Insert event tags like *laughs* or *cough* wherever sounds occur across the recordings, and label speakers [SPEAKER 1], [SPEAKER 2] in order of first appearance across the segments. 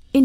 [SPEAKER 1] verscheen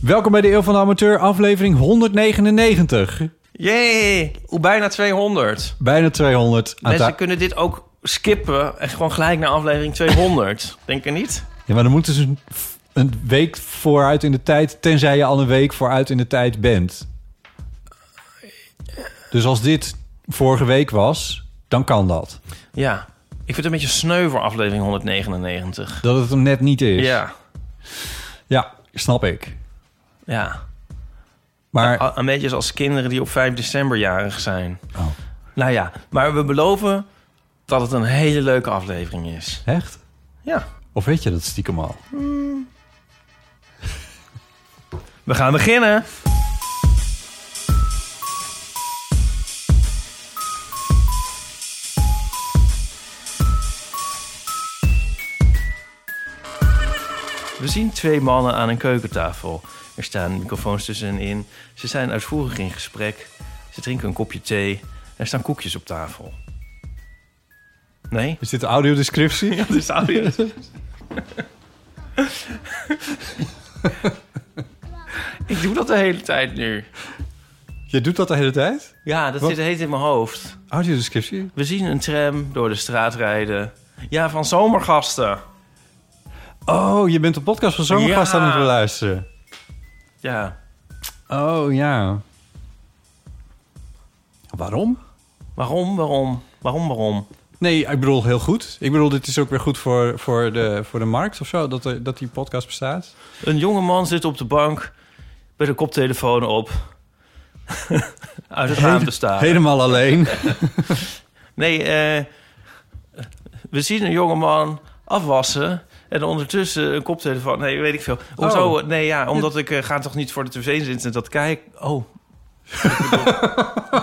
[SPEAKER 2] Welkom bij de Eeuw van de Amateur, aflevering 199.
[SPEAKER 3] Jee, hoe bijna 200.
[SPEAKER 2] Bijna 200. Aan
[SPEAKER 3] Mensen
[SPEAKER 2] ta-
[SPEAKER 3] kunnen dit ook skippen en gewoon gelijk naar
[SPEAKER 2] *laughs*
[SPEAKER 3] aflevering 200. Denk je niet?
[SPEAKER 2] ja, maar dan moeten ze een, een week vooruit in de tijd, tenzij je al een week vooruit in de tijd bent. Dus als dit vorige week was, dan kan dat.
[SPEAKER 3] Ja. Ik vind het een beetje sneu voor aflevering 199.
[SPEAKER 2] Dat het hem net niet is.
[SPEAKER 3] Ja,
[SPEAKER 2] Ja, snap ik.
[SPEAKER 3] ja.
[SPEAKER 2] Maar
[SPEAKER 3] A- Een beetje als kinderen die op 5 december jarig zijn.
[SPEAKER 2] Oh.
[SPEAKER 3] Nou ja, maar we beloven dat het een hele leuke aflevering is.
[SPEAKER 2] echt?
[SPEAKER 3] Ja.
[SPEAKER 2] Of weet je dat stiekem al?
[SPEAKER 3] We gaan beginnen. We zien twee mannen aan een keukentafel. Er staan microfoons tussenin. Ze zijn uitvoerig in gesprek. Ze drinken een kopje thee. Er staan koekjes op tafel. Nee?
[SPEAKER 2] Is dit de audiodescriptie?
[SPEAKER 3] Ja, dus audio. Ik doe dat de hele tijd nu.
[SPEAKER 2] Je doet dat de hele tijd?
[SPEAKER 3] Ja, dat
[SPEAKER 2] Wat?
[SPEAKER 3] zit heet in mijn hoofd.
[SPEAKER 2] Audiodescriptie?
[SPEAKER 3] We zien een tram door de straat rijden. Ja, van zomergasten.
[SPEAKER 2] Oh, je bent de podcast van Zomergast
[SPEAKER 3] Ja.
[SPEAKER 2] aan het beluisteren.
[SPEAKER 3] Ja,
[SPEAKER 2] Oh ja. Waarom?
[SPEAKER 3] waarom, waarom, waarom, waarom?
[SPEAKER 2] Nee, ik bedoel heel goed. Ik bedoel, dit is ook weer goed voor, voor, de, voor de markt of zo, dat, er, dat die podcast bestaat.
[SPEAKER 3] Een jonge man zit op de bank met een koptelefoon op. *laughs* Uit het raam te staan.
[SPEAKER 2] Helemaal alleen.
[SPEAKER 3] Nee, eh, we zien een jongeman afwassen. En ondertussen een koptelefoon. Nee, weet ik veel. Hoezo?
[SPEAKER 2] Oh.
[SPEAKER 3] Nee, ja, omdat ik eh, ga toch niet voor de tv zitten en dat kijk. Oh.
[SPEAKER 2] *laughs*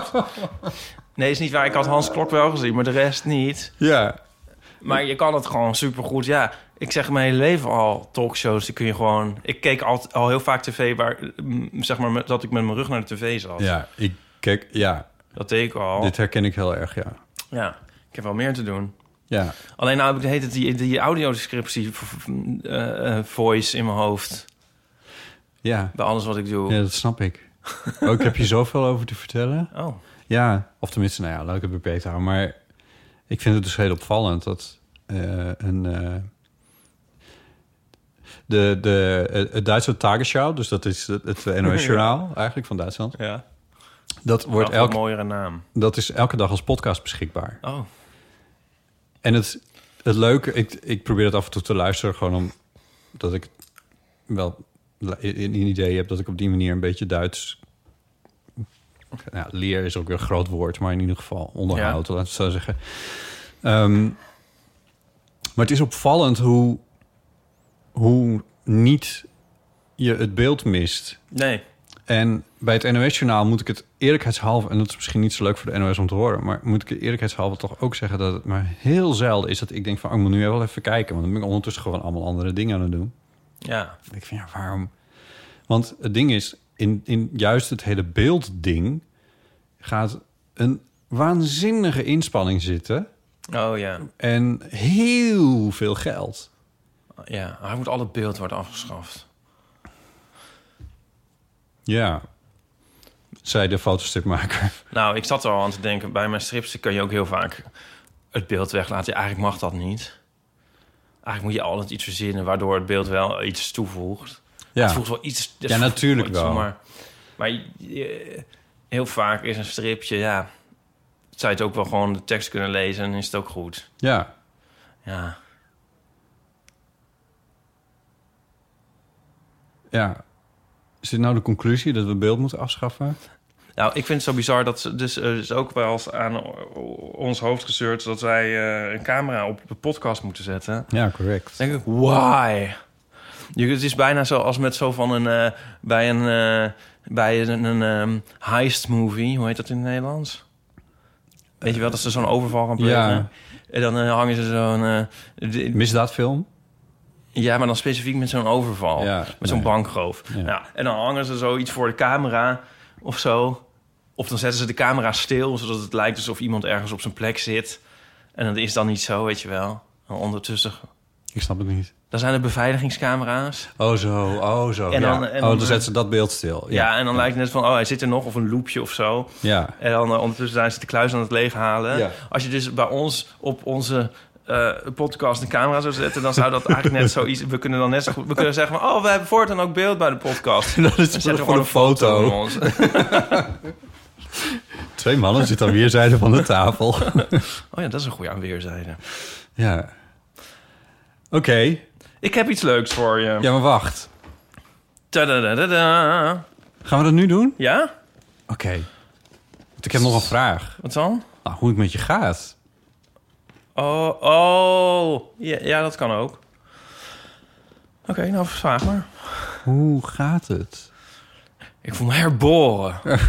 [SPEAKER 3] nee, is niet waar. Ik had Hans Klok wel gezien, maar de rest niet.
[SPEAKER 2] ja.
[SPEAKER 3] Maar je kan het gewoon supergoed. Ja, ik zeg mijn hele leven al talkshows. Die kun je gewoon... Ik keek al, al heel vaak tv waar... mm, Zeg maar met- dat ik met mijn rug naar de tv zat.
[SPEAKER 2] ja, ik kijk, ja,
[SPEAKER 3] Dat deed ik al.
[SPEAKER 2] dit herken ik heel erg, ja.
[SPEAKER 3] Ja, ik heb wel meer te doen.
[SPEAKER 2] Ja,
[SPEAKER 3] Alleen nou heb ik de hele tijd die, die audiodescriptie v- v- eh, eh, voice in mijn hoofd.
[SPEAKER 2] ja.
[SPEAKER 3] Bij alles wat ik doe.
[SPEAKER 2] ja dat snap ik. Ook heb je zoveel over te vertellen.
[SPEAKER 3] Oh,
[SPEAKER 2] Ja, of tenminste, nou ja, laat ik het beperkt houden. Maar ik vind het dus heel opvallend dat eh, een... eh, de, de, eh, het Duitse Tagesschau, dus dat is het, het NOS-journaal eigenlijk van Duitsland...
[SPEAKER 3] ja.
[SPEAKER 2] dat, wordt
[SPEAKER 3] Wat
[SPEAKER 2] elke,
[SPEAKER 3] Nou, een mooiere naam.
[SPEAKER 2] dat is elke dag als podcast beschikbaar.
[SPEAKER 3] Oh,
[SPEAKER 2] En het, het leuke, ik, ik probeer het af en toe te luisteren, gewoon omdat ik wel la- i- i- een idee heb dat ik op die manier een beetje Duits. Nou, leer is ook weer een groot woord, maar in ieder geval onderhoud, laten we het zo zeggen. Ehm, maar het is opvallend hoe, hoe niet je het beeld mist.
[SPEAKER 3] nee.
[SPEAKER 2] En bij het NOS-journaal moet ik het eerlijkheidshalve... en dat is misschien niet zo leuk voor de NOS om te horen... maar moet ik het eerlijkheidshalve toch ook zeggen... dat het maar heel zelden is dat ik denk van... oh, ik moet nu wel even kijken... want dan ben ik ondertussen gewoon allemaal andere dingen aan het doen.
[SPEAKER 3] Ja,
[SPEAKER 2] En ik vind, ja, waarom? Want het ding is, in, in juist het hele beeldding... gaat een waanzinnige inspanning zitten...
[SPEAKER 3] oh ja.
[SPEAKER 2] en heel veel geld.
[SPEAKER 3] Ja, hij moet al het beeld worden afgeschaft.
[SPEAKER 2] Ja, zei de fotostipmaker.
[SPEAKER 3] Nou, ik zat er al aan te denken. Bij mijn strips kan je ook heel vaak het beeld weglaten. Eigenlijk mag dat niet. Eigenlijk moet je altijd iets verzinnen waardoor het beeld wel iets toevoegt.
[SPEAKER 2] Ja.
[SPEAKER 3] Het voegt wel iets. het voegt
[SPEAKER 2] natuurlijk
[SPEAKER 3] iets,
[SPEAKER 2] wel.
[SPEAKER 3] Maar, maar je- heel vaak is een stripje, ja. Zou je het ook wel gewoon de tekst kunnen lezen en is het ook goed.
[SPEAKER 2] Ja,
[SPEAKER 3] Ja.
[SPEAKER 2] ja. Is dit nou de conclusie dat we beeld moeten afschaffen?
[SPEAKER 3] Nou, ik vind het zo bizar dat ze dus eh, is ook wel eens aan ons hoofd gezeurd dat wij eh, een camera op de podcast moeten zetten.
[SPEAKER 2] Ja, correct.
[SPEAKER 3] Dan denk ik, why? Je, het is bijna zo als met zo van een... eh, bij een, eh, bij een, een ehm, heist movie. Hoe heet dat in het Nederlands? Weet je wel, dat ze zo'n overval gaan plegen.
[SPEAKER 2] Ja.
[SPEAKER 3] En dan eh, hangen ze zo'n... eh, d-
[SPEAKER 2] Misdaadfilm?
[SPEAKER 3] ja, maar dan specifiek met zo'n overval.
[SPEAKER 2] Ja,
[SPEAKER 3] met zo'n
[SPEAKER 2] nee.
[SPEAKER 3] bankgroof.
[SPEAKER 2] Ja.
[SPEAKER 3] Ja, en dan hangen ze zoiets voor de camera of zo. Of dan zetten ze de camera stil, zodat het lijkt alsof iemand ergens op zijn plek zit. En dat is dan niet zo, weet je wel. En ondertussen...
[SPEAKER 2] Ik snap het niet.
[SPEAKER 3] Dan zijn er beveiligingscamera's.
[SPEAKER 2] Oh zo, oh zo.
[SPEAKER 3] En
[SPEAKER 2] ja.
[SPEAKER 3] dan- en
[SPEAKER 2] oh,
[SPEAKER 3] dan-
[SPEAKER 2] dan zetten ze dat beeld stil.
[SPEAKER 3] Ja, en dan lijkt het net van, oh, hij zit er nog, of een loopje of zo.
[SPEAKER 2] Ja. *laughs*
[SPEAKER 3] En dan eh, ondertussen zijn ze de kluis aan het leeghalen.
[SPEAKER 2] Ja.
[SPEAKER 3] Als je dus bij ons op onze eh, podcast een camera zou zetten... dan zou dat eigenlijk net zoiets... We kunnen dan net zo goed... We kunnen zeggen van, oh, we hebben voortaan ook beeld bij de podcast.
[SPEAKER 2] Dat is
[SPEAKER 3] *laughs* Dan zetten we
[SPEAKER 2] voor
[SPEAKER 3] gewoon een foto van
[SPEAKER 2] foto.
[SPEAKER 3] ons. *laughs*
[SPEAKER 2] Twee mannen zitten aan weerszijden van de tafel.
[SPEAKER 3] Oh ja, dat is een goede aan weerzijde.
[SPEAKER 2] *laughs* ja. Oké.
[SPEAKER 3] Ik heb iets leuks voor je.
[SPEAKER 2] Ja, maar wacht.
[SPEAKER 3] Tadadadada.
[SPEAKER 2] Gaan we dat nu doen?
[SPEAKER 3] Ja?
[SPEAKER 2] Oké. Want ik heb nog een vraag.
[SPEAKER 3] Wat dan?
[SPEAKER 2] Nou, hoe het met je gaat.
[SPEAKER 3] Oh, oh. Ja, ja dat kan ook. Oké, nou, vraag maar.
[SPEAKER 2] Hoe gaat het?
[SPEAKER 3] Ik voel me herboren. *laughs*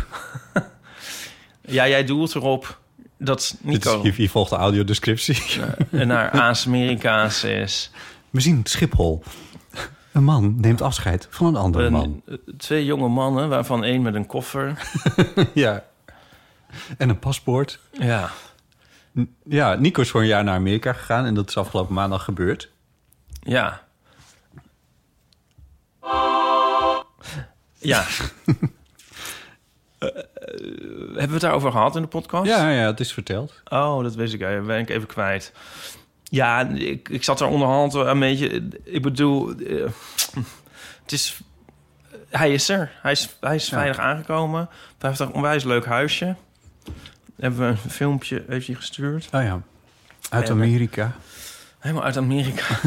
[SPEAKER 3] ja, jij doelt erop dat
[SPEAKER 2] Dit is,
[SPEAKER 3] Nico eh,
[SPEAKER 2] hier, hier volgt de audiodescriptie.
[SPEAKER 3] naar Aas-Amerikaans is.
[SPEAKER 2] We zien Schiphol. Een man neemt afscheid van *laughs* een andere man.
[SPEAKER 3] Een- Eh, twee jonge mannen, waarvan één met een koffer.
[SPEAKER 2] Ja. En een paspoort.
[SPEAKER 3] Ja.
[SPEAKER 2] N- Ja, Nico is voor een jaar naar Amerika gegaan en dat is afgelopen maandag gebeurd.
[SPEAKER 3] Ja.
[SPEAKER 2] *laughs*
[SPEAKER 3] Ja. Eh, eh, hebben we het daarover gehad in de podcast?
[SPEAKER 2] Ja, ja, het is verteld.
[SPEAKER 3] Oh, dat wist ik. eh, ben ik even kwijt. Ja, ik, ik zat er onderhand wel een beetje... Ik bedoel, eh, het is... Hij is er. Hij is, hij is veilig aangekomen. Hij heeft een onwijs leuk huisje. Hebben we een filmpje heeft hij gestuurd.
[SPEAKER 2] Oh ja. Uit
[SPEAKER 3] Ja, maar-
[SPEAKER 2] Amerika.
[SPEAKER 3] Helemaal uit Amerika. *laughs*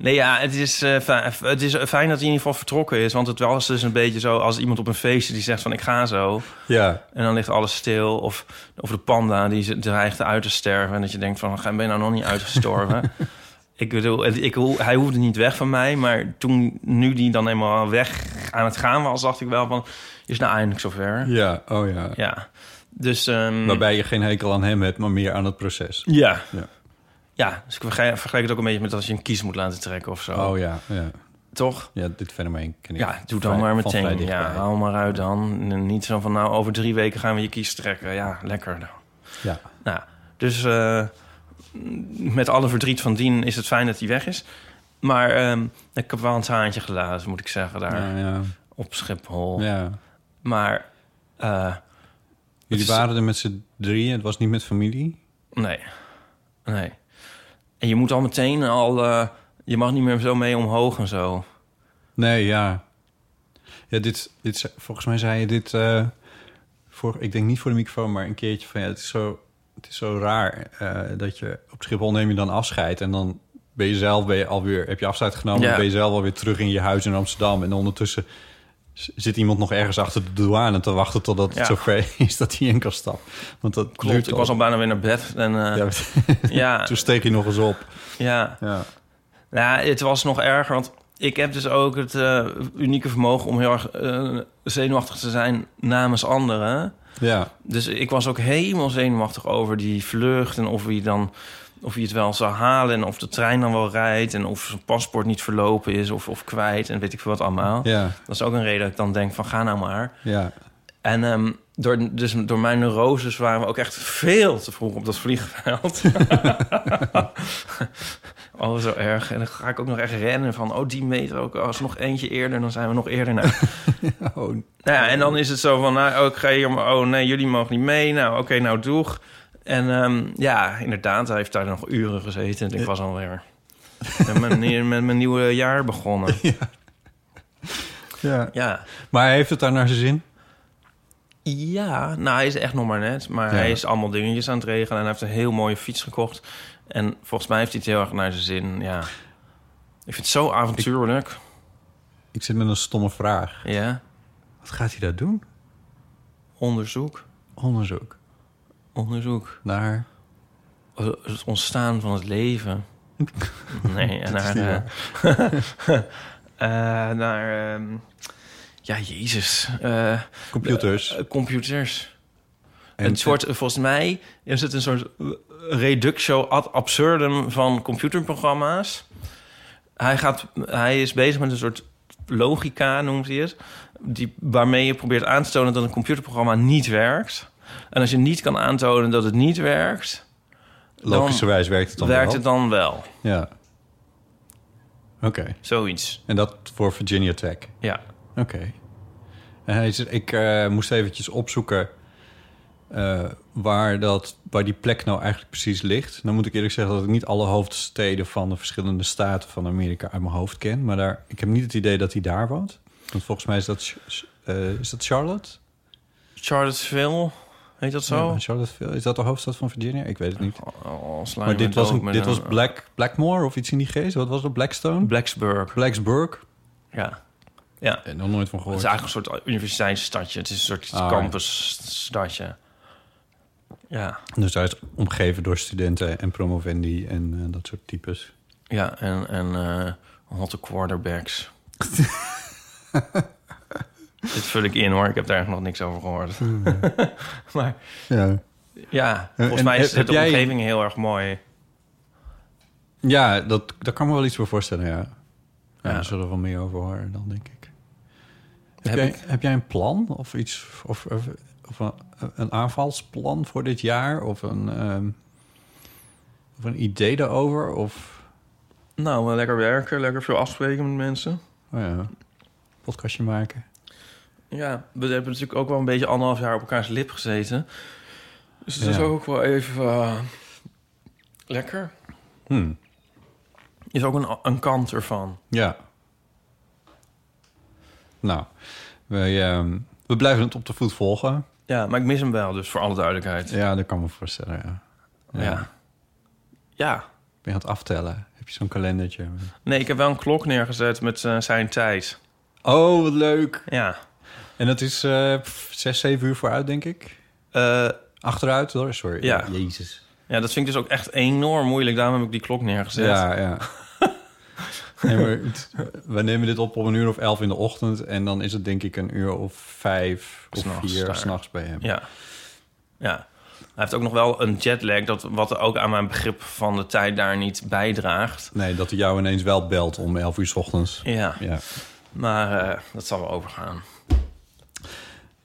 [SPEAKER 3] Nee, ja, het is, eh, fi- het is fijn dat hij in ieder geval vertrokken is. Want het was dus een beetje zo als iemand op een feestje die zegt van ik ga zo.
[SPEAKER 2] Ja.
[SPEAKER 3] En dan ligt alles stil. Of, of de panda die ze- dreigt uit te sterven. En dat je denkt van, ga- ben je nou nog niet uitgestorven? ik bedoel, het- ik, hoe- hij hoefde niet weg van mij. Maar toen, nu die dan eenmaal weg aan het gaan was, dacht ik wel van... Is nou eindelijk zover? Ja.
[SPEAKER 2] Ja, oh ja.
[SPEAKER 3] Dus... ehm,
[SPEAKER 2] Waarbij je geen hekel aan hem hebt, maar meer aan het proces.
[SPEAKER 3] Ja.
[SPEAKER 2] Ja.
[SPEAKER 3] ja. dus ik vergelijk vergelijk het ook een beetje met als je een kies moet laten trekken of zo.
[SPEAKER 2] Oh ja, ja.
[SPEAKER 3] Toch?
[SPEAKER 2] Ja, dit fenomeen ken ik.
[SPEAKER 3] Ja, doe dan
[SPEAKER 2] vrij-
[SPEAKER 3] maar
[SPEAKER 2] van vrij
[SPEAKER 3] meteen. Ja,
[SPEAKER 2] dichtbij.
[SPEAKER 3] haal maar uit dan. En Niet zo van, nou, over drie weken gaan we je kies trekken. Ja, lekker dan.
[SPEAKER 2] ja.
[SPEAKER 3] Nou, dus eh, met alle verdriet van dien is het fijn dat hij weg is. Maar ehm, ik heb wel een traantje gelaten, moet ik zeggen, daar
[SPEAKER 2] Ja, ja.
[SPEAKER 3] op Schiphol.
[SPEAKER 2] ja.
[SPEAKER 3] Maar eh,
[SPEAKER 2] Jullie
[SPEAKER 3] Het is-
[SPEAKER 2] waren er met z'n drieën, het was niet met familie?
[SPEAKER 3] nee, nee. En je moet al meteen al... eh, je mag niet meer zo mee omhoog en zo.
[SPEAKER 2] Nee, ja. Ja, dit, dit ze- volgens mij zei je dit eh, voor, ik denk niet voor de microfoon, maar een keertje van ja, het is zo, het is zo raar eh, dat je op Schiphol neem je dan afscheid en dan ben je zelf ben je alweer, heb je afscheid genomen,
[SPEAKER 3] Ja.
[SPEAKER 2] dan ben je zelf alweer terug in je huis in Amsterdam en ondertussen s- zit iemand nog ergens achter de douane te wachten totdat
[SPEAKER 3] Ja.
[SPEAKER 2] het zover *laughs* is dat hij in kan stappen. Want dat duurt
[SPEAKER 3] Klopt, ik was al bijna weer naar bed. En, eh,
[SPEAKER 2] Ja, *laughs* dus-
[SPEAKER 3] ja,
[SPEAKER 2] toen steeg hij nog eens op.
[SPEAKER 3] ja.
[SPEAKER 2] Ja.
[SPEAKER 3] Ja, het was nog erger, want ik heb dus ook het eh, unieke vermogen om heel erg eh, zenuwachtig te zijn namens anderen.
[SPEAKER 2] Ja.
[SPEAKER 3] Dus ik was ook helemaal zenuwachtig over die vlucht en of hij dan of hij het wel zou halen en of de trein dan wel rijdt en of zijn paspoort niet verlopen is of, of kwijt en weet ik veel wat allemaal.
[SPEAKER 2] Ja.
[SPEAKER 3] Dat is ook een reden dat ik dan denk van ga nou maar.
[SPEAKER 2] Ja.
[SPEAKER 3] En ehm, door, dus door mijn neuroses waren we ook echt veel te vroeg op dat vliegveld. *laughs* oh, zo erg. En dan ga ik ook nog echt rennen van... oh, die meter ook. Als nog eentje eerder, dan zijn we nog eerder. Nou,
[SPEAKER 2] Oh,
[SPEAKER 3] nou ja, en dan is het zo van... nou, oh, ik ga hier, maar- oh nee, jullie mogen niet mee. Nou, oké, nou doeg. En ehm, ja, inderdaad, hij heeft daar nog uren gezeten. En ik was alweer met mijn, *laughs* met mijn nieuwe jaar begonnen.
[SPEAKER 2] ja.
[SPEAKER 3] Ja.
[SPEAKER 2] Maar hij heeft het daar naar zijn zin?
[SPEAKER 3] Ja, nou, hij is echt nog maar net. Maar
[SPEAKER 2] Ja.
[SPEAKER 3] hij is allemaal dingetjes aan het regelen. En hij heeft een heel mooie fiets gekocht. En volgens mij heeft hij het heel erg naar zijn zin. Ja. Ik vind het zo avontuurlijk.
[SPEAKER 2] Ik zit met een stomme vraag.
[SPEAKER 3] Ja.
[SPEAKER 2] Wat gaat hij daar doen?
[SPEAKER 3] Onderzoek.
[SPEAKER 2] Onderzoek
[SPEAKER 3] Onderzoek.
[SPEAKER 2] naar...
[SPEAKER 3] Het ontstaan van het leven. Nee, en naar... eh, *laughs* eh, naar... ehm, ja, jezus. Eh,
[SPEAKER 2] Computers.
[SPEAKER 3] eh, computers.
[SPEAKER 2] en-
[SPEAKER 3] een soort, volgens mij is het een soort eh, reductio ad absurdum van computerprogramma's. Hij, gaat, hij is bezig met een soort logica, noemt hij het. Die, waarmee je probeert aan te tonen dat een computerprogramma niet werkt. En als je niet kan aantonen dat het niet werkt,
[SPEAKER 2] Logischerwijs werkt het dan
[SPEAKER 3] werkt
[SPEAKER 2] wel.
[SPEAKER 3] het dan wel.
[SPEAKER 2] Ja. Oké.
[SPEAKER 3] Zoiets.
[SPEAKER 2] En dat voor Virginia Tech.
[SPEAKER 3] Ja.
[SPEAKER 2] Oké. En hij zegt, ik eh, moest eventjes opzoeken eh, waar, dat, waar die plek nou eigenlijk precies ligt. Dan moet ik eerlijk zeggen dat ik niet alle hoofdsteden van de verschillende staten van Amerika uit mijn hoofd ken. Maar daar, ik heb niet het idee dat hij daar woont. Want volgens mij is dat, Ch- Ch- eh, is dat Charlotte?
[SPEAKER 3] Charlottesville, heet dat zo?
[SPEAKER 2] Ja, Charlottesville. Is dat de hoofdstad van Virginia? Ik weet het niet.
[SPEAKER 3] Oh, sla
[SPEAKER 2] Maar
[SPEAKER 3] je me
[SPEAKER 2] dit was,
[SPEAKER 3] dood
[SPEAKER 2] een,
[SPEAKER 3] met
[SPEAKER 2] dit
[SPEAKER 3] een- eh,
[SPEAKER 2] was Black, Blackmore of iets in die geest. Wat was dat? Blackstone?
[SPEAKER 3] Blacksburg.
[SPEAKER 2] Blacksburg.
[SPEAKER 3] Ja. Ja.
[SPEAKER 2] Eh, nog nooit van gehoord.
[SPEAKER 3] Het is eigenlijk een soort universiteitsstadje. Het is een soort
[SPEAKER 2] Ah.
[SPEAKER 3] campusstadje. Ja,
[SPEAKER 2] Dus hij is omgeven door studenten en promovendi en eh, dat soort types.
[SPEAKER 3] ja en, en eh, hotte *laughs* quarterbacks. Dit vul ik in hoor, ik heb daar nog niks over gehoord. *laughs* maar
[SPEAKER 2] Ja.
[SPEAKER 3] ja, volgens
[SPEAKER 2] en
[SPEAKER 3] mij is
[SPEAKER 2] heb- heb
[SPEAKER 3] de
[SPEAKER 2] jij-
[SPEAKER 3] omgeving heel erg mooi.
[SPEAKER 2] Ja, dat, daar kan me wel iets voor voorstellen, ja. ja,
[SPEAKER 3] Ja.
[SPEAKER 2] Daar zullen we wel meer over horen dan, denk ik. Heb,
[SPEAKER 3] Heb
[SPEAKER 2] jij,
[SPEAKER 3] ik-
[SPEAKER 2] heb jij een plan of iets, of, of, of een, een aanvalsplan voor dit jaar? Of een, ehm, of een idee daarover? Of,
[SPEAKER 3] Nou, wel lekker werken, lekker veel afspreken met mensen.
[SPEAKER 2] oh ja, podcastje maken?
[SPEAKER 3] Ja, we hebben natuurlijk ook wel een beetje anderhalf jaar op elkaars lip gezeten. Dus dat is
[SPEAKER 2] Ja.
[SPEAKER 3] ook wel even eh, lekker.
[SPEAKER 2] Hmm.
[SPEAKER 3] Is ook een, een kant ervan.
[SPEAKER 2] Ja. Nou, wij, ehm, we blijven het op de voet volgen.
[SPEAKER 3] Ja, maar ik mis hem wel, dus voor alle duidelijkheid.
[SPEAKER 2] Ja, dat kan me voorstellen, ja.
[SPEAKER 3] Ja. ja.
[SPEAKER 2] Ben je aan het aftellen? Heb je zo'n kalendertje?
[SPEAKER 3] Nee, ik heb wel een klok neergezet met eh, zijn tijd.
[SPEAKER 2] Oh, wat leuk.
[SPEAKER 3] Ja.
[SPEAKER 2] En dat is eh, pff, zes, zeven uur vooruit, denk ik.
[SPEAKER 3] Eh,
[SPEAKER 2] Achteruit, hoor. Sorry.
[SPEAKER 3] Ja.
[SPEAKER 2] Jezus.
[SPEAKER 3] ja, dat vind ik dus ook echt enorm moeilijk. Daarom heb ik die klok neergezet.
[SPEAKER 2] Ja, ja.
[SPEAKER 3] *laughs*
[SPEAKER 2] Nee, maar het- we nemen dit op om een uur of elf in de ochtend. En dan is het denk ik een uur of vijf of
[SPEAKER 3] S'nachts
[SPEAKER 2] vier
[SPEAKER 3] daar.
[SPEAKER 2] s'nachts bij hem.
[SPEAKER 3] Ja. Ja. Hij heeft ook nog wel een jetlag, dat, wat ook aan mijn begrip van de tijd daar niet bijdraagt.
[SPEAKER 2] Nee, dat hij jou ineens wel belt om elf uur s ochtends.
[SPEAKER 3] Ja,
[SPEAKER 2] Ja.
[SPEAKER 3] maar eh, dat zal wel overgaan.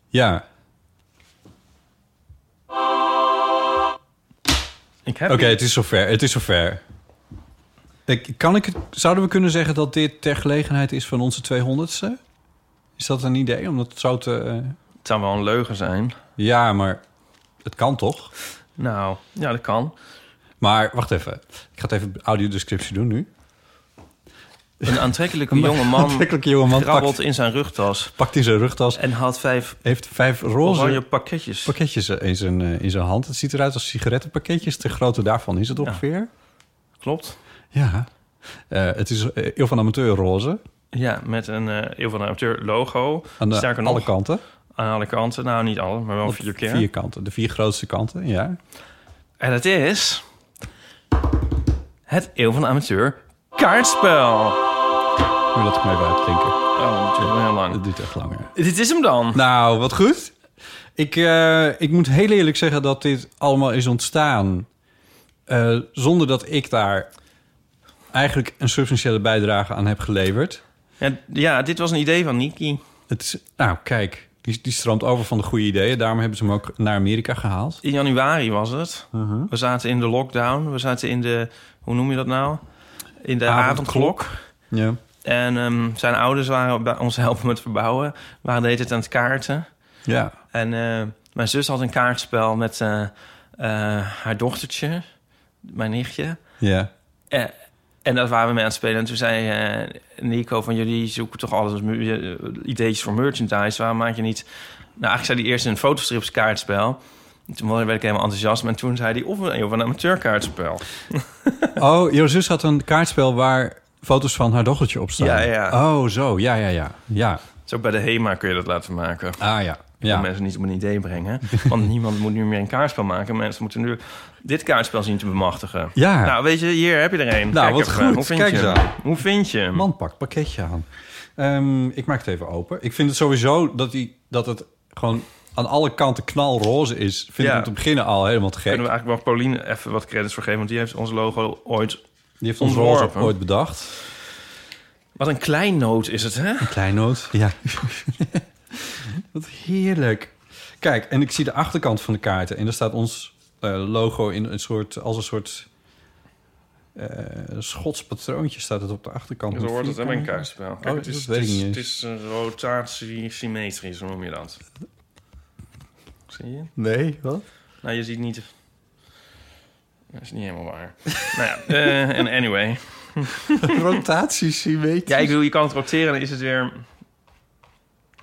[SPEAKER 2] Ja.
[SPEAKER 3] Ik heb
[SPEAKER 2] Oké, het is zover. Het is zover. Ik, kan ik, het- zouden we kunnen zeggen dat dit ter gelegenheid is van onze 200ste? Is dat een idee? Omdat het zo te... eh,
[SPEAKER 3] Het zou wel een leugen zijn.
[SPEAKER 2] Ja, maar het kan toch?
[SPEAKER 3] Nou, ja, dat kan.
[SPEAKER 2] Maar wacht even. Ik ga het even audiodescriptie doen nu.
[SPEAKER 3] *laughs* Een aantrekkelijke jonge man
[SPEAKER 2] Aantrekkelijke jongeman
[SPEAKER 3] krabbelt
[SPEAKER 2] pakt,
[SPEAKER 3] in zijn rugtas
[SPEAKER 2] pakt in zijn rugtas.
[SPEAKER 3] en haalt vijf
[SPEAKER 2] Heeft vijf
[SPEAKER 3] oranje
[SPEAKER 2] roze
[SPEAKER 3] pakketjes.
[SPEAKER 2] pakketjes in zijn, eh, in zijn hand. Het ziet eruit als sigarettenpakketjes. De grootte daarvan is het ongeveer.
[SPEAKER 3] Klopt.
[SPEAKER 2] Ja. Eh, het is eh, heel van amateur roze.
[SPEAKER 3] Ja, met een eh Eeuw van de Amateur logo.
[SPEAKER 2] Aan de,
[SPEAKER 3] Sterker nog,
[SPEAKER 2] alle kanten.
[SPEAKER 3] aan alle kanten. Nou, niet alle, maar wel
[SPEAKER 2] Op
[SPEAKER 3] vier keer.
[SPEAKER 2] Vier kanten. De vier grootste kanten, ja.
[SPEAKER 3] En het is... Het Eeuw van de Amateur kaartspel.
[SPEAKER 2] Nu dat ik mij even uitklinken.
[SPEAKER 3] Oh, dat duurt wel heel
[SPEAKER 2] Dat
[SPEAKER 3] lang.
[SPEAKER 2] duurt echt langer.
[SPEAKER 3] Dit is hem dan.
[SPEAKER 2] Nou, wat goed. Ik, eh, ik moet heel eerlijk zeggen dat dit allemaal is ontstaan... eh, zonder dat ik daar eigenlijk een substantiële bijdrage aan heb geleverd.
[SPEAKER 3] Ja, d- ja, dit was een idee van Niki.
[SPEAKER 2] Het is, nou, kijk, Die, die stroomt over van de goede ideeën. Daarom hebben ze hem ook naar Amerika gehaald.
[SPEAKER 3] In januari was het.
[SPEAKER 2] Mhm.
[SPEAKER 3] We zaten in de lockdown. We zaten in de, hoe noem je dat nou? In de
[SPEAKER 2] Avondklok.
[SPEAKER 3] avondklok.
[SPEAKER 2] Ja.
[SPEAKER 3] En ehm, zijn ouders waren bij ons helpen met verbouwen. We waren de hele tijd aan het kaarten.
[SPEAKER 2] ja.
[SPEAKER 3] En eh, mijn zus had een kaartspel met eh, eh, haar dochtertje, mijn nichtje.
[SPEAKER 2] Ja.
[SPEAKER 3] Eh, en dat waren we mee aan het spelen. En toen zei eh, Nico van jullie zoeken toch alles als mu- eh, ideetjes voor merchandise. Waarom maak je niet... Nou, eigenlijk zei hij eerst een fotostrips kaartspel. En Toen werd ik helemaal enthousiast. En toen zei hij of een, of een amateurkaartspel.
[SPEAKER 2] Oh, jouw zus had een kaartspel waar foto's van haar dochtertje op staan.
[SPEAKER 3] Ja, ja.
[SPEAKER 2] Oh, zo. Ja, ja, ja. Ja.
[SPEAKER 3] Zo bij de HEMA kun je dat laten maken.
[SPEAKER 2] Ah, ja.
[SPEAKER 3] Ja.
[SPEAKER 2] Ja.
[SPEAKER 3] mensen niet op een idee brengen. Want niemand moet nu meer een kaartspel maken. Mensen moeten nu dit kaartspel zien te bemachtigen.
[SPEAKER 2] Ja.
[SPEAKER 3] Nou, weet je, hier heb je er een.
[SPEAKER 2] Nou, wat
[SPEAKER 3] even aan.
[SPEAKER 2] goed.
[SPEAKER 3] Hoe vind
[SPEAKER 2] Kijk
[SPEAKER 3] je
[SPEAKER 2] eens
[SPEAKER 3] hem?
[SPEAKER 2] aan.
[SPEAKER 3] Hoe vind je hem?
[SPEAKER 2] Man, pak pakketje aan. Ehm, ik maak het even open. Ik vind het sowieso dat, die, dat het gewoon aan alle kanten knalroze is. Vind ik
[SPEAKER 3] Ja.
[SPEAKER 2] om te beginnen al helemaal te gek.
[SPEAKER 3] Kunnen we eigenlijk wel Pauline even wat credits voor geven? Want die heeft ons logo ooit...
[SPEAKER 2] Die heeft ons roze
[SPEAKER 3] ontworpen?
[SPEAKER 2] ooit
[SPEAKER 3] *laughs*
[SPEAKER 2] bedacht.
[SPEAKER 3] Wat een kleinoot is het, hè?
[SPEAKER 2] Kleinoot. Ja. *laughs* Wat heerlijk. Kijk, en ik zie de achterkant van de kaarten. En daar staat ons eh, logo in een soort, als een soort eh, schots patroontje staat het op de achterkant.
[SPEAKER 3] Zo hoort het hè, bij een
[SPEAKER 2] Vierkant.
[SPEAKER 3] kaartspel. Kijk,
[SPEAKER 2] Oh,
[SPEAKER 3] het, is,
[SPEAKER 2] dat weet
[SPEAKER 3] het,
[SPEAKER 2] ik
[SPEAKER 3] is,
[SPEAKER 2] niet
[SPEAKER 3] het
[SPEAKER 2] eens.
[SPEAKER 3] is een rotatie symmetrisch, hoe noem je dat? Zie je?
[SPEAKER 2] Nee, wat? *laughs*
[SPEAKER 3] Nou, je ziet niet... Dat is niet helemaal waar. nou ja, eh, en anyway...
[SPEAKER 2] Rotatiesymmetrisch.
[SPEAKER 3] Ja, ik bedoel, je kan het roteren en dan is het weer...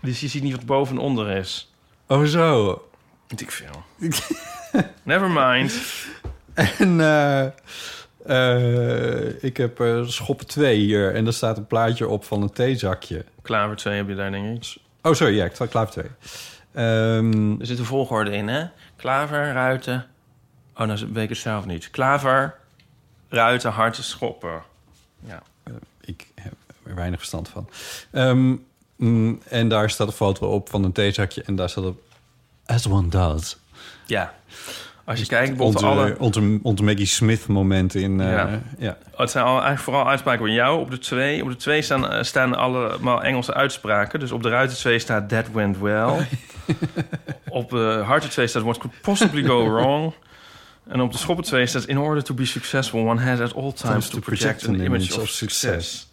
[SPEAKER 3] Dus je ziet niet wat boven en onder is.
[SPEAKER 2] Oh zo.
[SPEAKER 3] Weet ik veel. *laughs* Never mind.
[SPEAKER 2] En eh, eh, ik heb eh, schop 2 hier. En daar staat een plaatje op van een theezakje.
[SPEAKER 3] Klaver 2 heb je daar, denk ik.
[SPEAKER 2] Oh, sorry. Ja, ik sta klaar 2. Ehm
[SPEAKER 3] Er zit een volgorde in, hè? Klaver, ruiten... Oh, nou weet ik het zelf niet. Klaver, ruiten, harten, schoppen. Ja.
[SPEAKER 2] ik heb er weinig verstand van. Ehm, mm, en daar staat een foto op van een theezakje. En daar staat op... As one does.
[SPEAKER 3] Ja. Als je kijkt, bijvoorbeeld
[SPEAKER 2] Onze,
[SPEAKER 3] alle...
[SPEAKER 2] onze, onze Maggie Smith moment in... eh, ja.
[SPEAKER 3] Ja. Oh, Het zijn al, eigenlijk vooral uitspraken van jou. Op de twee, op de twee staan, eh, staan allemaal Engelse uitspraken. Dus op de ruiten twee staat That went well. *laughs* op de harten twee staat What could possibly go wrong. En op de schoppen twee staat In order to be successful, one has at all times to project an image of success.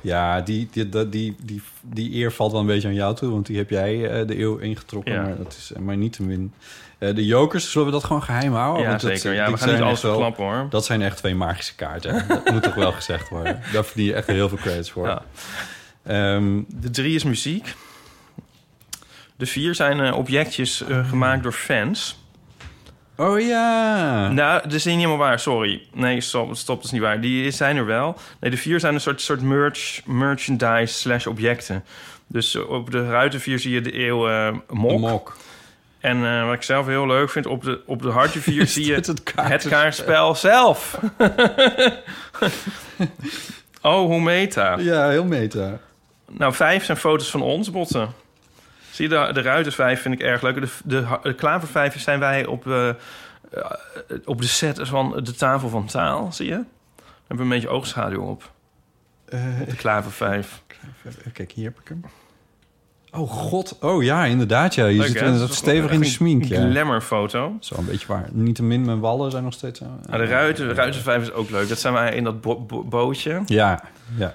[SPEAKER 2] Ja, die, die, dat- die, die, die eer valt wel een beetje aan jou toe, want die heb jij eh, de eeuw ingetrokken.
[SPEAKER 3] Ja.
[SPEAKER 2] Maar, dat is, maar niet te min. Eh, de jokers, zullen we dat gewoon geheim houden?
[SPEAKER 3] ja,
[SPEAKER 2] Oh, Want dat- eh,
[SPEAKER 3] zeker. Ja,
[SPEAKER 2] dit
[SPEAKER 3] we gaan
[SPEAKER 2] zijn
[SPEAKER 3] niet alles
[SPEAKER 2] echt wel-
[SPEAKER 3] verklappen, hoor.
[SPEAKER 2] Dat zijn echt twee magische kaarten. dat moet toch wel gezegd
[SPEAKER 3] *laughs*
[SPEAKER 2] worden. Daar verdien je echt heel veel credits voor.
[SPEAKER 3] Ja.
[SPEAKER 2] Ehm,
[SPEAKER 3] De drie is muziek. De vier zijn eh, objectjes eh, gemaakt door fans.
[SPEAKER 2] oh ja!
[SPEAKER 3] Nou, dat is niet helemaal waar, sorry. Nee, stop, stop, dat is niet waar. Die zijn er wel. Nee, de vier zijn een soort, soort merch, merchandise slash objecten. Dus eh, op de ruiten vier zie je de eeuw eh, mok.
[SPEAKER 2] De mok.
[SPEAKER 3] En eh, wat ik zelf heel leuk vind, op de, op de hartje
[SPEAKER 2] *laughs*
[SPEAKER 3] vier *laughs* zie je
[SPEAKER 2] dit het
[SPEAKER 3] het,
[SPEAKER 2] kaartspel?
[SPEAKER 3] kaartspel zelf. *laughs* oh, hoe meta.
[SPEAKER 2] Ja, heel meta.
[SPEAKER 3] Nou, vijf zijn foto's van ons, botten. Zie je, de, de ruiten vijf vind ik erg leuk. De, de, de klaver vijf zijn wij op, eh, eh, op de set van de tafel van taal, zie je? We hebben een beetje oogschaduw op.
[SPEAKER 2] Eh,
[SPEAKER 3] De klaver vijf.
[SPEAKER 2] kijk, hier heb ik hem. Oh god. Oh ja, inderdaad. Ja. Je
[SPEAKER 3] Leuk,
[SPEAKER 2] zit
[SPEAKER 3] hè?
[SPEAKER 2] eh,
[SPEAKER 3] Dat is
[SPEAKER 2] stevig
[SPEAKER 3] echt
[SPEAKER 2] in de
[SPEAKER 3] een
[SPEAKER 2] smink. Ja.
[SPEAKER 3] Glamour foto.
[SPEAKER 2] Zo een beetje waar. Niettemin, mijn wallen zijn nog steeds... eh, aan.
[SPEAKER 3] Nou, de ruiten, de ruiten vijf is ook leuk. Dat zijn wij in dat bo- bo- bootje.
[SPEAKER 2] Ja, ja.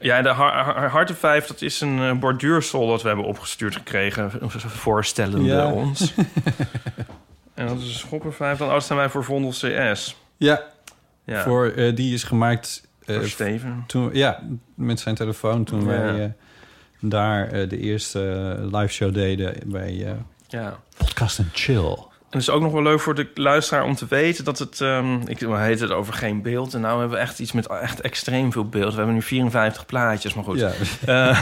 [SPEAKER 3] Ja, de har- har- harten vijf, dat is een eh, borduursol dat we hebben opgestuurd gekregen. Voorstellende
[SPEAKER 2] Ja. *laughs*
[SPEAKER 3] ons. en dat is een schopper vijf. Dan oh, dat zijn wij voor Vondel CS.
[SPEAKER 2] Ja,
[SPEAKER 3] Ja.
[SPEAKER 2] Voor, eh, die is gemaakt eh,
[SPEAKER 3] Voor Steven.
[SPEAKER 2] toen, ja, met zijn telefoon toen wij
[SPEAKER 3] Ja.
[SPEAKER 2] eh, daar eh, de eerste live show deden bij eh,
[SPEAKER 3] Ja.
[SPEAKER 2] Podcast en Chill.
[SPEAKER 3] En het is ook nog wel leuk voor de luisteraar om te weten dat het... ehm ik we heet het over geen beeld. En nou hebben we echt iets met echt extreem veel beeld. We hebben nu 54 plaatjes, maar goed.
[SPEAKER 2] Ja.
[SPEAKER 3] Eh,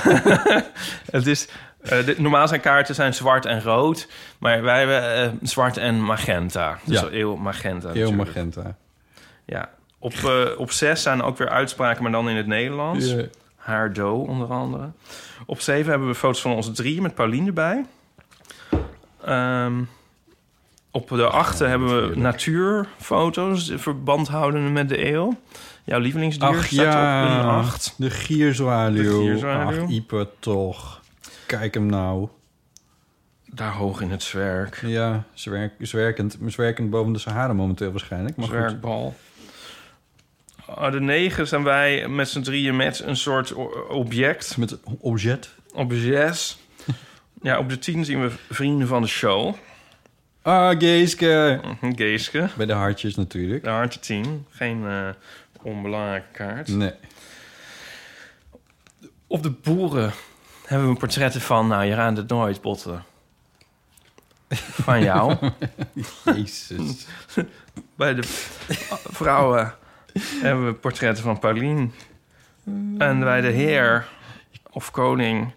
[SPEAKER 3] *laughs* het is, eh, de- normaal zijn kaarten zijn zwart en rood. Maar wij hebben eh, zwart en magenta. Dus
[SPEAKER 2] Ja.
[SPEAKER 3] eeuw magenta
[SPEAKER 2] Heel
[SPEAKER 3] natuurlijk.
[SPEAKER 2] Magenta.
[SPEAKER 3] Ja. Op, eh, op zes zijn ook weer uitspraken, maar dan in het Nederlands.
[SPEAKER 2] Ja.
[SPEAKER 3] Haar do, onder andere. Op 7 hebben we foto's van onze drie met Pauline erbij. Ehm, op de 8 hebben we natuurfoto's, verband houdende met de eeuw. Jouw lievelingsdier
[SPEAKER 2] Ach
[SPEAKER 3] staat op een
[SPEAKER 2] ja,
[SPEAKER 3] 8.
[SPEAKER 2] de gierzwaluw.
[SPEAKER 3] De gierzwaluw.
[SPEAKER 2] Ach, Ieper toch. Kijk hem nou.
[SPEAKER 3] Daar hoog in het zwerk.
[SPEAKER 2] Ja, zwerk, zwerkend. Zwerkend boven de Sahara momenteel waarschijnlijk. Maar goed.
[SPEAKER 3] Zwerkbal. Oh, de negen zijn wij met z'n drieën met een soort o- object.
[SPEAKER 2] Met objet.
[SPEAKER 3] Op de
[SPEAKER 2] *laughs*
[SPEAKER 3] zes. Ja, op de tien zien we vrienden van de show. Hm,
[SPEAKER 2] Ah, Geeske.
[SPEAKER 3] Geeske.
[SPEAKER 2] Bij de hartjes natuurlijk.
[SPEAKER 3] De hartje tien. Geen eh, onbelangrijke kaart. *laughs*
[SPEAKER 2] Nee.
[SPEAKER 3] Op de boeren hebben we een portretten van... Nou, je raadt het nooit, botten. Van jou.
[SPEAKER 2] *laughs* Jezus.
[SPEAKER 3] Bij de vrouwen hebben we portretten van Paulien. En bij de heer of koning.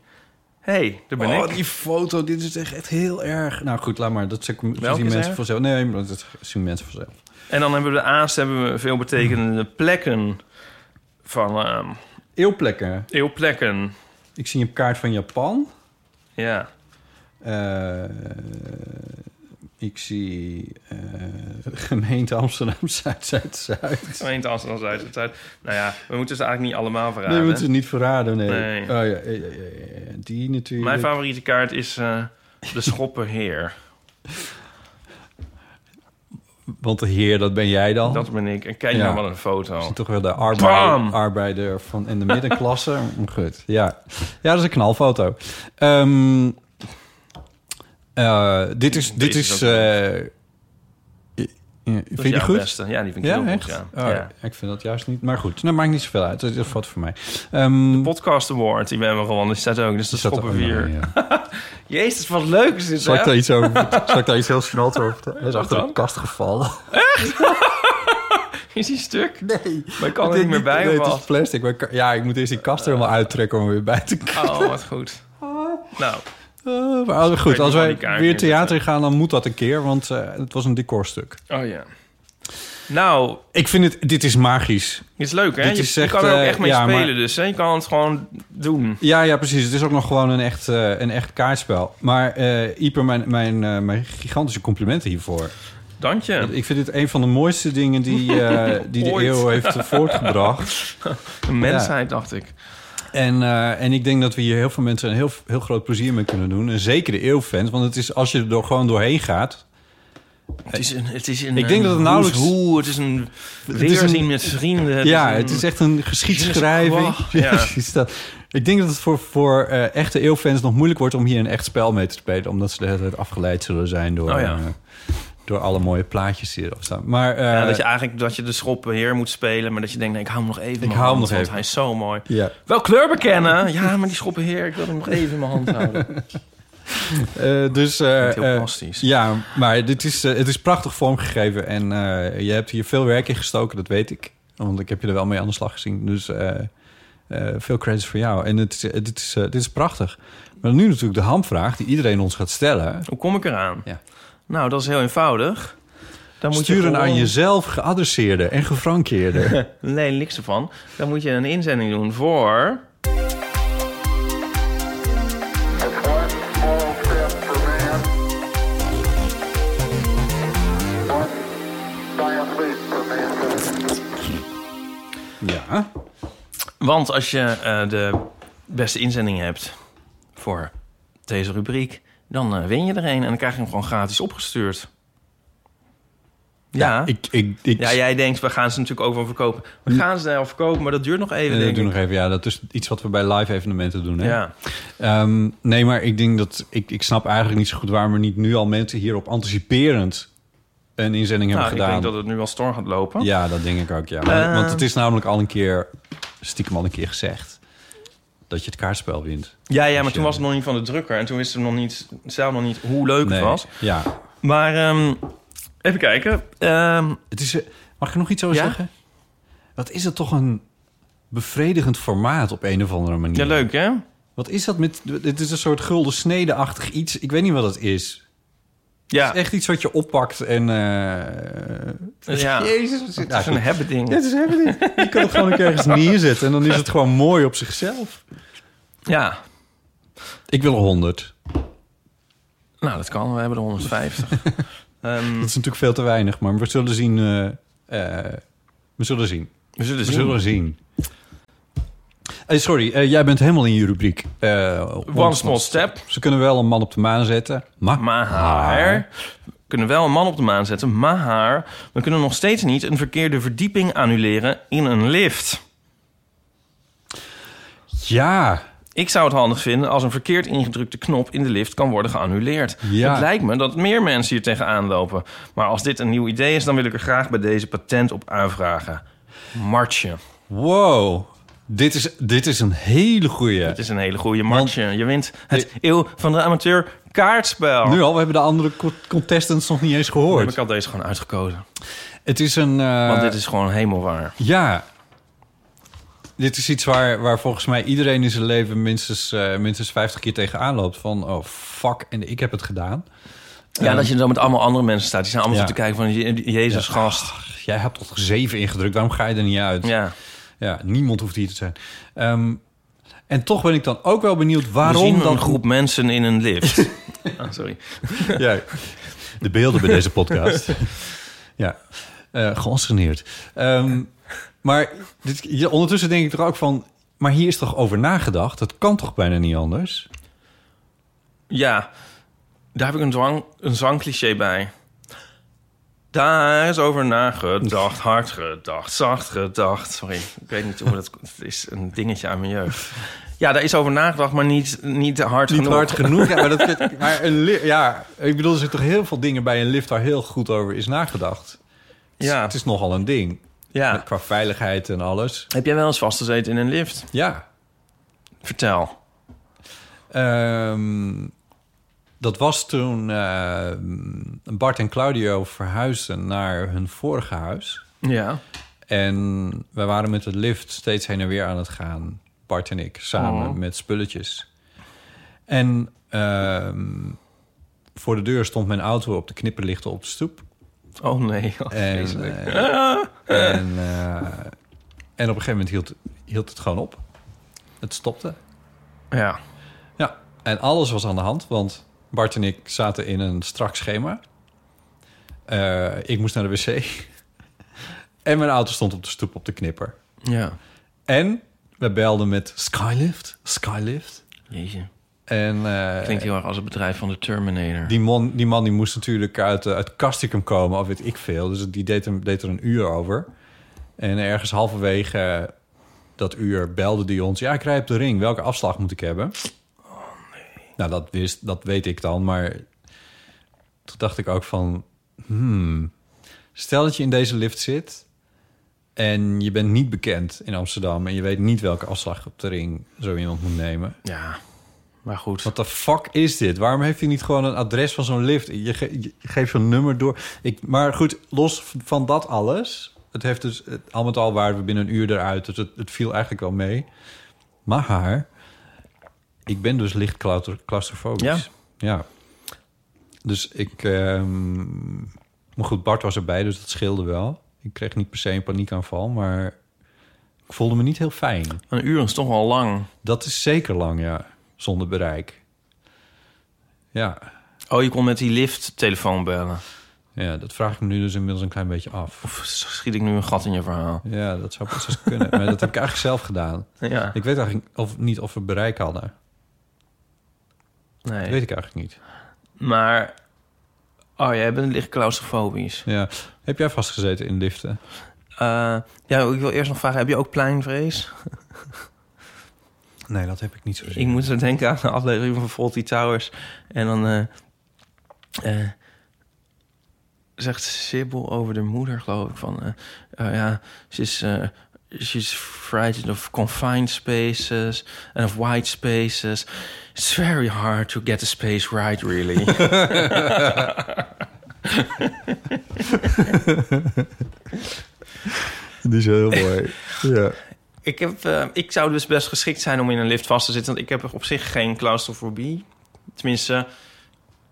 [SPEAKER 3] Hé, hey, daar ben
[SPEAKER 2] oh,
[SPEAKER 3] ik.
[SPEAKER 2] die foto. Dit is echt, echt heel erg. Nou goed, laat maar. Dat zien
[SPEAKER 3] Welke
[SPEAKER 2] mensen
[SPEAKER 3] is er?
[SPEAKER 2] vanzelf. Nee, maar dat zien mensen vanzelf.
[SPEAKER 3] En dan hebben we de aas, hebben we veelbetekenende plekken. Van ehm
[SPEAKER 2] Eeuwplekken.
[SPEAKER 3] eeuwplekken.
[SPEAKER 2] Ik zie een kaart van Japan.
[SPEAKER 3] Ja.
[SPEAKER 2] Eh, ik zie eh, *laughs* gemeente Amsterdam *laughs* Zuid, Zuid, Zuid.
[SPEAKER 3] Gemeente Amsterdam uit de tijd. Nou ja, we moeten ze eigenlijk niet allemaal
[SPEAKER 2] Nee, we
[SPEAKER 3] verraden.
[SPEAKER 2] moeten het niet verraden. Nee.
[SPEAKER 3] Nee.
[SPEAKER 2] Oh, ja, ja, ja, ja, ja. Die natuurlijk.
[SPEAKER 3] Mijn favoriete kaart is eh,
[SPEAKER 2] *laughs*
[SPEAKER 3] de schoppenheer.
[SPEAKER 2] Want de heer, dat ben jij dan.
[SPEAKER 3] Dat ben ik. En kijk
[SPEAKER 2] Ja.
[SPEAKER 3] nou wat een foto.
[SPEAKER 2] Zie toch wel de
[SPEAKER 3] Bam!
[SPEAKER 2] arbeider, arbeider van in de middenklasse.
[SPEAKER 3] *laughs*
[SPEAKER 2] Maar Goed, ja. Ja, dat is een knalfoto. Ehm, eh, dit is... Dit
[SPEAKER 3] Deze is
[SPEAKER 2] is
[SPEAKER 3] ook
[SPEAKER 2] eh, eh, vind
[SPEAKER 3] Dat
[SPEAKER 2] je
[SPEAKER 3] is
[SPEAKER 2] die
[SPEAKER 3] jouw
[SPEAKER 2] goed?
[SPEAKER 3] beste. Ja, die vind ik
[SPEAKER 2] Ja,
[SPEAKER 3] heel
[SPEAKER 2] echt?
[SPEAKER 3] goed. Ja.
[SPEAKER 2] Oh,
[SPEAKER 3] Ja.
[SPEAKER 2] Ik vind dat juist niet. Maar goed, dat maakt niet zoveel uit. Dat is een foto voor mij. Ehm,
[SPEAKER 3] Podcast Award, die we hebben gewonnen. Die staat ook. Dus de
[SPEAKER 2] zat er ook
[SPEAKER 3] schoppen
[SPEAKER 2] nog
[SPEAKER 3] weer.
[SPEAKER 2] in, ja.
[SPEAKER 3] Jezus, wat leuk is dit,
[SPEAKER 2] Zal ik
[SPEAKER 3] hè?
[SPEAKER 2] daar iets over...
[SPEAKER 3] *laughs*
[SPEAKER 2] Zal ik daar iets heel snel over... vertellen? Hij is achter de
[SPEAKER 3] dan?
[SPEAKER 2] kast
[SPEAKER 3] *laughs*
[SPEAKER 2] gevallen.
[SPEAKER 3] Is die stuk?
[SPEAKER 2] Nee.
[SPEAKER 3] Maar ik kan er niet meer bij,
[SPEAKER 2] Nee,
[SPEAKER 3] of
[SPEAKER 2] het is
[SPEAKER 3] wat?
[SPEAKER 2] plastic. Maar ik kan- ja, ik moet eerst die kast er helemaal uittrekken om er weer bij te komen.
[SPEAKER 3] Oh, wat
[SPEAKER 2] *laughs*
[SPEAKER 3] goed.
[SPEAKER 2] Ah.
[SPEAKER 3] Nou,
[SPEAKER 2] Eh, maar als- goed,
[SPEAKER 3] niet
[SPEAKER 2] als
[SPEAKER 3] waar
[SPEAKER 2] wij
[SPEAKER 3] die kaart
[SPEAKER 2] weer
[SPEAKER 3] in
[SPEAKER 2] theater gaan, dan moet dat een keer, want eh, het was een decorstuk.
[SPEAKER 3] oh ja. Nou,
[SPEAKER 2] Ik vind het, dit is magisch.
[SPEAKER 3] dit is leuk, hè?
[SPEAKER 2] Dit
[SPEAKER 3] Je,
[SPEAKER 2] is
[SPEAKER 3] je
[SPEAKER 2] echt,
[SPEAKER 3] kan er ook
[SPEAKER 2] eh,
[SPEAKER 3] echt mee
[SPEAKER 2] ja,
[SPEAKER 3] spelen,
[SPEAKER 2] maar-
[SPEAKER 3] dus hè? je kan het gewoon doen.
[SPEAKER 2] Ja, ja, precies. Het is ook nog gewoon een echt, eh, een echt kaartspel. Maar eh Ieper, mijn, mijn, eh, mijn gigantische complimenten hiervoor.
[SPEAKER 3] Dankje.
[SPEAKER 2] Ik vind dit een van de mooiste dingen die,
[SPEAKER 3] *laughs*
[SPEAKER 2] eh, die de
[SPEAKER 3] Ooit.
[SPEAKER 2] eeuw heeft voortgebracht.
[SPEAKER 3] Een mensheid, dacht ik.
[SPEAKER 2] En, eh, en ik denk dat we hier heel veel mensen een heel, heel groot plezier mee kunnen doen. En zeker de eeuwfans, want het is, als je er door, gewoon doorheen gaat...
[SPEAKER 3] Het is een, het is een,
[SPEAKER 2] Ik denk dat het
[SPEAKER 3] een
[SPEAKER 2] nauwelijks-
[SPEAKER 3] who's who, het is een
[SPEAKER 2] is een-
[SPEAKER 3] weerzien met vrienden. het
[SPEAKER 2] ja,
[SPEAKER 3] een-
[SPEAKER 2] het is echt een geschiedschrijving.
[SPEAKER 3] Jezus,
[SPEAKER 2] *laughs* Ja.
[SPEAKER 3] wow. Ja.
[SPEAKER 2] precies dat. Ik denk dat het voor, voor eh, echte eeuwfans nog moeilijk wordt om hier een echt spel mee te spelen. Omdat ze de hele tijd afgeleid zullen zijn door,
[SPEAKER 3] Oh ja.
[SPEAKER 2] eh, door alle mooie plaatjes die erop staan. Maar eh,
[SPEAKER 3] Ja, dat je eigenlijk dat je de schoppenheer moet spelen, maar dat je denkt, nee, ik hou hem nog even in
[SPEAKER 2] Ik
[SPEAKER 3] mijn
[SPEAKER 2] hou hem nog
[SPEAKER 3] hand, want
[SPEAKER 2] even.
[SPEAKER 3] hij is zo mooi.
[SPEAKER 2] ja.
[SPEAKER 3] Wel kleur bekennen. Ja, maar die schoppenheer, ik wil hem nog even in mijn hand
[SPEAKER 2] *laughs*
[SPEAKER 3] houden.
[SPEAKER 2] Eh, dus, eh,
[SPEAKER 3] Klinkt heel
[SPEAKER 2] eh,
[SPEAKER 3] plastisch.
[SPEAKER 2] ja, maar dit is, eh, het is prachtig vormgegeven. En eh, je hebt hier veel werk in gestoken, dat weet ik. Want ik heb je er wel mee aan de slag gezien. Dus eh, eh, veel credits voor jou. En het, is- eh, dit, is, eh, dit is prachtig. Maar nu natuurlijk de hamvraag die iedereen ons gaat stellen.
[SPEAKER 3] Hoe kom ik eraan?
[SPEAKER 2] Ja.
[SPEAKER 3] Nou, dat is heel eenvoudig. Dan moet
[SPEAKER 2] Sturen
[SPEAKER 3] je
[SPEAKER 2] aan
[SPEAKER 3] gewoon-
[SPEAKER 2] jezelf geadresseerde en
[SPEAKER 3] *laughs*
[SPEAKER 2] gefrankeerde.
[SPEAKER 3] Nee, niks ervan. Dan moet je een inzending doen voor...
[SPEAKER 4] One small step for man, one giant leap for mankind.
[SPEAKER 2] ja.
[SPEAKER 3] Want als je eh, de beste inzending hebt voor deze rubriek... dan eh, win je er een en dan krijg je hem gewoon gratis opgestuurd. Ja, ja,
[SPEAKER 2] Ik, ik, ik,
[SPEAKER 3] jij denkt, we gaan ze natuurlijk ook wel verkopen. We gaan ze wel verkopen, maar dat duurt nog even,
[SPEAKER 2] Eh,
[SPEAKER 3] denk
[SPEAKER 2] doe
[SPEAKER 3] ik.
[SPEAKER 2] nog even. Ja, dat is iets wat we bij live evenementen doen. Hè?
[SPEAKER 3] Ja.
[SPEAKER 2] Ehm, nee, maar ik denk dat ik, ik snap eigenlijk niet zo goed waarom er niet nu al mensen hierop anticiperend een inzending
[SPEAKER 3] Nou,
[SPEAKER 2] hebben
[SPEAKER 3] ik denk
[SPEAKER 2] gedaan.
[SPEAKER 3] dat het nu wel storm gaat lopen.
[SPEAKER 2] Ja, dat denk ik ook. Ja. Want-
[SPEAKER 3] Eh.
[SPEAKER 2] Want het is namelijk al een keer, stiekem al een keer gezegd, dat je het kaartspel wint.
[SPEAKER 3] Ja, ja, maar
[SPEAKER 2] Dus,
[SPEAKER 3] toen
[SPEAKER 2] eh,
[SPEAKER 3] was het nog niet van de drukker. En toen wisten we nog niet, zelf nog niet hoe leuk
[SPEAKER 2] nee.
[SPEAKER 3] het was.
[SPEAKER 2] Ja.
[SPEAKER 3] Maar ehm, even kijken. Ehm,
[SPEAKER 2] Het is, eh, mag ik nog iets over
[SPEAKER 3] Ja?
[SPEAKER 2] zeggen? Wat is het toch een bevredigend formaat op een of andere manier?
[SPEAKER 3] ja, leuk hè?
[SPEAKER 2] Wat is dat met... Dit is een soort gulden snede-achtig iets. Ik weet niet wat het is.
[SPEAKER 3] Ja,
[SPEAKER 2] Het is echt iets wat je oppakt en... eh,
[SPEAKER 3] ja.
[SPEAKER 2] Jezus, wat zit
[SPEAKER 3] het is een hebben
[SPEAKER 2] Ja,
[SPEAKER 3] ding.
[SPEAKER 2] het is helemaal niet. *laughs* Je kan het gewoon ook ergens neerzetten en dan is het gewoon mooi op zichzelf.
[SPEAKER 3] Ja,
[SPEAKER 2] Ik wil 100.
[SPEAKER 3] nou dat kan. We hebben er 150. Ehm,
[SPEAKER 2] Dat is natuurlijk veel te weinig, maar we zullen zien. eh, eh, we zullen zien.
[SPEAKER 3] we zullen
[SPEAKER 2] We
[SPEAKER 3] zien.
[SPEAKER 2] zullen zien. Hey, sorry, eh, jij bent helemaal in je rubriek. eh,
[SPEAKER 3] One small step.
[SPEAKER 2] Ze kunnen wel een man op de maan zetten, maar...
[SPEAKER 3] Maar haar. We kunnen wel een man op de maan zetten, maar haar. We kunnen nog steeds niet een verkeerde verdieping annuleren in een lift.
[SPEAKER 2] Ja,
[SPEAKER 3] Ik zou het handig vinden als een verkeerd ingedrukte knop in de lift kan worden geannuleerd.
[SPEAKER 2] Ja.
[SPEAKER 3] Het lijkt me dat meer mensen hier tegenaan lopen. Maar als dit een nieuw idee is, dan wil ik er graag bij deze patent op aanvragen. Martje.
[SPEAKER 2] wow. Dit is, dit is een hele goeie.
[SPEAKER 3] Het is een hele goede martje. Je wint het eeuw van de amateur kaartspel.
[SPEAKER 2] Nu al, we hebben de andere co- contestants nog niet eens
[SPEAKER 3] heb
[SPEAKER 2] gehoord.
[SPEAKER 3] ik al deze gewoon uitgekozen.
[SPEAKER 2] Het is een... eh,
[SPEAKER 3] Want dit is gewoon hemelwaar.
[SPEAKER 2] Ja. Dit is iets waar, waar volgens mij iedereen in zijn leven minstens, eh, minstens 50 keer tegenaan loopt. Van, oh fuck, en ik heb het gedaan.
[SPEAKER 3] Ja, dat je dan met allemaal andere mensen staat. Die zijn allemaal
[SPEAKER 2] Ehm, Ja.
[SPEAKER 3] zo te kijken van Je- Jezus gast.
[SPEAKER 2] Jij hebt tot zeven ingedrukt, waarom ga je er niet uit?
[SPEAKER 3] Ja.
[SPEAKER 2] Ja, niemand hoeft hier te zijn. Ehm, en toch ben ik dan ook wel benieuwd
[SPEAKER 3] We zien
[SPEAKER 2] waarom
[SPEAKER 3] een
[SPEAKER 2] dan...
[SPEAKER 3] groep mensen in een
[SPEAKER 2] *laughs*
[SPEAKER 3] lift. Ah, sorry.
[SPEAKER 2] Ja, de beelden bij deze podcast. ja, eh geanceneerd. Ehm, maar dit, ja, ondertussen denk ik er ook van... Maar hier is toch over nagedacht? Dat kan toch bijna niet anders?
[SPEAKER 3] Ja, daar heb ik een, dwang, een zangcliché bij. Daar is over nagedacht,
[SPEAKER 2] *laughs*
[SPEAKER 3] hard gedacht, zacht gedacht. Sorry, ik weet niet hoe dat... *laughs* Het is een dingetje aan mijn jeugd. Ja, daar is over nagedacht, maar niet, niet hard
[SPEAKER 2] Niet
[SPEAKER 3] genoeg.
[SPEAKER 2] hard genoeg. Ja, maar, dat, maar een li- ja, ik bedoel, er zijn toch heel veel dingen bij een lift waar heel goed over is nagedacht. Het is-
[SPEAKER 3] Ja.
[SPEAKER 2] Het is nogal een ding.
[SPEAKER 3] Ja.
[SPEAKER 2] Qua veiligheid en alles.
[SPEAKER 3] Heb jij wel eens vastgezeten in een lift?
[SPEAKER 2] Ja.
[SPEAKER 3] Vertel.
[SPEAKER 2] Ehm, dat was toen eh, Bart en Claudio verhuisden naar hun vorige huis.
[SPEAKER 3] Ja.
[SPEAKER 2] En wij waren met de lift steeds heen en weer aan het gaan. Bart en ik, samen met spulletjes. En ehm, voor de deur stond mijn auto op de knipperlichten op de stoep.
[SPEAKER 3] Oh nee. *laughs* Oh,
[SPEAKER 2] En,
[SPEAKER 3] vreselijk.
[SPEAKER 2] eh, en, eh, en op een gegeven moment hield, hield het gewoon op. Het stopte.
[SPEAKER 3] ja.
[SPEAKER 2] Ja, en alles was aan de hand, want Bart en ik zaten in een strak schema. Eh, ik moest naar de wc. *laughs* en mijn auto stond op de stoep op de knipper.
[SPEAKER 3] Ja.
[SPEAKER 2] En we belden met Skylift. Skylift.
[SPEAKER 3] Jeetje.
[SPEAKER 2] En eh,
[SPEAKER 3] Klinkt heel erg als het bedrijf van de Terminator.
[SPEAKER 2] die, man, die man die moest natuurlijk uit, eh, uit Castricum komen, of weet ik veel. Dus die deed, hem, deed er een uur over. En ergens halverwege eh, dat uur belde die ons... ja, ik rij op de ring. Welke afslag moet ik hebben? Nou, dat, wist, dat weet ik dan, maar... toen dacht ik ook van... Hmm, stel dat je in deze lift zit... en je bent niet bekend in Amsterdam... en je weet niet welke afslag op de ring zo iemand moet nemen...
[SPEAKER 3] Ja. Maar goed.
[SPEAKER 2] Wat de fuck is dit? Waarom heeft hij niet gewoon een adres van zo'n lift? Je, ge- je geeft zo'n nummer door. Ik, maar goed, los v- van dat alles. Het heeft dus het, al met al waren we binnen een uur eruit. Dus het, het viel eigenlijk wel mee. Maar haar, ik ben dus licht claustro- claustrofobisch. Ja. ja. Dus ik. ehm, maar goed, Bart was erbij, dus dat scheelde wel. Ik kreeg niet per se een paniekaanval, maar ik voelde me niet heel fijn.
[SPEAKER 3] Een uur is toch al lang.
[SPEAKER 2] Dat is zeker lang, ja. Zonder bereik. Ja.
[SPEAKER 3] Oh, je kon met die lift telefoon bellen.
[SPEAKER 2] ja, dat vraag ik me nu dus inmiddels een klein beetje af.
[SPEAKER 3] Of schiet ik nu een gat in je verhaal?
[SPEAKER 2] Ja, dat zou best wel eens kunnen. Maar dat heb ik eigenlijk zelf gedaan.
[SPEAKER 3] Ja.
[SPEAKER 2] Ik weet eigenlijk of, niet of we bereik hadden. Dat
[SPEAKER 3] nee.
[SPEAKER 2] weet ik eigenlijk niet.
[SPEAKER 3] Maar... Oh, jij bent licht claustrofobisch.
[SPEAKER 2] Ja. Heb jij vastgezeten in liften?
[SPEAKER 3] Eh, ja, ik wil eerst nog vragen, heb je ook pleinvrees?
[SPEAKER 2] Nee, dat heb ik niet zo
[SPEAKER 3] Ik moet zo denken aan de aflevering van Faulty Towers. En dan eh, eh, zegt Sibyl over de moeder, geloof ik, van... eh, oh ja, ze is... eh, She's frightened of confined spaces and of wide spaces. It's very hard to get the space right, really.
[SPEAKER 2] Die is heel mooi. ja.
[SPEAKER 3] Ik, heb, eh, ik zou dus best geschikt zijn om in een lift vast te zitten. Want ik heb op zich geen claustrofobie. Tenminste,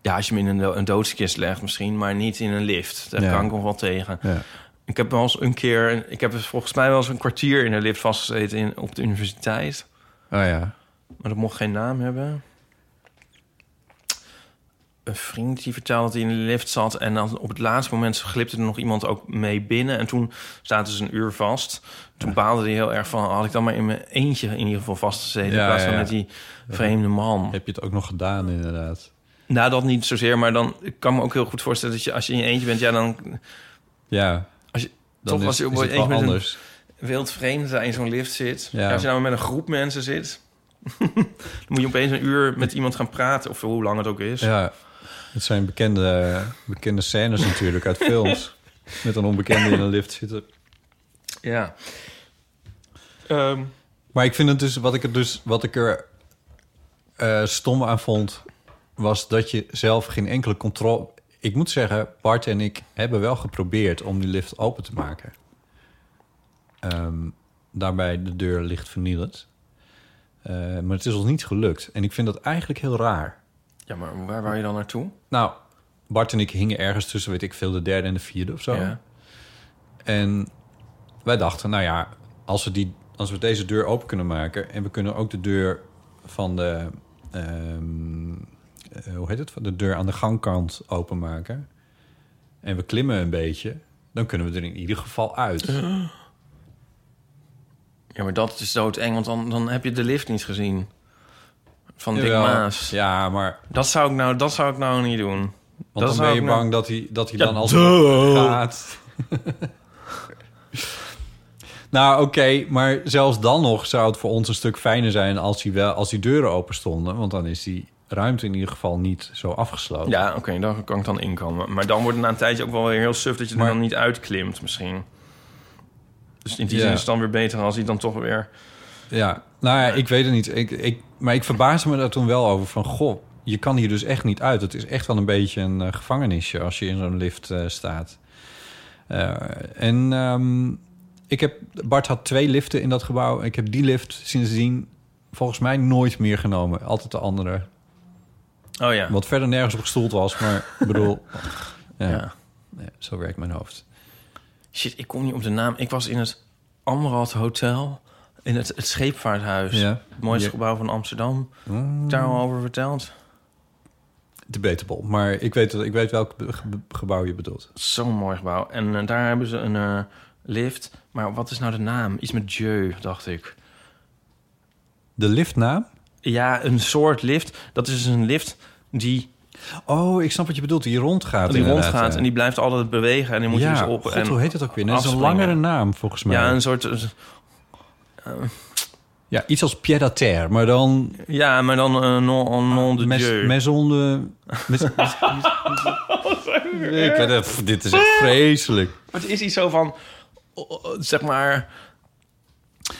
[SPEAKER 3] ja, als je me in een, do- een doodskist legt misschien, maar niet in een lift. Daar
[SPEAKER 2] Ja.
[SPEAKER 3] kan ik nog wel tegen.
[SPEAKER 2] Ja.
[SPEAKER 3] Ik heb wel eens een keer, ik heb dus volgens mij wel eens een kwartier in een lift vastgezeten in, op de universiteit.
[SPEAKER 2] Oh ja.
[SPEAKER 3] Maar dat mocht geen naam hebben. een vriend die vertelde dat hij in de lift zat. En dan op het laatste moment glipte er nog iemand ook mee binnen. En toen zaten ze een uur vast. Toen baalde hij heel erg van... had ik dan maar in mijn eentje in ieder geval vastgezeten...
[SPEAKER 2] Ja,
[SPEAKER 3] in plaats
[SPEAKER 2] ja,
[SPEAKER 3] van
[SPEAKER 2] ja.
[SPEAKER 3] met die vreemde man.
[SPEAKER 2] Heb je het ook nog gedaan, inderdaad?
[SPEAKER 3] Nou, dat niet zozeer. Maar dan ik kan me ook heel goed voorstellen... dat je als je in je eentje bent... ja, dan
[SPEAKER 2] Ja.
[SPEAKER 3] Als je-
[SPEAKER 2] Dan
[SPEAKER 3] toch
[SPEAKER 2] is,
[SPEAKER 3] als je op
[SPEAKER 2] is het
[SPEAKER 3] eens
[SPEAKER 2] wel
[SPEAKER 3] met een-
[SPEAKER 2] anders.
[SPEAKER 3] wild vreemd in zo'n lift zit.
[SPEAKER 2] Ja.
[SPEAKER 3] Als je nou met een groep mensen zit... *laughs* dan moet je opeens een uur met iemand gaan praten... of hoe lang het ook is.
[SPEAKER 2] Ja, het zijn bekende, bekende scènes natuurlijk uit films. Met een onbekende in een lift zitten.
[SPEAKER 3] Ja. Ehm,
[SPEAKER 2] Maar ik vind het dus, wat ik er, dus, wat ik er eh, stom aan vond, was dat je zelf geen enkele controle. Ik moet zeggen, Bart en ik hebben wel geprobeerd om die lift open te maken. Ehm, daarbij de deur licht vernielend. Eh, maar het is ons niet gelukt. En ik vind dat eigenlijk heel raar.
[SPEAKER 3] ja, maar waar wou je dan naartoe?
[SPEAKER 2] Nou, Bart en ik hingen ergens tussen, weet ik veel, de derde en de vierde of zo.
[SPEAKER 3] Ja.
[SPEAKER 2] En wij dachten, nou ja, als we, die, als we deze deur open kunnen maken... en we kunnen ook de deur van de... ehm, eh, hoe heet het? Van de deur aan de gangkant openmaken... en we klimmen een beetje... dan kunnen we er in ieder geval uit.
[SPEAKER 3] Ja, maar dat is doodeng, want dan, dan heb je de lift niet gezien. Van Dick
[SPEAKER 2] Jawel.
[SPEAKER 3] Maas.
[SPEAKER 2] Ja, maar
[SPEAKER 3] Dat, zou ik nou, dat zou ik nou niet doen.
[SPEAKER 2] want
[SPEAKER 3] dat
[SPEAKER 2] dan ben
[SPEAKER 3] zou
[SPEAKER 2] je
[SPEAKER 3] ik nou-
[SPEAKER 2] bang dat hij, dat hij
[SPEAKER 3] Ja,
[SPEAKER 2] dan als
[SPEAKER 3] duh.
[SPEAKER 2] gaat... *laughs* Nou, oké, maar zelfs dan nog zou het voor ons een stuk fijner zijn als die, wel, als die deuren open stonden. Want dan is die ruimte in ieder geval niet zo afgesloten.
[SPEAKER 3] nou- Ja, oké, daar kan ik dan inkomen. Maar dan wordt het na een tijdje ook wel weer heel suf dat je
[SPEAKER 2] Maar-
[SPEAKER 3] er dan niet uitklimt misschien. Dus in die
[SPEAKER 2] Ja.
[SPEAKER 3] zin is het dan weer beter als hij dan toch weer...
[SPEAKER 2] Ja, nou ja, ik weet het niet. Ik, ik, maar ik verbaasde me daar toen wel over van... goh, je kan hier dus echt niet uit. Het is echt wel een beetje een eh, gevangenisje als je in zo'n lift eh, staat. Eh, en ehm, ik heb, Bart had twee liften in dat gebouw. Ik heb die lift sindsdien volgens mij nooit meer genomen. Altijd de andere.
[SPEAKER 3] Oh ja.
[SPEAKER 2] Wat verder nergens op gestoeld was, maar ik bedoel...
[SPEAKER 3] *laughs*
[SPEAKER 2] Ja,
[SPEAKER 3] ja.
[SPEAKER 2] ja, zo werkt mijn hoofd.
[SPEAKER 3] Shit, ik kom niet op de naam. Ik was in het Amrad Hotel, in het, het scheepvaarthuis.
[SPEAKER 2] Ja.
[SPEAKER 3] Het mooiste
[SPEAKER 2] Ja. Ah.
[SPEAKER 3] gebouw van Amsterdam. Heb ik daar al over verteld?
[SPEAKER 2] Debatable. Maar ik weet, ik weet welk ge- gebouw je bedoelt.
[SPEAKER 3] Zo'n mooi gebouw. En eh, daar hebben ze een eh, lift. Maar wat is nou de naam? Iets met Jeu, dacht ik.
[SPEAKER 2] De liftnaam?
[SPEAKER 3] Ja, een soort lift. Dat is dus een lift die,
[SPEAKER 2] Oh, ik snap wat je bedoelt. Die rondgaat.
[SPEAKER 3] die
[SPEAKER 2] inderdaad, eh.
[SPEAKER 3] rondgaat
[SPEAKER 2] ja.
[SPEAKER 3] en die blijft altijd bewegen. En die moet
[SPEAKER 2] ja,
[SPEAKER 3] je dus op
[SPEAKER 2] God,
[SPEAKER 3] en
[SPEAKER 2] hoe heet het ook weer? Dat is een
[SPEAKER 3] afspringen.
[SPEAKER 2] langere naam volgens mij.
[SPEAKER 3] Ja,
[SPEAKER 2] Ja,
[SPEAKER 3] een soort... eh,
[SPEAKER 2] iets als pied à terre, maar dan
[SPEAKER 3] Ja, maar dan eh, non, en nom de
[SPEAKER 2] mes,
[SPEAKER 3] Dieu.
[SPEAKER 2] maison
[SPEAKER 3] *laughs*
[SPEAKER 2] de... mes- ik weet het, pff, dit is echt vreselijk.
[SPEAKER 3] Maar het is iets zo van, oh, oh, zeg maar...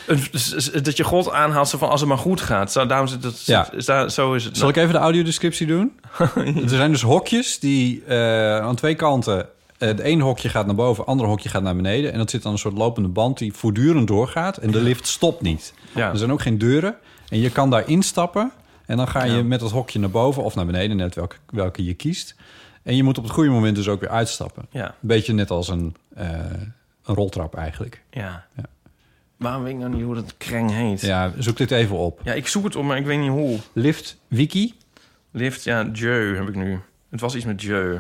[SPEAKER 3] een- s- s- dat je God aanhaalt zo van als het maar goed gaat. Zo, daarom zit het,
[SPEAKER 2] Ja.
[SPEAKER 3] is daar- zo is het. nou.
[SPEAKER 2] Zal ik even de audiodescriptie
[SPEAKER 3] *laughs*
[SPEAKER 2] doen? Er zijn dus hokjes die eh, aan twee kanten... eh, Het één hokje gaat naar boven, het andere hokje gaat naar beneden. En dat zit dan een soort lopende band die voortdurend doorgaat. En de lift stopt niet.
[SPEAKER 3] Ja.
[SPEAKER 2] Er zijn ook geen deuren. En je kan daar instappen. En dan ga je met dat hokje naar boven of naar beneden, net welke, welke je kiest. En je moet op het goede moment dus ook weer uitstappen.
[SPEAKER 3] Ja.
[SPEAKER 2] Een beetje net als een, eh, een roltrap eigenlijk.
[SPEAKER 3] Ja. Waarom weet ik nou niet hoe dat kreng heet? Ja.
[SPEAKER 2] Ja, zoek dit even op.
[SPEAKER 3] ik zoek het op, maar ik weet niet hoe.
[SPEAKER 2] Lift
[SPEAKER 3] *laughs*
[SPEAKER 2] Wiki.
[SPEAKER 3] Lift, ja, Dieu heb ik nu. Het was iets met Dieu.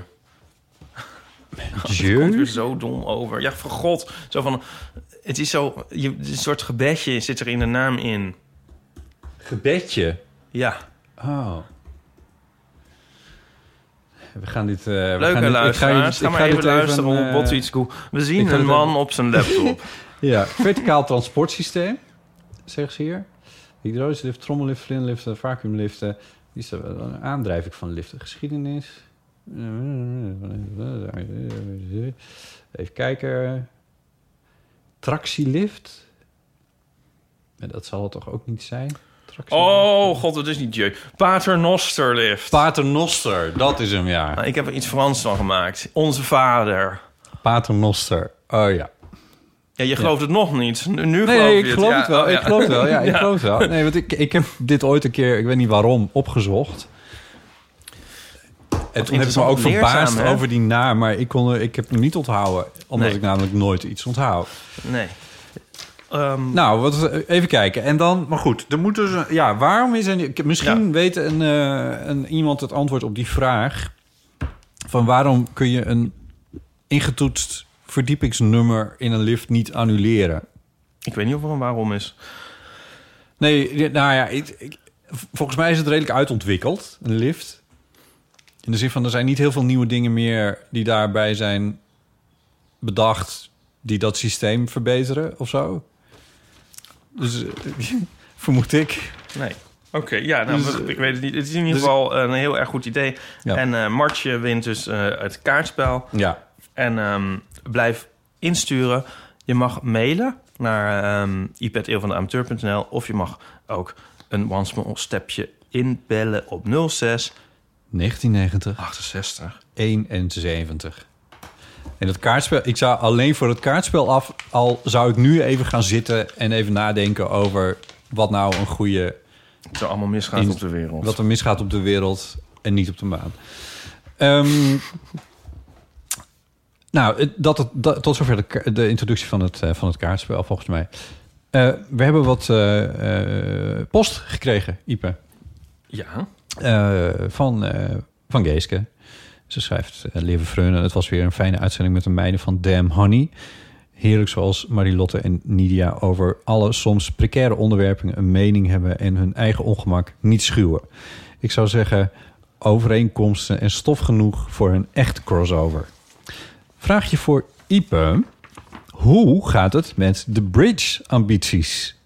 [SPEAKER 3] *laughs* Komt weer
[SPEAKER 2] Jeu.
[SPEAKER 3] zo dom over. Ja, voor God. Zo van, het is zo, je, een soort gebedje zit er in de naam in.
[SPEAKER 2] Gebedje.
[SPEAKER 3] Ja.
[SPEAKER 2] Oh. We gaan dit... eh, we gaan
[SPEAKER 3] Leuke
[SPEAKER 2] dit-
[SPEAKER 3] luisteraars. Ga,
[SPEAKER 2] ik
[SPEAKER 3] maar even, luisteren
[SPEAKER 2] eh,
[SPEAKER 3] hoe Botwits Koe- We zien
[SPEAKER 2] ga
[SPEAKER 3] een
[SPEAKER 2] dit
[SPEAKER 3] man
[SPEAKER 2] even-
[SPEAKER 3] op zijn laptop.
[SPEAKER 2] Ja,
[SPEAKER 3] *laughs*
[SPEAKER 2] verticaal transportsysteem, zegt ze hier. Hydraulische lift, trommellift, vlinderliften, vacuümliften. Die is er wel een aandrijving van liften. Geschiedenis. Even kijken. Tractielift. En dat zal het toch ook niet zijn? Tractielift.
[SPEAKER 3] oh, God, het is niet Dieu. Paternosterlift.
[SPEAKER 2] Paternoster, dat is hem, ja.
[SPEAKER 3] Nou, ik heb er iets Frans van gemaakt. Onze vader.
[SPEAKER 2] Paternoster, oh ja.
[SPEAKER 3] Ja, je gelooft het nog niet. Nu nu
[SPEAKER 2] Nee,
[SPEAKER 3] geloof
[SPEAKER 2] nee,
[SPEAKER 3] je
[SPEAKER 2] ik geloof
[SPEAKER 3] Ja,
[SPEAKER 2] het wel.
[SPEAKER 3] oh,
[SPEAKER 2] Ik
[SPEAKER 3] ja.
[SPEAKER 2] geloof het wel. *laughs*
[SPEAKER 3] *laughs*
[SPEAKER 2] Ja, ik geloof het wel. Nee, want ik, ik heb dit ooit een keer, ik weet niet waarom, opgezocht. En toen heb ik me
[SPEAKER 3] interessant,
[SPEAKER 2] ook verbaasd
[SPEAKER 3] leerzaam, hè?
[SPEAKER 2] over die naam, maar ik, kon, er- ik heb hem niet onthouden. Omdat
[SPEAKER 3] Nee.
[SPEAKER 2] ik namelijk nooit iets onthoud.
[SPEAKER 3] Nee. Ehm,
[SPEAKER 2] Nou, wat, even kijken. En dan, maar goed, er moet dus... een- Ja, waarom is er... Misschien
[SPEAKER 3] Ja.
[SPEAKER 2] weet een, eh, een, iemand het antwoord op die vraag. van waarom kun je een ingetoetst verdiepingsnummer in een lift niet annuleren?
[SPEAKER 3] Ik weet niet of er een waarom is.
[SPEAKER 2] Nee, nou ja, ik, ik- volgens mij is het redelijk uitontwikkeld, een lift. In de zin van, er zijn niet heel veel nieuwe dingen meer die daarbij zijn bedacht... die dat systeem verbeteren of zo. Dus eh, *laughs* vermoed ik.
[SPEAKER 3] Nee. Oké, ja, nou,
[SPEAKER 2] Dus,
[SPEAKER 3] we-
[SPEAKER 2] eh,
[SPEAKER 3] ik weet het niet. Het is in ieder
[SPEAKER 2] dus-
[SPEAKER 3] geval eh, een heel erg goed idee.
[SPEAKER 2] Ja.
[SPEAKER 3] En eh Martje wint dus eh, het kaartspel.
[SPEAKER 2] Ja,
[SPEAKER 3] En ehm, blijf insturen. Je mag mailen naar ehm ipad.eeuwvandeamateur.nl of je mag ook een one small stepje inbellen op 06
[SPEAKER 2] 1990,
[SPEAKER 3] 68.
[SPEAKER 2] 71. En dat kaartspel, ik zou alleen voor het kaartspel af... al zou ik nu even gaan zitten en even nadenken over... wat nou een goede
[SPEAKER 3] Het zou allemaal misgaan
[SPEAKER 2] In-
[SPEAKER 3] op de wereld.
[SPEAKER 2] Wat er misgaat op de wereld en niet op de maan. Ehm, nou, het- dat, het- dat- tot zover de, ka- de introductie van het, eh, van het kaartspel, volgens mij. Eh, we hebben wat eh, eh, post gekregen, Ipe,
[SPEAKER 3] Ja.
[SPEAKER 2] eh, van, eh, van Geeske. Ze schrijft, eh, lieve Freunen, het was weer een fijne uitzending met de meiden van Damn Honey. Heerlijk zoals Marilotte en Nidia over alle soms precaire onderwerpen een mening hebben en hun eigen ongemak niet schuwen. Ik zou zeggen, overeenkomsten en stof genoeg voor een echt crossover. Vraag je voor Ipe, hoe gaat het met de bridge-ambities?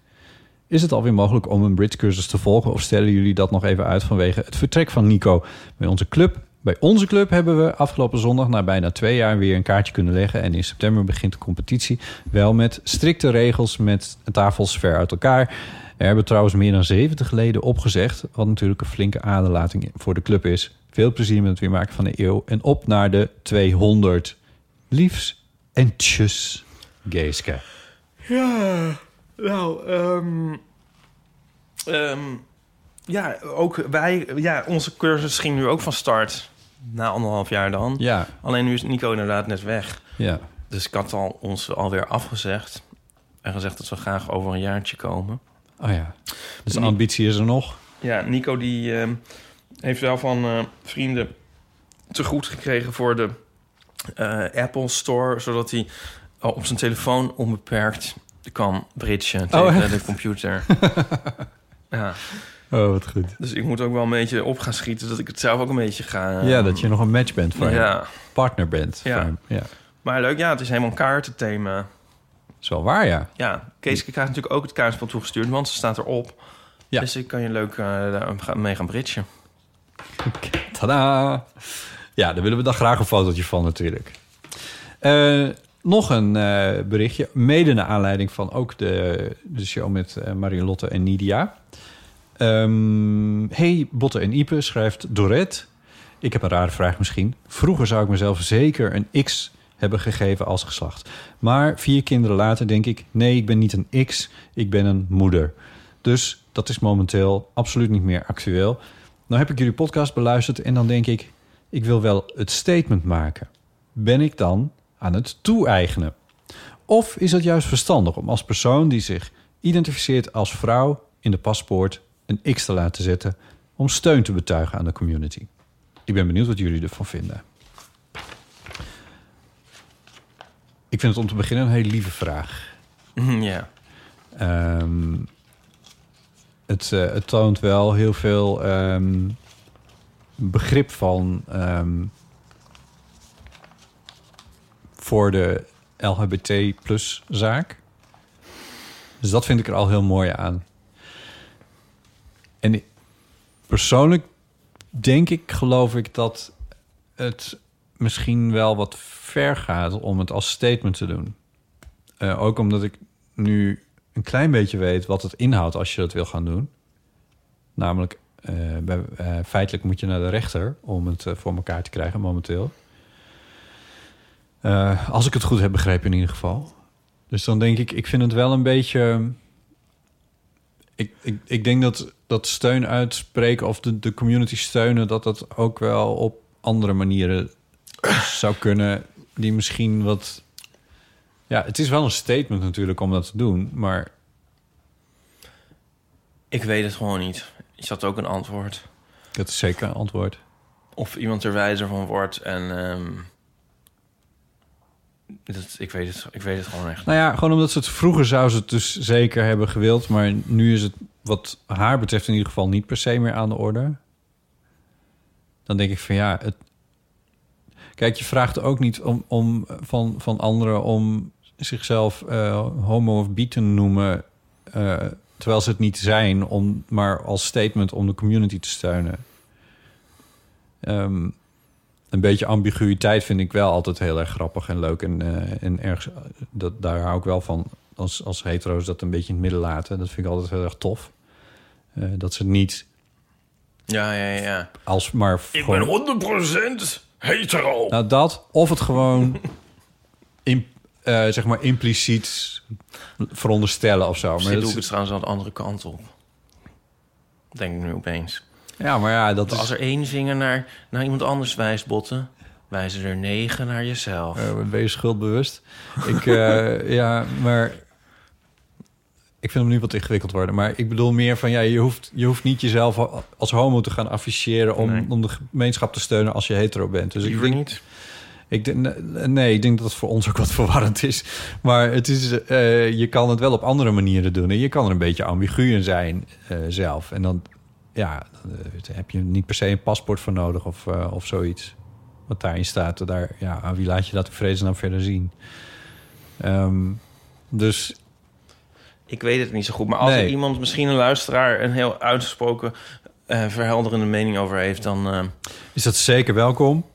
[SPEAKER 2] Is het alweer mogelijk om een bridgecursus te volgen of stellen jullie dat nog even uit vanwege het vertrek van Nico bij onze club? Bij onze club hebben we afgelopen zondag na bijna twee jaar weer een kaartje kunnen leggen. En in september begint de competitie. Wel met strikte regels, met tafels ver uit elkaar. Er hebben trouwens meer dan 70 leden opgezegd. Wat natuurlijk een flinke aderlating voor de club is. Veel plezier met het weer maken van de eeuw. En op naar de 200. Liefs en tjus, Geeske.
[SPEAKER 3] Ja, nou, ehm, ehm, ja, ook wij, ja, onze cursus ging nu ook van start. Na anderhalf jaar dan.
[SPEAKER 2] Ja,
[SPEAKER 3] Alleen nu is Nico inderdaad net weg.
[SPEAKER 2] ja.
[SPEAKER 3] Dus ik had al ons alweer afgezegd. En gezegd dat we graag over een jaartje komen.
[SPEAKER 2] Oh ja. Dus de
[SPEAKER 3] Nee.
[SPEAKER 2] ambitie is er nog.
[SPEAKER 3] Ja, Nico die ehm, heeft wel van eh, vrienden te goed gekregen voor de eh, Apple Store. Zodat hij al op zijn telefoon onbeperkt kan bridgen tegen
[SPEAKER 2] Oh, echt?
[SPEAKER 3] de
[SPEAKER 2] *laughs*
[SPEAKER 3] computer. ja,
[SPEAKER 2] Oh, wat goed.
[SPEAKER 3] dus ik moet ook wel een beetje op gaan schieten. Dat ik het zelf ook een beetje ga... ehm,
[SPEAKER 2] Ja, dat je nog een match bent voor hem.
[SPEAKER 3] Ja,
[SPEAKER 2] Partner bent
[SPEAKER 3] Ja.
[SPEAKER 2] voor hem. Ja.
[SPEAKER 3] maar leuk. Ja, het is helemaal een kaartenthema.
[SPEAKER 2] Is wel waar, *laughs* ja.
[SPEAKER 3] Ja, Kees krijgt natuurlijk ook het kaartspel toegestuurd, want ze staat erop.
[SPEAKER 2] Ja.
[SPEAKER 3] Dus ik kan je leuk eh, daar ga- mee gaan bridgen.
[SPEAKER 2] Tada! Ja, daar willen we dan graag een fotootje van natuurlijk. Eh, nog een eh, berichtje, mede naar aanleiding van ook de, de show met eh, Marilotte en Nidia. Ehm, hey, Botte en Ipe, schrijft Dorette. Ik heb een rare vraag misschien. Vroeger zou ik mezelf zeker een X hebben gegeven als geslacht. Maar vier kinderen later denk ik... nee, ik ben niet een X, ik ben een moeder. Dus dat is momenteel absoluut niet meer actueel. Nou heb ik jullie podcast beluisterd en dan denk ik... ik wil wel het statement maken. Ben ik dan aan het toe-eigenen? Of is het juist verstandig om als persoon die zich identificeert als vrouw... in de paspoort een X te laten zetten... om steun te betuigen aan de community? Ik ben benieuwd wat jullie ervan vinden. Ik vind het om te beginnen een hele lieve vraag.
[SPEAKER 3] *laughs* ja.
[SPEAKER 2] Ehm, het, eh, het toont wel heel veel ehm, begrip van ehm, voor de LHBT plus zaak. Dus dat vind ik er al heel mooi aan. En ik- persoonlijk denk ik, geloof ik, dat het misschien wel wat ver gaat om het als statement te doen. Eh, ook omdat ik nu een klein beetje weet wat het inhoudt als je dat wil gaan doen. Namelijk, eh, bij, eh, feitelijk moet je naar de rechter om het eh, voor elkaar te krijgen momenteel. Eh, als ik het goed heb begrepen in ieder geval. Dus dan denk ik, ik vind het wel een beetje... Ik, ik, ik denk dat, dat steun uitspreken of de, de community steunen... dat dat ook wel op andere manieren zou kunnen... die misschien wat ja, het is wel een statement natuurlijk om dat te doen, maar
[SPEAKER 3] Ik weet het gewoon niet. Is dat ook een antwoord?
[SPEAKER 2] dat is zeker een antwoord.
[SPEAKER 3] Of iemand er wijzer van wordt. En ehm, dat, ik, weet het, ik weet het gewoon echt.
[SPEAKER 2] Nou ja, gewoon omdat ze het vroeger zou ze het dus zeker hebben gewild. Maar nu is het wat haar betreft in ieder geval niet per se meer aan de orde. Dan denk ik van ja, het... kijk, je vraagt ook niet om, om, van, van anderen om zichzelf eh, homo of bi te noemen. eh, terwijl ze het niet zijn, om, maar als statement om de community te steunen. Ehm, een beetje ambiguïteit vind ik wel altijd heel erg grappig en leuk. En, eh, en ergens, eh, dat, daar hou ik wel van. Als, als hetero's dat een beetje in het midden laten. Dat vind ik altijd heel erg tof. Eh, dat ze het niet
[SPEAKER 3] Ja, ja, ja.
[SPEAKER 2] als maar...
[SPEAKER 3] Ik
[SPEAKER 2] gewoon-
[SPEAKER 3] ben 100% hetero.
[SPEAKER 2] nou, dat. Of het
[SPEAKER 3] *laughs*
[SPEAKER 2] gewoon im- eh, zeg maar impliciet veronderstellen of zo. Maar
[SPEAKER 3] Misschien
[SPEAKER 2] dat
[SPEAKER 3] doe ik
[SPEAKER 2] is-
[SPEAKER 3] het trouwens aan de andere kant op. Denk ik nu opeens.
[SPEAKER 2] ja, maar ja, dat
[SPEAKER 3] Als
[SPEAKER 2] is...
[SPEAKER 3] er één vinger naar, naar iemand anders wijst, botten, wijzen er negen naar jezelf.
[SPEAKER 2] eh ben je schuldbewust? ik, eh,
[SPEAKER 3] *laughs*
[SPEAKER 2] ja, maar... Ik vind hem nu wat ingewikkeld worden. Maar ik bedoel meer van... Ja, je, hoeft, je hoeft niet jezelf als homo te gaan afficheren... Om,
[SPEAKER 3] Nee.
[SPEAKER 2] om de gemeenschap te steunen als je hetero bent. Dus ik
[SPEAKER 3] Liever
[SPEAKER 2] denk,
[SPEAKER 3] niet.
[SPEAKER 2] Ik denk, nee, ik denk dat het voor ons ook wat *laughs* verwarrend is. Maar het is, eh, je kan het wel op andere manieren doen. En je kan er een beetje ambigu in zijn eh, zelf. En dan, ja, dan eh, heb je niet per se een paspoort voor nodig of, eh, of zoiets. Wat daarin staat. Daar, ja, aan wie laat je dat in vredesnaam verder zien? Ehm, dus
[SPEAKER 3] Ik weet het niet zo goed. Maar als
[SPEAKER 2] Nee.
[SPEAKER 3] er iemand, misschien een luisteraar, een heel uitgesproken eh, verhelderende mening over heeft, dan. eh,
[SPEAKER 2] is dat zeker welkom.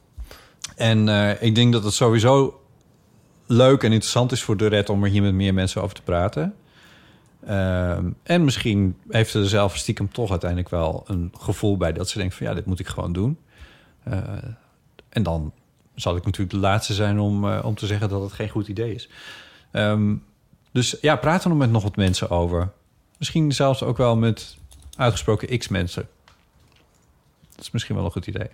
[SPEAKER 2] En eh, ik denk dat het sowieso leuk en interessant is voor de red om er hier met meer mensen over te praten. Ehm, en misschien heeft ze er zelf stiekem toch uiteindelijk wel een gevoel bij dat ze denkt van ja, dit moet ik gewoon doen. Eh, en dan zal ik natuurlijk de laatste zijn om, eh, om te zeggen dat het geen goed idee is. Ehm, dus ja, praat er nog met nog wat mensen over. Misschien zelfs ook wel met uitgesproken X-mensen. Dat is misschien wel een goed idee.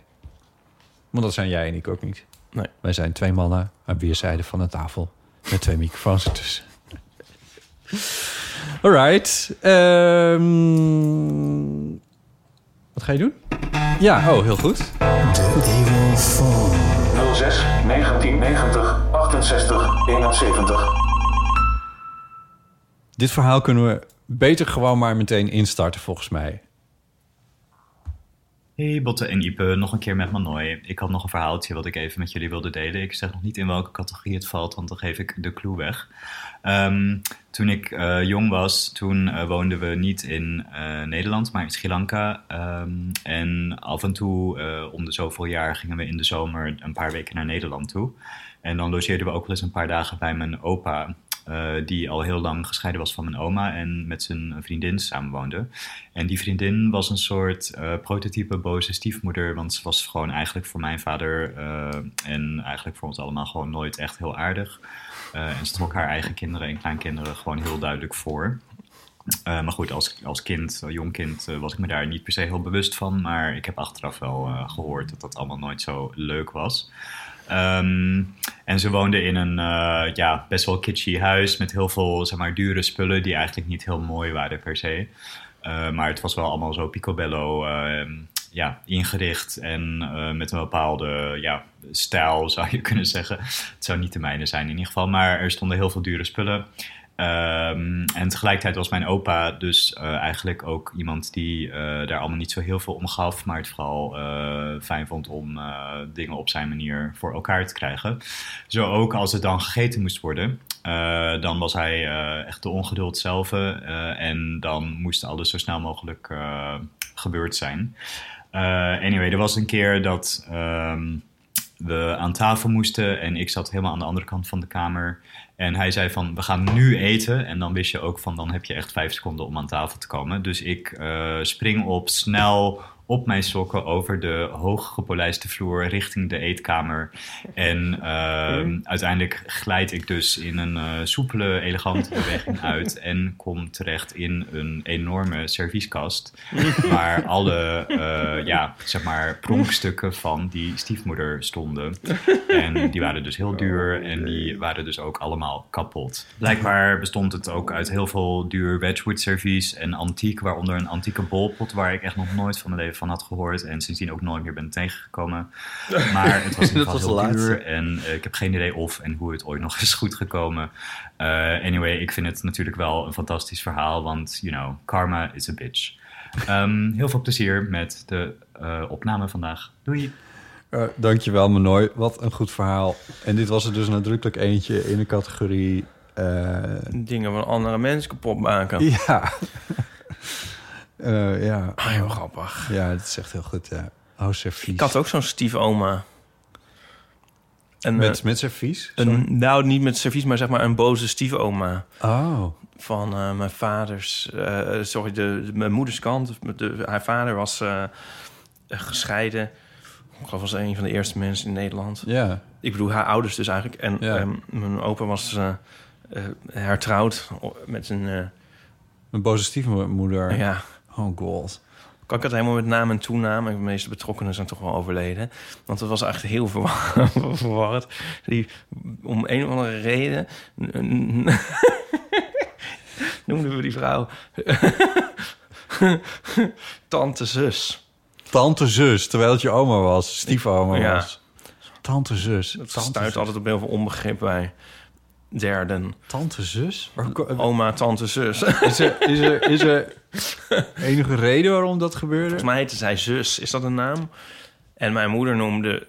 [SPEAKER 2] Want dat zijn jij en ik ook niet.
[SPEAKER 3] Nee.
[SPEAKER 2] Wij zijn twee mannen aan weerszijden van de tafel. Met twee microfoons ertussen. *laughs* Alright. Ehm, wat ga je doen? Ja, oh, heel goed.
[SPEAKER 5] 06 1990 68 71.
[SPEAKER 2] Dit verhaal kunnen we beter gewoon maar meteen instarten, volgens mij.
[SPEAKER 6] Hey Botte en Ipe, nog een keer met Manoy. Ik had nog een verhaaltje wat ik even met jullie wilde delen. Ik zeg nog niet in welke categorie het valt, want dan geef ik de clue weg. Ehm, toen ik eh, jong was, toen eh, woonden we niet in eh, Nederland, maar in Sri Lanka. Ehm, en af en toe, eh, om de zoveel jaar, gingen we in de zomer een paar weken naar Nederland toe. En dan logeerden we ook wel eens een paar dagen bij mijn opa. eh, die al heel lang gescheiden was van mijn oma en met zijn vriendin samenwoonde. En die vriendin was een soort eh, prototype boze stiefmoeder, want ze was gewoon eigenlijk voor mijn vader eh, en eigenlijk voor ons allemaal gewoon nooit echt heel aardig. Eh, en ze trok haar eigen kinderen en kleinkinderen gewoon heel duidelijk voor. Eh, maar goed, als, als kind, eh, jong kind, eh, was ik me daar niet per se heel bewust van. Maar ik heb achteraf wel eh, gehoord dat dat allemaal nooit zo leuk was. Ehm, en ze woonde in een eh, ja, best wel kitschy huis met heel veel zeg maar, dure spullen die eigenlijk niet heel mooi waren per se. Eh, maar het was wel allemaal zo picobello ehm, ja, ingericht en eh, met een bepaalde ja, stijl *laughs* zou je kunnen zeggen. Het zou niet de mijne zijn in ieder geval, maar er stonden heel veel dure spullen. Ehm, en tegelijkertijd was mijn opa dus eh, eigenlijk ook iemand die eh, daar allemaal niet zo heel veel om gaf, maar het vooral eh, fijn vond om eh, dingen op zijn manier voor elkaar te krijgen. Zo ook als het dan gegeten moest worden, eh, dan was hij eh, echt de ongeduld zelf eh, en dan moest alles zo snel mogelijk eh, gebeurd zijn. Eh, anyway, er was een keer dat ehm, we aan tafel moesten en ik zat helemaal aan de andere kant van de kamer. En hij zei van, we gaan nu eten. En dan wist je ook van, dan heb je echt vijf seconden om aan tafel te komen. Dus ik eh, spring op, snel op mijn sokken over de hooggepolijste vloer richting de eetkamer. En ehm, uiteindelijk glijd ik dus in een eh, soepele, elegante beweging uit. En kom terecht in een enorme servieskast. *laughs* Waar alle, eh, ja, zeg maar, pronkstukken van die stiefmoeder stonden. En die waren dus heel duur en die waren dus ook allemaal kapot. Blijkbaar bestond het ook uit heel veel duur Wedgwood servies en antiek, waaronder een antieke bolpot waar ik echt nog nooit van mijn leven van had gehoord. En sindsdien ook nooit meer ben tegengekomen. Maar het was
[SPEAKER 2] *laughs*
[SPEAKER 6] in
[SPEAKER 2] Dat
[SPEAKER 6] ieder geval
[SPEAKER 2] was de
[SPEAKER 6] heel
[SPEAKER 2] laatste.
[SPEAKER 6] duur. En eh, ik heb geen idee of en hoe het ooit nog is goed gekomen. Eh, anyway, ik vind het natuurlijk wel een fantastisch verhaal. Want, you know, karma is a bitch. Ehm, heel veel plezier met de eh, opname vandaag. Doei!
[SPEAKER 2] Eh, dankjewel, Manoy. Wat een goed verhaal. En dit was er dus nadrukkelijk eentje in de categorie... eh,
[SPEAKER 3] Dingen van andere mensen kapot maken.
[SPEAKER 2] ja. *laughs* Eh, ja.
[SPEAKER 3] Ah, heel grappig.
[SPEAKER 2] ja, het is echt heel goed. Ja. Oh, servies.
[SPEAKER 3] Ik had ook zo'n stiefoma. Een, eh,
[SPEAKER 2] Met, met servies?
[SPEAKER 3] een, nou, niet met servies, maar zeg maar een boze stiefoma.
[SPEAKER 2] Oh.
[SPEAKER 3] Van eh, mijn vaders... eh, sorry, de, de- mijn moeders kant. De, haar vader was eh, gescheiden. Ik geloof was een van de eerste mensen in Nederland.
[SPEAKER 2] Ja.
[SPEAKER 3] Ik bedoel, haar ouders dus eigenlijk. En
[SPEAKER 2] Ja.
[SPEAKER 3] ehm, mijn opa was eh, eh, hertrouwd met een... eh,
[SPEAKER 2] Een boze stiefmoeder.
[SPEAKER 3] ja,
[SPEAKER 2] Oh, god.
[SPEAKER 3] Kan ik het helemaal met naam en toenaam? En de meeste betrokkenen zijn toch wel overleden. Want het was echt heel verwar- *laughs* verwarrend. Die, om een of andere reden... *laughs* noemden we die vrouw... *laughs* Tante zus.
[SPEAKER 2] Tante zus, terwijl het je oma was. Stiefoma
[SPEAKER 3] Ja.
[SPEAKER 2] was. Tante zus.
[SPEAKER 3] Dat
[SPEAKER 2] Tante,
[SPEAKER 3] stuit altijd op heel veel onbegrip bij derden.
[SPEAKER 2] tante zus? Waar ko- Volgens
[SPEAKER 3] Oma, tante zus.
[SPEAKER 2] Is
[SPEAKER 3] Volgens
[SPEAKER 2] er, is, er, is
[SPEAKER 3] *laughs*
[SPEAKER 2] er enige reden waarom dat gebeurde?
[SPEAKER 3] mij heette zij zus. Is dat een naam? En mijn moeder noemde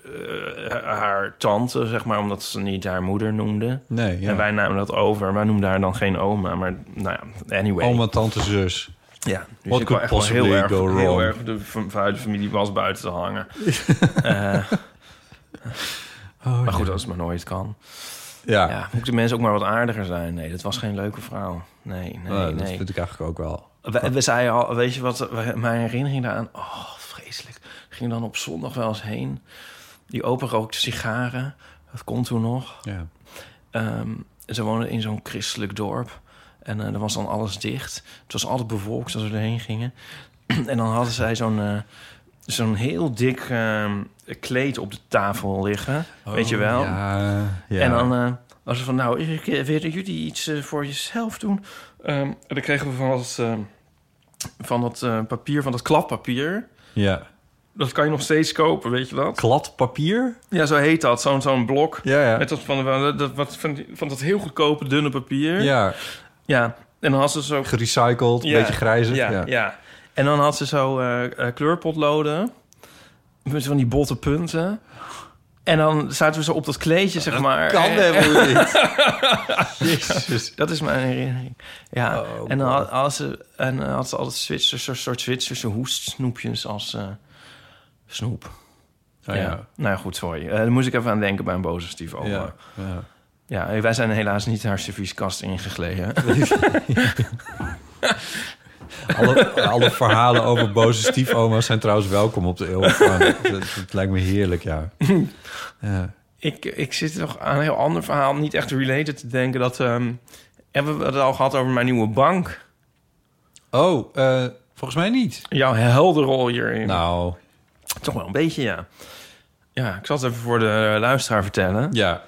[SPEAKER 3] eh, haar tante, zeg maar... omdat ze niet haar moeder noemde.
[SPEAKER 2] Nee, ja.
[SPEAKER 3] En wij namen dat over. Wij noemden haar dan geen oma, maar nou ja, anyway.
[SPEAKER 2] Oma, tante zus.
[SPEAKER 3] Ja, dus
[SPEAKER 2] What Oh,
[SPEAKER 3] ik
[SPEAKER 2] could
[SPEAKER 3] wou echt wel
[SPEAKER 2] possibly
[SPEAKER 3] heel erg,
[SPEAKER 2] go wrong?
[SPEAKER 3] heel erg de v- vanuit de familie was buiten te
[SPEAKER 2] *laughs*
[SPEAKER 3] hangen. Eh, maar goed, als het maar nooit kan.
[SPEAKER 2] Oh, Ja,
[SPEAKER 3] Ja, moeten mensen ook maar wat aardiger zijn. Nee, dat was geen leuke vrouw. Nee, nee,
[SPEAKER 2] Nou, dat
[SPEAKER 3] nee.
[SPEAKER 2] vind ik eigenlijk ook wel.
[SPEAKER 3] We, we zeiden al, weet je wat, we- mijn herinnering daaraan... Oh, vreselijk. Ik ging dan op zondag wel eens heen. Die open rookte sigaren. Dat kon toen nog.
[SPEAKER 2] Ja.
[SPEAKER 3] Ehm, ze woonden in zo'n christelijk dorp. En eh er was dan alles dicht. Het was altijd bevolkt als we erheen gingen. *clears throat* en dan hadden zij zo'n eh, zo'n heel dik ehm, kleed op de tafel liggen. weet je wel?
[SPEAKER 2] Ja, ja.
[SPEAKER 3] En dan eh was ze van, nou, ik eh, willen jullie iets eh, voor jezelf doen? Ehm, en dan kregen we van dat, ehm, van dat eh, papier, van dat kladpapier.
[SPEAKER 2] ja.
[SPEAKER 3] Dat kan je nog steeds kopen, weet je dat?
[SPEAKER 2] Klad papier?
[SPEAKER 3] Ja, zo heet dat. Zo'n zo'n blok.
[SPEAKER 2] Ja, ja.
[SPEAKER 3] Met dat van, van dat, wat, van, die- van dat heel goedkope dunne papier.
[SPEAKER 2] Ja,
[SPEAKER 3] Ja, en dan had ze zo...
[SPEAKER 2] gerecycled,
[SPEAKER 3] Ja,
[SPEAKER 2] een beetje grijzig.
[SPEAKER 3] Ja, ja. En dan had ze zo eh, eh, kleurpotloden. Met van die botte punten. En dan zaten we zo op dat kleedje, zeg maar.
[SPEAKER 2] Kan
[SPEAKER 3] En-
[SPEAKER 2] helemaal niet. *laughs* Jezus.
[SPEAKER 3] Dat is mijn herinnering. Ja,
[SPEAKER 2] Oh,
[SPEAKER 3] en dan
[SPEAKER 2] boy.
[SPEAKER 3] had, had ze, en dan had ze altijd Zwitserse, soort Zwitserse hoestsnoepjes als eh, snoep.
[SPEAKER 2] Oh, ja.
[SPEAKER 3] Nou ja, goed, sorry. Eh daar moest ik even aan denken bij een boze stiefoma. Ja.
[SPEAKER 2] Ja. ja.
[SPEAKER 3] Ja, eh, wij zijn helaas niet haar servieskast ingegleden.
[SPEAKER 2] *laughs* Alle, alle verhalen over boze stiefoma's zijn trouwens welkom op de eeuw. *laughs* Het het lijkt me heerlijk, ja. ja.
[SPEAKER 3] Ik, ik zit nog aan een heel ander verhaal, niet echt related te denken. Dat, ehm, hebben we het al gehad over mijn nieuwe bank?
[SPEAKER 2] Oh, eh, volgens mij niet.
[SPEAKER 3] Jouw helderrol hierin.
[SPEAKER 2] Nou,
[SPEAKER 3] Toch wel een beetje, ja. Ja, ik zal het even voor de eh, luisteraar vertellen.
[SPEAKER 2] ja.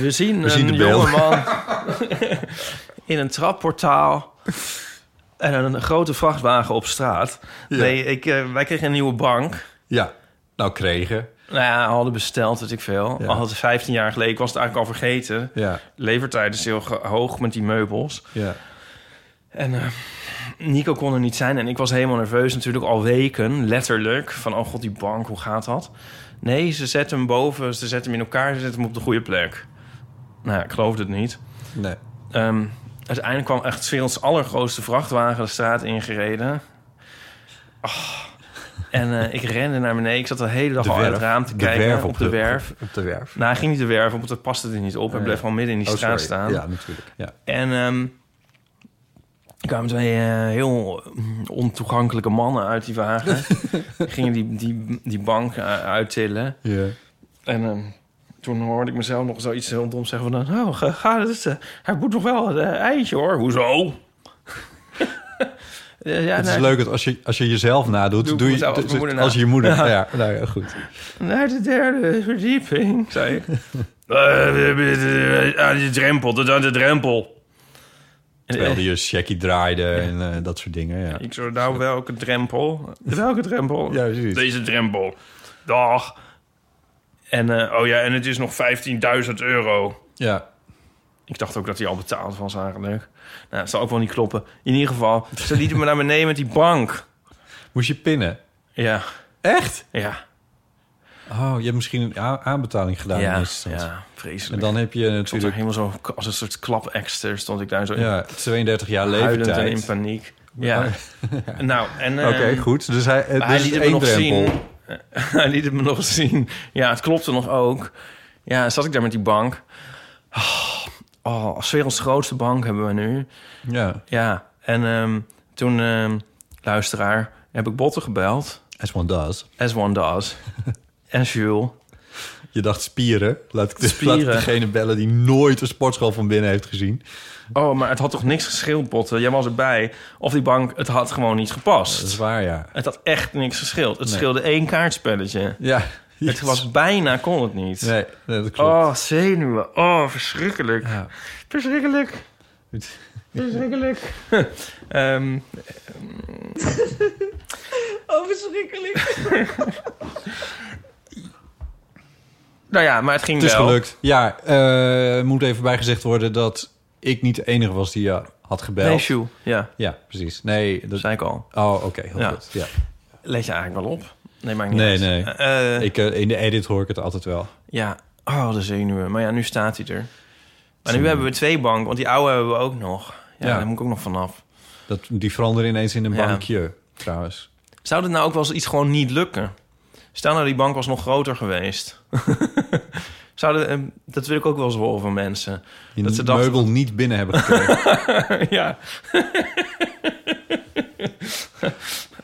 [SPEAKER 3] We zien
[SPEAKER 2] zien de
[SPEAKER 3] een
[SPEAKER 2] beelden.
[SPEAKER 3] jongeman
[SPEAKER 2] *laughs*
[SPEAKER 3] in een trapportaal en een grote vrachtwagen op straat. Nee, ik, eh, wij kregen een nieuwe bank.
[SPEAKER 2] Ja, nou kregen.
[SPEAKER 3] Nou ja, we hadden besteld, weet ik veel.
[SPEAKER 2] Ja.
[SPEAKER 3] Al had het 15 jaar geleden, ik was het eigenlijk al vergeten.
[SPEAKER 2] Ja,
[SPEAKER 3] Levertijd is heel ge- hoog met die meubels.
[SPEAKER 2] ja.
[SPEAKER 3] En eh, Nico kon er niet zijn. En ik was helemaal nerveus natuurlijk al weken, letterlijk. Van, oh god, die bank, hoe gaat dat? Nee, ze zetten hem boven, ze zetten hem in elkaar, ze zetten hem op de goede plek. Nou ja, ik geloofde het niet.
[SPEAKER 2] Nee.
[SPEAKER 3] Ehm, uiteindelijk kwam echt 's werelds allergrootste vrachtwagen de straat ingereden. Ah. En eh, ik rende naar beneden. Ik zat de hele dag al uit het raam te kijken
[SPEAKER 2] werf
[SPEAKER 3] op, de, werf.
[SPEAKER 2] Op, de werf.
[SPEAKER 3] Nou, hij ging niet de werf op, want dat paste er niet op. Hij
[SPEAKER 2] ja.
[SPEAKER 3] bleef gewoon midden in die
[SPEAKER 2] Oh,
[SPEAKER 3] straat
[SPEAKER 2] sorry.
[SPEAKER 3] staan.
[SPEAKER 2] Ja, natuurlijk. Ja.
[SPEAKER 3] En ehm er kwamen twee eh, heel mm, ontoegankelijke mannen uit die
[SPEAKER 2] *laughs*
[SPEAKER 3] wagen. Die gingen die, die, die bank eh, uittillen.
[SPEAKER 2] Ja.
[SPEAKER 3] En ehm, toen hoorde ik mezelf nog zoiets heel doms zeggen van... Nou, ga, ga dus, eh, hij moet nog wel een eh, eitje hoor. Hoezo? *laughs* Eh, ja,
[SPEAKER 2] Het is
[SPEAKER 3] nou,
[SPEAKER 2] leuk dat als je, als je jezelf nadoet,
[SPEAKER 3] Doe ik
[SPEAKER 2] doe je,
[SPEAKER 3] mezelf als mijn moeder na.
[SPEAKER 2] als je je moeder.
[SPEAKER 3] *laughs*
[SPEAKER 2] Ja, nou ja, goed.
[SPEAKER 3] Naar de derde verdieping, *laughs* zei ik. Eh, eh, eh, eh, Aan de drempel, tot aan de drempel.
[SPEAKER 2] Terwijl die je Shaggy draaide en eh, dat soort dingen. Ja.
[SPEAKER 3] Ik zo, nou, welke drempel? Welke *laughs* drempel?
[SPEAKER 2] Ja, precies.
[SPEAKER 3] Deze drempel. Dag. En, eh, oh ja, en het is nog 15.000 euro.
[SPEAKER 2] ja.
[SPEAKER 3] Ik dacht ook dat hij al betaald was eigenlijk. Nou, dat zal ook wel niet kloppen. In ieder geval, ze lieten me naar beneden met die bank.
[SPEAKER 2] Moest je pinnen?
[SPEAKER 3] Ja,
[SPEAKER 2] Echt?
[SPEAKER 3] ja.
[SPEAKER 2] Oh, je hebt misschien een a- aanbetaling gedaan in
[SPEAKER 3] ja,
[SPEAKER 2] eerste instantie.
[SPEAKER 3] ja, vreselijk.
[SPEAKER 2] En dan heb je
[SPEAKER 3] Ik stond daar
[SPEAKER 2] natuurlijk
[SPEAKER 3] helemaal zo als een soort klapekster stond ik daar zo
[SPEAKER 2] ja, 32 jaar
[SPEAKER 3] in, huilend en in
[SPEAKER 2] leeftijd. *laughs*
[SPEAKER 3] paniek. Ja. Nou, en...
[SPEAKER 2] Oké,
[SPEAKER 3] ehm,
[SPEAKER 2] goed. Dus hij, het
[SPEAKER 3] Maar hij
[SPEAKER 2] is
[SPEAKER 3] liet het me
[SPEAKER 2] één
[SPEAKER 3] nog
[SPEAKER 2] drempel.
[SPEAKER 3] zien. *laughs* hij liet het me nog zien. Ja, het klopte nog ook. Ja, zat ik daar met die bank. Oh, oh, 's werelds grootste bank hebben we nu.
[SPEAKER 2] Ja,
[SPEAKER 3] Ja, en ehm, toen, ehm, luisteraar, heb ik Botten gebeld.
[SPEAKER 2] as one does.
[SPEAKER 3] As one
[SPEAKER 2] *laughs*
[SPEAKER 3] does. en Jules.
[SPEAKER 2] Je dacht spieren. Laat ik,
[SPEAKER 3] Spieren.
[SPEAKER 2] laat ik degene bellen die nooit een sportschool van binnen heeft gezien.
[SPEAKER 3] Oh, maar het had toch niks gescheeld, Botten? Jij was erbij. Of die bank, het had gewoon niet
[SPEAKER 2] Dat is
[SPEAKER 3] gepast.
[SPEAKER 2] waar, ja.
[SPEAKER 3] Het had echt niks gescheeld. Het
[SPEAKER 2] Nee.
[SPEAKER 3] scheelde één kaartspelletje.
[SPEAKER 2] Ja.
[SPEAKER 3] Het was bijna, kon het niet.
[SPEAKER 2] Nee, nee, dat klopt.
[SPEAKER 3] Oh, zenuwen. Oh, verschrikkelijk.
[SPEAKER 2] Ja.
[SPEAKER 3] Verschrikkelijk.
[SPEAKER 2] Goed.
[SPEAKER 3] Verschrikkelijk. *laughs* Ehm,
[SPEAKER 7] *laughs* Oh, verschrikkelijk.
[SPEAKER 3] *laughs* nou ja, maar het ging
[SPEAKER 2] Het is
[SPEAKER 3] wel.
[SPEAKER 2] gelukt. Ja, eh moet even bijgezegd worden dat ik niet de enige was die je had gebeld.
[SPEAKER 3] Nee, Sjoe. Ja,
[SPEAKER 2] Ja, precies. Nee,
[SPEAKER 3] dat
[SPEAKER 2] dat...
[SPEAKER 3] zei ik al.
[SPEAKER 2] Oh, oké. heel
[SPEAKER 3] Ja.
[SPEAKER 2] goed. Ja.
[SPEAKER 3] Let je eigenlijk wel op? Nee, maakt niet
[SPEAKER 2] Nee,
[SPEAKER 3] uit.
[SPEAKER 2] nee.
[SPEAKER 3] Eh, eh,
[SPEAKER 2] Ik, eh, in de edit hoor ik het altijd wel.
[SPEAKER 3] Ja, oh, de zenuwen. Maar ja, nu staat hij er. Maar nu hebben we twee banken, want die oude hebben we ook nog. Ja,
[SPEAKER 2] Ja.
[SPEAKER 3] daar moet ik ook nog vanaf.
[SPEAKER 2] Dat, die veranderen ineens in een
[SPEAKER 3] Ja.
[SPEAKER 2] bankje, trouwens.
[SPEAKER 3] Zou dit nou ook wel eens iets gewoon niet lukken? Stel nou, die bank was nog groter geweest. Zouden, eh, dat wil ik ook wel eens horen van mensen.
[SPEAKER 2] Je
[SPEAKER 3] Dat ze dachten-
[SPEAKER 2] meubel niet binnen hebben
[SPEAKER 3] *laughs*
[SPEAKER 2] gekregen.
[SPEAKER 3] ja,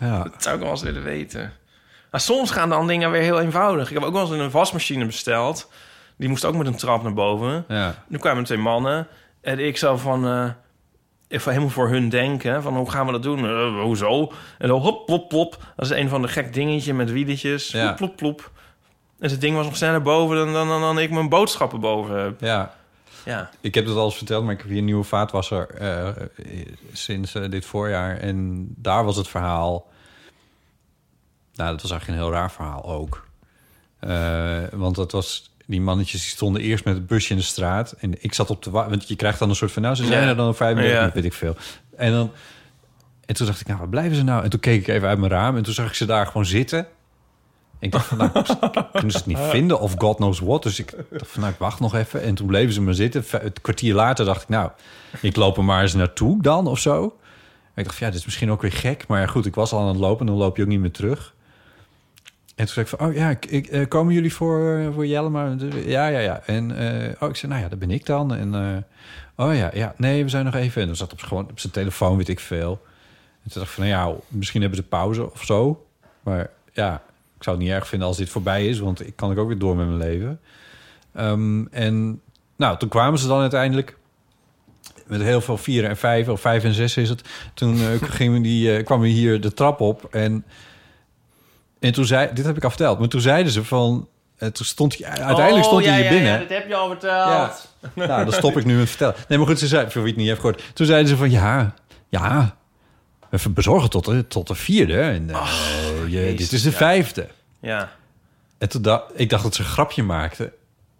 [SPEAKER 2] ja.
[SPEAKER 3] Dat zou ik wel eens willen weten. Maar soms gaan dan dingen weer heel eenvoudig. Ik heb ook wel eens een wasmachine besteld. Die moest ook met een trap naar boven.
[SPEAKER 2] ja.
[SPEAKER 3] Nu kwamen twee mannen. En ik zou van... eh, even helemaal voor hun denken. Van hoe gaan we dat doen? Eh, hoezo? En dan hop, plop, plop. Dat is een van de gek dingetje met wieletjes.
[SPEAKER 2] Ja.
[SPEAKER 3] Plop, plop, plop. En dat ding was nog sneller boven dan, dan, dan, dan ik mijn boodschappen boven heb.
[SPEAKER 2] Ja.
[SPEAKER 3] Ja.
[SPEAKER 2] Ik heb dat al eens verteld, maar ik heb hier een nieuwe vaatwasser eh, eh, sinds eh, dit voorjaar. En daar was het verhaal... Nou, dat was eigenlijk een heel raar verhaal ook. Eh, want dat was... Die mannetjes die stonden eerst met het busje in de straat. En ik zat op de... wa- Want je krijgt dan een soort van... Nou, ze zijn
[SPEAKER 3] Ja.
[SPEAKER 2] er dan 35,
[SPEAKER 3] Ja.
[SPEAKER 2] minuten, weet ik veel. En dan... En toen dacht ik, nou, waar blijven ze nou? En toen keek ik even uit mijn raam en toen zag ik ze daar gewoon zitten. En ik dacht van, nou, kunnen ze het niet vinden of god knows what. Dus ik dacht van, nou, ik wacht nog even. En toen bleven ze maar zitten. Ve- Het kwartier later dacht ik, nou, ik loop er maar eens naartoe dan of zo. En ik dacht, van, ja, dit is misschien ook weer gek. Maar ja, goed, ik was al aan het lopen en dan loop je ook niet meer terug. En toen zei ik van, oh ja, ik, ik, eh, komen jullie voor, eh, voor Jelle? Maar, ja, ja, ja. En eh, oh, ik zei, nou ja, dat ben ik dan. En eh, oh ja, ja, nee, we zijn nog even. En dan zat op, z'n- gewoon op zijn telefoon, weet ik veel. En toen dacht ik van, nou ja, misschien hebben ze pauze of zo. Maar ja, ik zou het niet erg vinden als dit voorbij is, want ik kan ik ook weer door met mijn leven. Ehm, en nou, toen kwamen ze dan uiteindelijk met heel veel vieren en vijven, of vijf en zes is het. Toen eh, gingen die, eh, kwamen we hier de trap op en, en toen zei, dit heb ik al verteld, maar toen zeiden ze van, eh, toen stond hij, uiteindelijk
[SPEAKER 3] Oh,
[SPEAKER 2] stond hij hier binnen.
[SPEAKER 3] heb je al verteld.
[SPEAKER 2] Nou, dan stop ik nu met vertellen. Nee, maar goed, ze zei, voor wie het niet heeft gehoord. Toen zeiden ze van, ja, ja, we bezorgen tot de, tot de vierde. En eh, je- dit is de vijfde.
[SPEAKER 3] Ja.
[SPEAKER 2] En toen da- ik dacht dat ze een grapje maakten.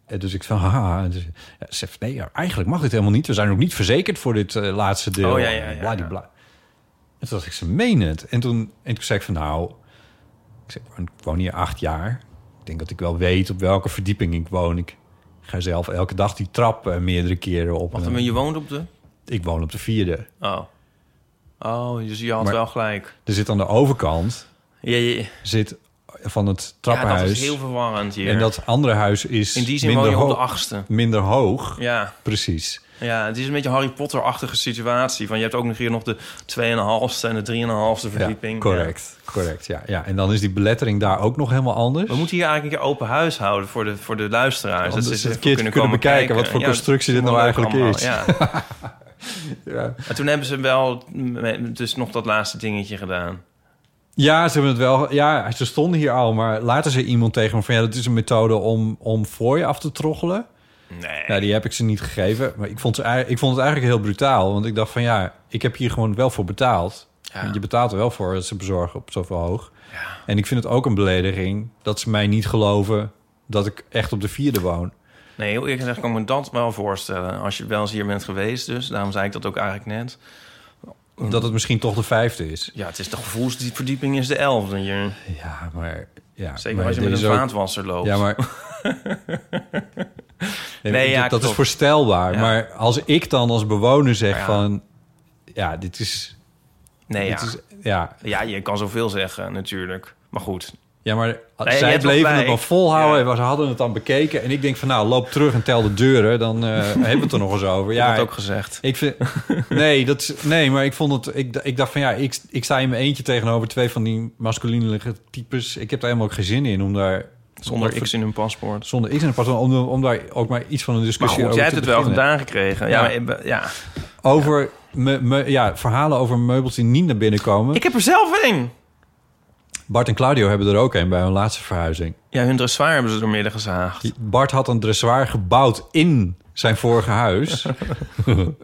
[SPEAKER 2] En dus ik van, haha. En dus, ja, ze zegt, nee, ja, eigenlijk mag dit helemaal niet. We zijn ook niet verzekerd voor dit eh, laatste deel.
[SPEAKER 3] Oh, ja, ja, ja,
[SPEAKER 2] Bladibla. En toen dacht ik, ze menen het. En toen, en toen zei ik van, nou... Ik, zei, ik woon- ik woon hier acht jaar. Ik denk dat ik wel weet op welke verdieping ik woon. Ik ga zelf elke dag die trap eh, meerdere keren op.
[SPEAKER 3] Wacht
[SPEAKER 2] En
[SPEAKER 3] even,
[SPEAKER 2] dan-
[SPEAKER 3] je woont op de...
[SPEAKER 2] Ik woon op de vierde.
[SPEAKER 3] Oh. Oh, dus je had
[SPEAKER 2] Maar-
[SPEAKER 3] wel gelijk.
[SPEAKER 2] Er zit aan de overkant
[SPEAKER 3] Ja, je-
[SPEAKER 2] zit van het
[SPEAKER 3] ja, dat
[SPEAKER 2] trappenhuis.
[SPEAKER 3] is heel verwarrend hier.
[SPEAKER 2] en dat andere huis is
[SPEAKER 3] In die zin woon
[SPEAKER 2] minder,
[SPEAKER 3] je op de
[SPEAKER 2] hoog-
[SPEAKER 3] achtste.
[SPEAKER 2] minder hoog.
[SPEAKER 3] Ja,
[SPEAKER 2] Precies.
[SPEAKER 3] ja, het is een beetje een Harry Potter-achtige situatie. Van, je hebt ook nog hier nog de 2,5ste en de 3,5ste verdieping.
[SPEAKER 2] Ja,
[SPEAKER 3] Ja.
[SPEAKER 2] correct, correct. Ja, ja, en dan is die belettering daar ook nog helemaal anders.
[SPEAKER 3] We moeten hier eigenlijk een keer open huis houden voor de, voor de luisteraars.
[SPEAKER 2] Om
[SPEAKER 3] dat ze
[SPEAKER 2] dus
[SPEAKER 3] even
[SPEAKER 2] een keer te kunnen
[SPEAKER 3] komen
[SPEAKER 2] bekijken wat voor
[SPEAKER 3] Ja, dat
[SPEAKER 2] constructie
[SPEAKER 3] is
[SPEAKER 2] dit nou
[SPEAKER 3] allemaal leuk
[SPEAKER 2] eigenlijk
[SPEAKER 3] allemaal,
[SPEAKER 2] *laughs* ja.
[SPEAKER 3] Ja. En toen hebben ze wel mm, dus nog dat laatste dingetje gedaan.
[SPEAKER 2] ja, ze hebben het wel. Ja, ze stonden hier al, maar later zei iemand tegen me van ja, dat is een methode om, om voor je af te troggelen.
[SPEAKER 3] Nee.
[SPEAKER 2] Nou, die heb ik ze niet gegeven. Maar ik vond, ze, eigenlijk- ik vond het eigenlijk heel brutaal. Want ik dacht van ja, ik heb hier gewoon wel voor betaald. Want Je betaalt er wel voor dat ze bezorgen op zoveel hoog. En ik vind het ook een belediging dat ze mij niet geloven dat ik echt op de vierde woon.
[SPEAKER 3] Nee, heel eerlijk gezegd kan ik me dat wel voorstellen. Als je wel eens hier bent geweest, dus daarom zei ik dat ook eigenlijk net. Mm.
[SPEAKER 2] Dat het misschien toch de vijfde is.
[SPEAKER 3] Ja, het is de gevoelsverdieping is de elfde. Je...
[SPEAKER 2] Ja, maar... Ja,
[SPEAKER 3] Zeker
[SPEAKER 2] maar
[SPEAKER 3] als je met een
[SPEAKER 2] deze ook-
[SPEAKER 3] vaatwasser loopt.
[SPEAKER 2] Ja, maar...
[SPEAKER 3] *laughs*
[SPEAKER 2] nee,
[SPEAKER 3] Nee,
[SPEAKER 2] dat-
[SPEAKER 3] ja,
[SPEAKER 2] dat is
[SPEAKER 3] klopt.
[SPEAKER 2] voorstelbaar.
[SPEAKER 3] Ja.
[SPEAKER 2] Maar als ik dan als bewoner zeg
[SPEAKER 3] Ja.
[SPEAKER 2] van... Ja, dit is...
[SPEAKER 3] Nee,
[SPEAKER 2] dit
[SPEAKER 3] ja.
[SPEAKER 2] Is, ja.
[SPEAKER 3] Ja, je kan zoveel zeggen natuurlijk. Maar goed.
[SPEAKER 2] Ja, maar
[SPEAKER 3] Nee, je
[SPEAKER 2] zij
[SPEAKER 3] hebt
[SPEAKER 2] bleven
[SPEAKER 3] gelijk.
[SPEAKER 2] het wel volhouden. en Ze hadden het dan bekeken. En ik denk van, nou, loop terug en tel de deuren. Dan eh, *laughs* hebben we het er nog eens over.
[SPEAKER 3] Ik heb
[SPEAKER 2] Ja,
[SPEAKER 3] het ook gezegd.
[SPEAKER 2] Ik
[SPEAKER 3] *laughs*
[SPEAKER 2] vind, nee, dat is, nee, maar ik vond het. Ik, d- ik dacht van ja, ik, ik sta in mijn eentje tegenover twee van die masculine types. Ik heb daar helemaal ook geen zin in om daar.
[SPEAKER 3] Zonder
[SPEAKER 2] om-
[SPEAKER 3] X in hun paspoort.
[SPEAKER 2] Zonder X in een paspoort. Om, om daar ook maar iets van een
[SPEAKER 3] Maar
[SPEAKER 2] discussie
[SPEAKER 3] goed,
[SPEAKER 2] over
[SPEAKER 3] jij hebt
[SPEAKER 2] te
[SPEAKER 3] het wel
[SPEAKER 2] beginnen.
[SPEAKER 3] gedaan gekregen. Ja,
[SPEAKER 2] Ja.
[SPEAKER 3] maar ik- ja.
[SPEAKER 2] Over Me, me, ja, verhalen over meubels die niet naar binnen komen.
[SPEAKER 3] Ik heb er zelf één.
[SPEAKER 2] Bart en Claudio hebben er ook een bij hun laatste verhuizing.
[SPEAKER 3] Ja, hun dressoir hebben ze doormidden gezaagd.
[SPEAKER 2] Die- Bart had een dressoir gebouwd in zijn vorige
[SPEAKER 3] *laughs*
[SPEAKER 2] huis. en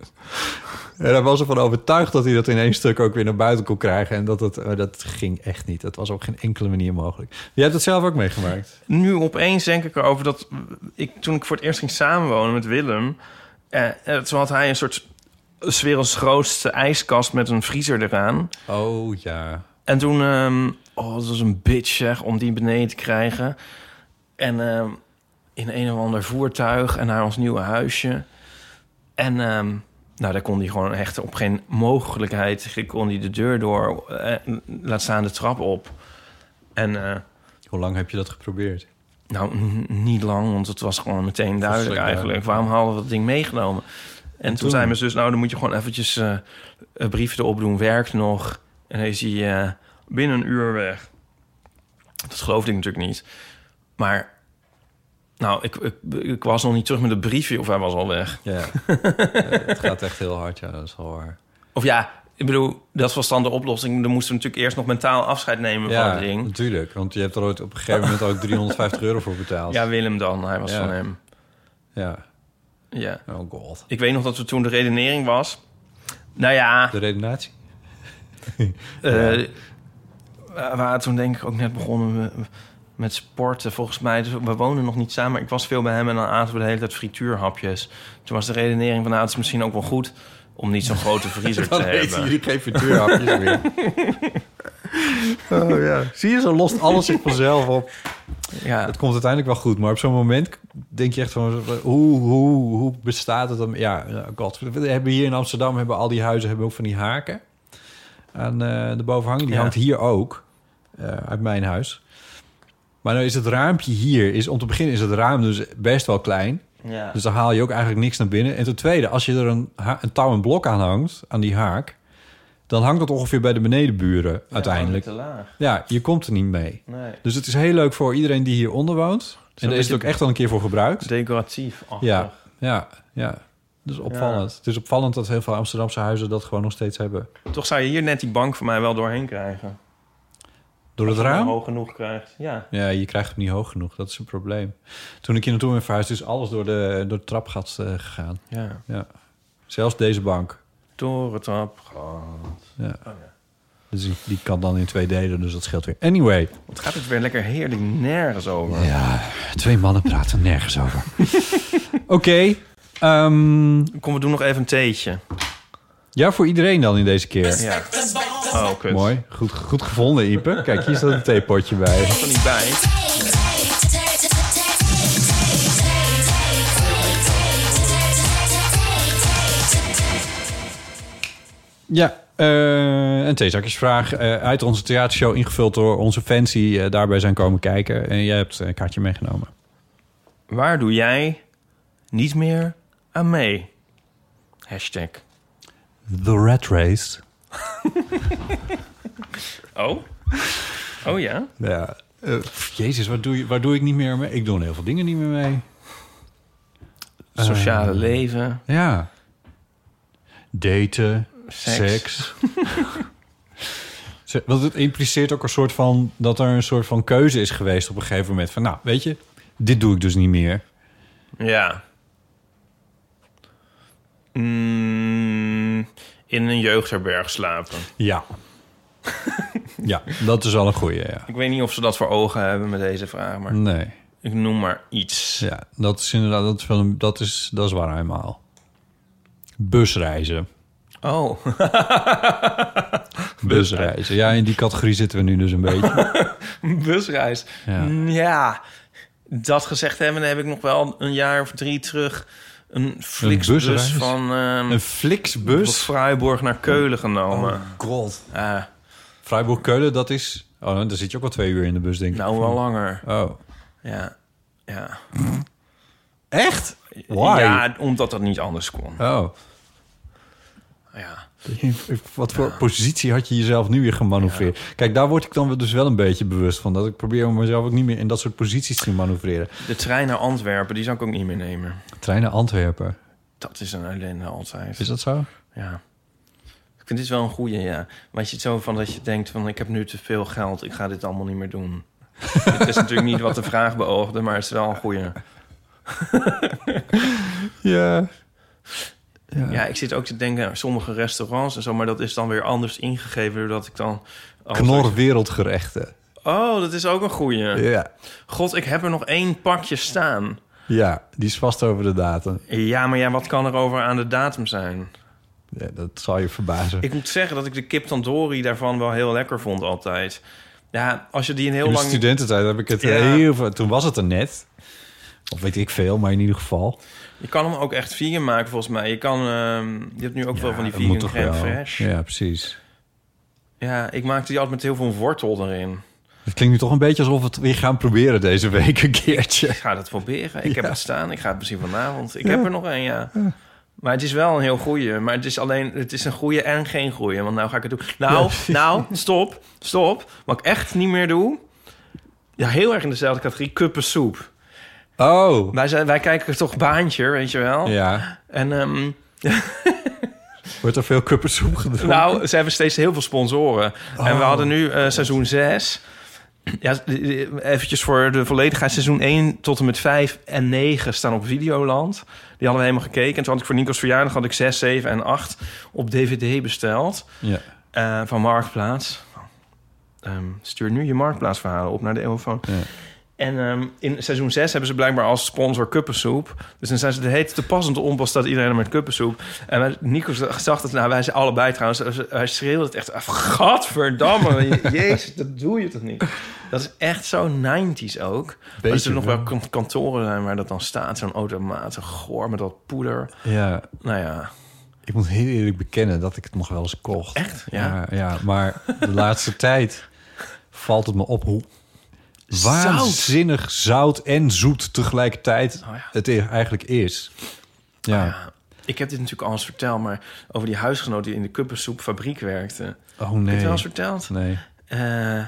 [SPEAKER 2] hij was ervan overtuigd dat hij dat in één stuk ook weer naar buiten kon krijgen. En dat, het, eh, dat ging echt niet. Dat was op geen enkele manier mogelijk. Jij hebt het zelf ook meegemaakt.
[SPEAKER 3] Nu opeens denk ik erover dat ik, toen ik voor het eerst ging samenwonen met Willem, eh, eh, toen had hij een soort 's werelds grootste ijskast met een vriezer eraan.
[SPEAKER 2] Oh ja.
[SPEAKER 3] En toen, ehm, oh, dat was een bitch zeg, om die beneden te krijgen. En ehm, in een of ander voertuig en naar ons nieuwe huisje. En ehm, nou, daar kon hij gewoon echt op geen mogelijkheid. Ik kon hij de deur door, eh, laat staan de trap op. En eh,
[SPEAKER 2] Hoe lang heb je dat geprobeerd?
[SPEAKER 3] nou, n- niet lang, want het was gewoon meteen duidelijk
[SPEAKER 2] Verschrikkelijk.
[SPEAKER 3] eigenlijk. Waarom hadden we dat ding meegenomen? En toen,
[SPEAKER 2] toen?
[SPEAKER 3] zei mijn zus, nou, dan moet je gewoon eventjes eh een brief erop doen. Werkt nog. En dan is hij eh, binnen een uur weg. Dat geloofde ik natuurlijk niet. Maar, nou, ik, ik, ik was nog niet terug met het briefje of hij was al weg.
[SPEAKER 2] Ja. *laughs* Eh, het gaat echt heel hard. Ja, dat is wel waar.
[SPEAKER 3] Of ja, ik bedoel, dat was dan de oplossing. Dan moesten we natuurlijk eerst nog mentaal afscheid nemen van
[SPEAKER 2] Ja,
[SPEAKER 3] het ding.
[SPEAKER 2] natuurlijk. Want je hebt er ooit op een gegeven moment ook 350 euro voor betaald.
[SPEAKER 3] Ja, Willem dan. Hij was
[SPEAKER 2] Ja.
[SPEAKER 3] van hem.
[SPEAKER 2] ja.
[SPEAKER 3] Ja.
[SPEAKER 2] Oh god.
[SPEAKER 3] Ik weet nog dat we toen de redenering was. Nou ja,
[SPEAKER 2] De redenatie?
[SPEAKER 3] eh, we waren toen denk ik ook net begonnen we- met sporten. Volgens mij, dus we woonden nog niet samen. maar Ik was veel bij hem en dan aten we de hele tijd frituurhapjes. Toen was de redenering van, nou, het is misschien ook wel goed om niet zo'n grote
[SPEAKER 2] *laughs*
[SPEAKER 3] vriezer te
[SPEAKER 2] Dan eten
[SPEAKER 3] hebben.
[SPEAKER 2] jullie geen frituurhapjes meer. *laughs* Oh ja. Zie je, zo lost alles zich vanzelf op.
[SPEAKER 3] Ja,
[SPEAKER 2] Het komt uiteindelijk wel goed, maar op zo'n moment denk je echt van... hoe, hoe, hoe bestaat het dan? Ja, ja, god. We hebben hier in Amsterdam, hebben al die huizen hebben ook van die haken aan eh, de bovenhang. Die
[SPEAKER 3] Ja.
[SPEAKER 2] hangt hier ook, eh, uit mijn huis. Maar nou is het raampje hier, is, om te beginnen is het raam dus best wel klein.
[SPEAKER 3] ja.
[SPEAKER 2] Dus dan haal je ook eigenlijk niks naar binnen. En ten tweede, als je er een, ha- een touw en blok aan hangt, aan die haak... dan hangt dat ongeveer bij de benedenburen uiteindelijk.
[SPEAKER 3] Te laag.
[SPEAKER 2] Ja, je komt er niet mee.
[SPEAKER 3] Nee.
[SPEAKER 2] Dus het is heel leuk voor iedereen die hieronder woont. en daar is
[SPEAKER 3] beetje-
[SPEAKER 2] het ook echt al een keer voor gebruikt.
[SPEAKER 3] Decoratief. achtig.
[SPEAKER 2] Ja, ja, ja. Dus opvallend. Het is opvallend dat heel veel Amsterdamse huizen dat gewoon nog steeds hebben.
[SPEAKER 3] Toch zou je hier net die bank van mij wel doorheen krijgen.
[SPEAKER 2] Door het
[SPEAKER 3] Als je hem
[SPEAKER 2] raam?
[SPEAKER 3] hoog genoeg krijgt. Ja.
[SPEAKER 2] Ja, je krijgt hem niet hoog genoeg. Dat is een probleem. Toen ik hier naartoe ben verhuisd, is alles door de, door het trapgat eh, gegaan.
[SPEAKER 3] ja.
[SPEAKER 2] Ja. Zelfs deze bank.
[SPEAKER 3] Door het trap. gehad.
[SPEAKER 2] Dus die- die kan dan in twee delen, dus dat scheelt weer. Anyway.
[SPEAKER 3] Wat gaat het weer lekker heerlijk nergens over.
[SPEAKER 2] Ja, twee mannen praten nergens over. *laughs* Oké. ehm,
[SPEAKER 3] Kom, we doen nog even een theetje.
[SPEAKER 2] ja, voor iedereen dan in deze keer.
[SPEAKER 3] Ja. Oh, kut.
[SPEAKER 2] Mooi. Goed, goed gevonden, Ipe. Kijk, hier staat een theepotje bij.
[SPEAKER 3] Ik was er niet bij.
[SPEAKER 2] Ja, eh een theezakjesvraag eh, uit onze theatershow... ingevuld door onze fans die eh, daarbij zijn komen kijken. En jij hebt een kaartje meegenomen.
[SPEAKER 3] Waar doe jij niet meer aan mee? Hashtag.
[SPEAKER 2] The Rat Race.
[SPEAKER 3] *laughs* Oh? Oh ja?
[SPEAKER 2] Ja. Eh, pff, jezus, waar doe, je, waar doe ik niet meer mee? Ik doe heel veel dingen niet meer mee. Ehm.
[SPEAKER 3] Sociale leven.
[SPEAKER 2] Ja. Daten,
[SPEAKER 3] Seks.
[SPEAKER 2] seks. *laughs* Ze- Want het impliceert ook een soort van dat er een soort van keuze is geweest op een gegeven moment. Van nou, weet je, dit doe ik dus niet meer.
[SPEAKER 3] Ja. Mm, in een jeugdherberg slapen.
[SPEAKER 2] *laughs* Ja. ja, dat is wel een goeie, ja.
[SPEAKER 3] Ik weet niet of ze dat voor ogen hebben met deze vraag, maar
[SPEAKER 2] Nee.
[SPEAKER 3] ik noem maar iets.
[SPEAKER 2] Ja, dat is inderdaad, dat is, wel een- dat is, dat is waar helemaal. Busreizen.
[SPEAKER 3] Oh.
[SPEAKER 2] *laughs* Busreizen. Ja, in die categorie zitten we nu dus een beetje.
[SPEAKER 3] Een *laughs* busreis.
[SPEAKER 2] Ja.
[SPEAKER 3] Ja. dat gezegd hebben, heb ik nog wel een jaar of drie terug een flixbus
[SPEAKER 2] busreis?
[SPEAKER 3] van... ehm,
[SPEAKER 2] *laughs* Een Oh. flixbus?
[SPEAKER 3] Van Freiburg naar Keulen genomen.
[SPEAKER 2] god.
[SPEAKER 3] Ah,
[SPEAKER 2] Freiburg-Keulen, dat is... Oh, dan zit je ook wel twee uur in de bus, denk ik.
[SPEAKER 3] nou, wel langer.
[SPEAKER 2] Oh.
[SPEAKER 3] Ja, ja.
[SPEAKER 2] Echt? Why?
[SPEAKER 3] Ja, omdat dat niet anders kon.
[SPEAKER 2] Oh. *laughs*
[SPEAKER 3] Ja.
[SPEAKER 2] Wat voor positie had je jezelf nu weer gemanoeuvreerd? Kijk, daar word ik dan dus wel een beetje bewust van. Dat ik probeer om mezelf ook niet meer in dat soort posities te manoeuvreren.
[SPEAKER 3] De trein naar Antwerpen, die zou ik ook niet meer nemen.
[SPEAKER 2] Trein naar Antwerpen.
[SPEAKER 3] Dat is een ellende altijd.
[SPEAKER 2] Is dat zo?
[SPEAKER 3] Ja. Ik vind dit wel een goeie, ja. Maar je zit zo van dat je denkt van... ik heb nu te veel geld, ik ga dit allemaal niet meer
[SPEAKER 2] *laughs*
[SPEAKER 3] doen. Het is natuurlijk niet wat de vraag beoogde, maar het is wel een goeie.
[SPEAKER 2] Ja.
[SPEAKER 3] Ja, ik zit ook te denken aan sommige restaurants en zo... maar dat is dan weer anders ingegeven doordat ik dan... altijd-
[SPEAKER 2] Knor wereldgerechten.
[SPEAKER 3] Oh, dat is ook een goeie.
[SPEAKER 2] Ja.
[SPEAKER 3] God, ik heb er nog één pakje staan.
[SPEAKER 2] Ja, die is vast over de datum.
[SPEAKER 3] Ja, maar ja, wat kan er over aan de datum zijn?
[SPEAKER 2] Ja, dat zal je verbazen.
[SPEAKER 3] Ik moet zeggen dat ik de kip tandoori daarvan wel heel lekker vond altijd. Ja, als je die een heel
[SPEAKER 2] in de
[SPEAKER 3] lang...
[SPEAKER 2] studententijd heb ik het
[SPEAKER 3] Ja.
[SPEAKER 2] heel veel... Toen was het er net. Of weet ik veel, maar in ieder geval.
[SPEAKER 3] Je kan hem ook echt vegan maken volgens mij. Je kan... ehm, je hebt nu ook wel van die
[SPEAKER 2] het moet
[SPEAKER 3] vegan
[SPEAKER 2] toch
[SPEAKER 3] crème
[SPEAKER 2] wel.
[SPEAKER 3] fraîche. Ja.
[SPEAKER 2] Ja, precies.
[SPEAKER 3] ik maakte die altijd met heel veel wortel erin.
[SPEAKER 2] Het klinkt nu toch een beetje alsof we het weer gaan proberen deze week een keertje.
[SPEAKER 3] Ik ga dat proberen. Ik heb
[SPEAKER 2] Ja.
[SPEAKER 3] het staan. Ik ga het misschien vanavond. Ik heb er nog een, ja. Maar het is wel een heel goeie. Maar het is alleen, het is een goeie en geen goeie. Want nou ga ik het doen. Nou, nou, stop, stop. Wat ik echt niet meer doe. Ja, heel erg in dezelfde categorie. Kuppensoep.
[SPEAKER 2] Oh.
[SPEAKER 3] Wij, zijn, wij kijken toch baantje, weet je wel.
[SPEAKER 2] Ja.
[SPEAKER 3] En ehm,
[SPEAKER 2] Wordt er veel kuppensoep gedronken?
[SPEAKER 3] nou, ze hebben steeds heel veel sponsoren. En we hadden nu eh, seizoen 6. Ja, eventjes voor de volledigheid. Seizoen 1 tot en met 5 en 9 staan op Videoland. Die hadden we helemaal gekeken. En toen had ik voor Nico's verjaardag had ik 6, 7 en 8 op DVD besteld.
[SPEAKER 2] Ja.
[SPEAKER 3] eh, van Marktplaats. Ehm, stuur nu je Marktplaatsverhalen op naar de Eeuwenfoon.
[SPEAKER 2] Ja.
[SPEAKER 3] En ehm, in seizoen 6 hebben ze blijkbaar als sponsor kuppensoep. Dus dan zijn ze de heet te passend onpas dat iedereen er met kuppensoep. En wij, Nico zag zag dat, nou wij zijn allebei trouwens. eh, Hij schreeuwde het echt af. Gadverdamme, je- jezus, dat doe je toch niet? Dat is echt zo 90s ook. Maar er zullen nog wel kan- kantoren zijn waar dat dan staat. Zo'n automaat, zo goor met dat poeder.
[SPEAKER 2] Ja,
[SPEAKER 3] Nou ja,
[SPEAKER 2] ik moet heel eerlijk bekennen dat ik het nog wel eens kocht.
[SPEAKER 3] echt? Ja.
[SPEAKER 2] Ja, ja maar de
[SPEAKER 3] *laughs*
[SPEAKER 2] laatste tijd valt het me op hoe waanzinnig zout en zoet tegelijkertijd
[SPEAKER 3] Oh ja. Oh,
[SPEAKER 2] het e- eigenlijk is. Ja.
[SPEAKER 3] Ja. Ik heb dit natuurlijk al eens verteld, maar over die huisgenoot die in de kuppensoepfabriek werkte. Heb
[SPEAKER 2] Oh
[SPEAKER 3] ik
[SPEAKER 2] nee.
[SPEAKER 3] het wel eens verteld?
[SPEAKER 2] Nee.
[SPEAKER 3] eh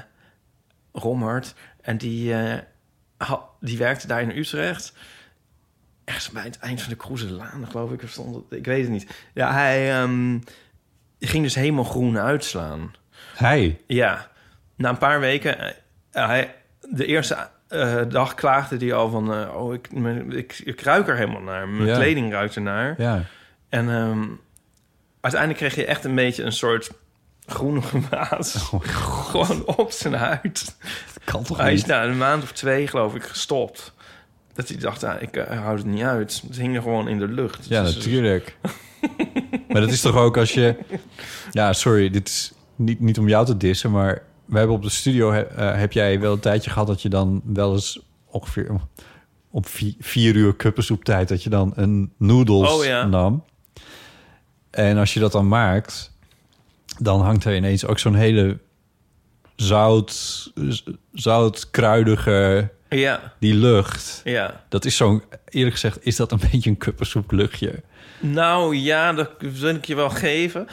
[SPEAKER 3] Rommert. En die, eh, ha- die werkte daar in Utrecht. Ergens bij het eind van de Kroezelaan, geloof ik. Of stond het, ik weet het niet. Ja, hij ehm, ging dus helemaal groen uitslaan.
[SPEAKER 2] Hij.
[SPEAKER 3] Ja, na een paar weken... eh, hij, de eerste eh, dag klaagde hij al van... eh, oh, ik, mijn- ik, ik ruik er helemaal naar. Mijn
[SPEAKER 2] Ja.
[SPEAKER 3] kleding ruikt ernaar.
[SPEAKER 2] Ja.
[SPEAKER 3] En ehm, uiteindelijk kreeg je echt een beetje een soort groenige waas.
[SPEAKER 2] Oh
[SPEAKER 3] Gewoon op zijn huid.
[SPEAKER 2] Kan toch
[SPEAKER 3] Hij is
[SPEAKER 2] niet?
[SPEAKER 3] na een maand of twee, geloof ik, gestopt. Dat hij dacht, ah, ik eh, hou het niet uit. Het hing er gewoon in de lucht.
[SPEAKER 2] Ja,
[SPEAKER 3] Dus- *laughs*
[SPEAKER 2] natuurlijk. maar dat is toch ook als je... Ja, sorry, dit is niet, niet om jou te dissen, maar... We hebben op de studio, he- eh, heb jij wel een tijdje gehad dat je dan wel eens ongeveer om- om vi- vier uur kuppensoeptijd, dat je dan een noedels
[SPEAKER 3] Oh, ja.
[SPEAKER 2] nam. En als je dat dan maakt, dan hangt er ineens ook zo'n hele zout, zout, kruidige,
[SPEAKER 3] Ja,
[SPEAKER 2] die lucht.
[SPEAKER 3] ja.
[SPEAKER 2] Dat is zo'n, eerlijk gezegd, is dat een *laughs* beetje een kuppensoepluchtje.
[SPEAKER 3] Nou ja, dat wil ik je wel geven.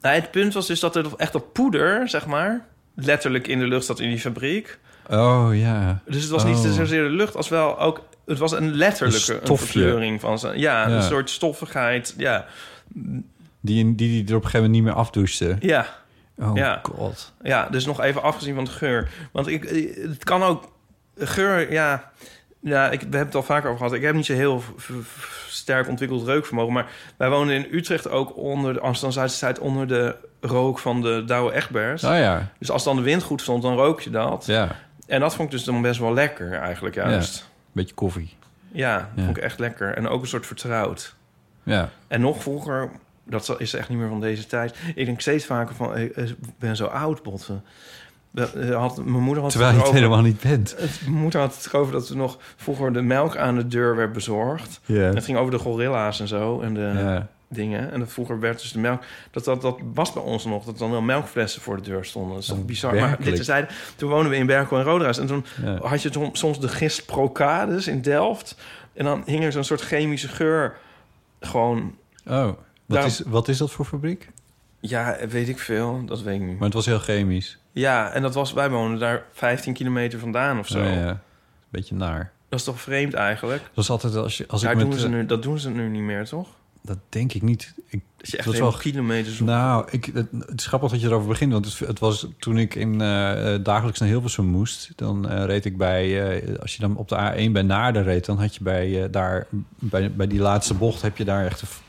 [SPEAKER 3] Nou, het punt was dus dat er echt dat poeder, zeg maar... letterlijk in de lucht zat in die fabriek.
[SPEAKER 2] Oh ja.
[SPEAKER 3] Dus het was
[SPEAKER 2] Oh.
[SPEAKER 3] niet zozeer de lucht als wel ook... Het was een letterlijke
[SPEAKER 2] Een
[SPEAKER 3] een
[SPEAKER 2] stofje.
[SPEAKER 3] verkleuring van zijn... Ja,
[SPEAKER 2] Ja.
[SPEAKER 3] een soort stoffigheid. Ja,
[SPEAKER 2] Die, die, die er op een gegeven moment niet meer afdouchte.
[SPEAKER 3] ja.
[SPEAKER 2] Oh
[SPEAKER 3] Ja.
[SPEAKER 2] god.
[SPEAKER 3] Ja, dus nog even afgezien van de geur. Want ik, eh, het kan ook... Geur, ja... Ja, ik, we hebben het al vaker over gehad. Ik heb niet zo heel v- v- v- sterk ontwikkeld reukvermogen. Maar wij wonen in Utrecht ook onder de Amsterdam Zuiderzijd... onder de rook van de Douwe Egberts.
[SPEAKER 2] Oh ja.
[SPEAKER 3] Dus als dan de wind goed stond, dan rook je dat.
[SPEAKER 2] Ja.
[SPEAKER 3] En dat vond ik dus dan best wel lekker eigenlijk juist.
[SPEAKER 2] Beetje koffie.
[SPEAKER 3] Ja, dat
[SPEAKER 2] Ja.
[SPEAKER 3] vond ik echt lekker. En ook een soort vertrouwd.
[SPEAKER 2] Ja.
[SPEAKER 3] En nog vroeger, dat zal- is echt niet meer van deze tijd. Ik denk steeds vaker van, eh, eh, ik ben zo oud, botten. We- eh, Had, mijn moeder had
[SPEAKER 2] Terwijl je
[SPEAKER 3] het
[SPEAKER 2] het
[SPEAKER 3] erover-
[SPEAKER 2] helemaal niet bent.
[SPEAKER 3] Het- Mijn moeder had het erover dat we nog vroeger de melk aan de deur werd bezorgd.
[SPEAKER 2] Ja.
[SPEAKER 3] En Het ging over de gorilla's en zo en de
[SPEAKER 2] Ja.
[SPEAKER 3] dingen. En dat vroeger werd dus de melk... Dat, dat, dat was bij ons nog, dat dan wel melkflessen voor de deur stonden. Dat is toch bizar. Maar
[SPEAKER 2] werkelijk?
[SPEAKER 3] dit tezijde, toen woonden we in Berkel en Roderijs. En toen
[SPEAKER 2] Ja.
[SPEAKER 3] had je toen soms de gist Procades in Delft. En dan hing er zo'n soort chemische geur gewoon...
[SPEAKER 2] Oh, wat,
[SPEAKER 3] Daarom-
[SPEAKER 2] is, wat is dat voor fabriek?
[SPEAKER 3] Ja, weet ik veel. Dat weet ik niet.
[SPEAKER 2] Maar het was heel chemisch.
[SPEAKER 3] Ja, en dat was, wij wonen daar 15 kilometer vandaan of zo.
[SPEAKER 2] Oh ja. Beetje naar.
[SPEAKER 3] Dat is toch vreemd eigenlijk?
[SPEAKER 2] Dat is altijd als je... Als
[SPEAKER 3] Daar
[SPEAKER 2] ik met,
[SPEAKER 3] doen ze
[SPEAKER 2] eh,
[SPEAKER 3] nu, dat doen ze nu niet meer, toch?
[SPEAKER 2] Dat denk ik niet. Ik,
[SPEAKER 3] Dat je echt
[SPEAKER 2] dat is
[SPEAKER 3] helemaal kilometers...
[SPEAKER 2] Nou, ik, het, het is grappig dat je erover begint. Want het, het was toen ik in, eh, eh, dagelijks naar Hilversum moest. Dan eh, reed ik bij... eh, als je dan op de A1 bij Naarden reed... dan had je bij, eh, daar, bij, bij die laatste bocht... heb je daar echt... een v-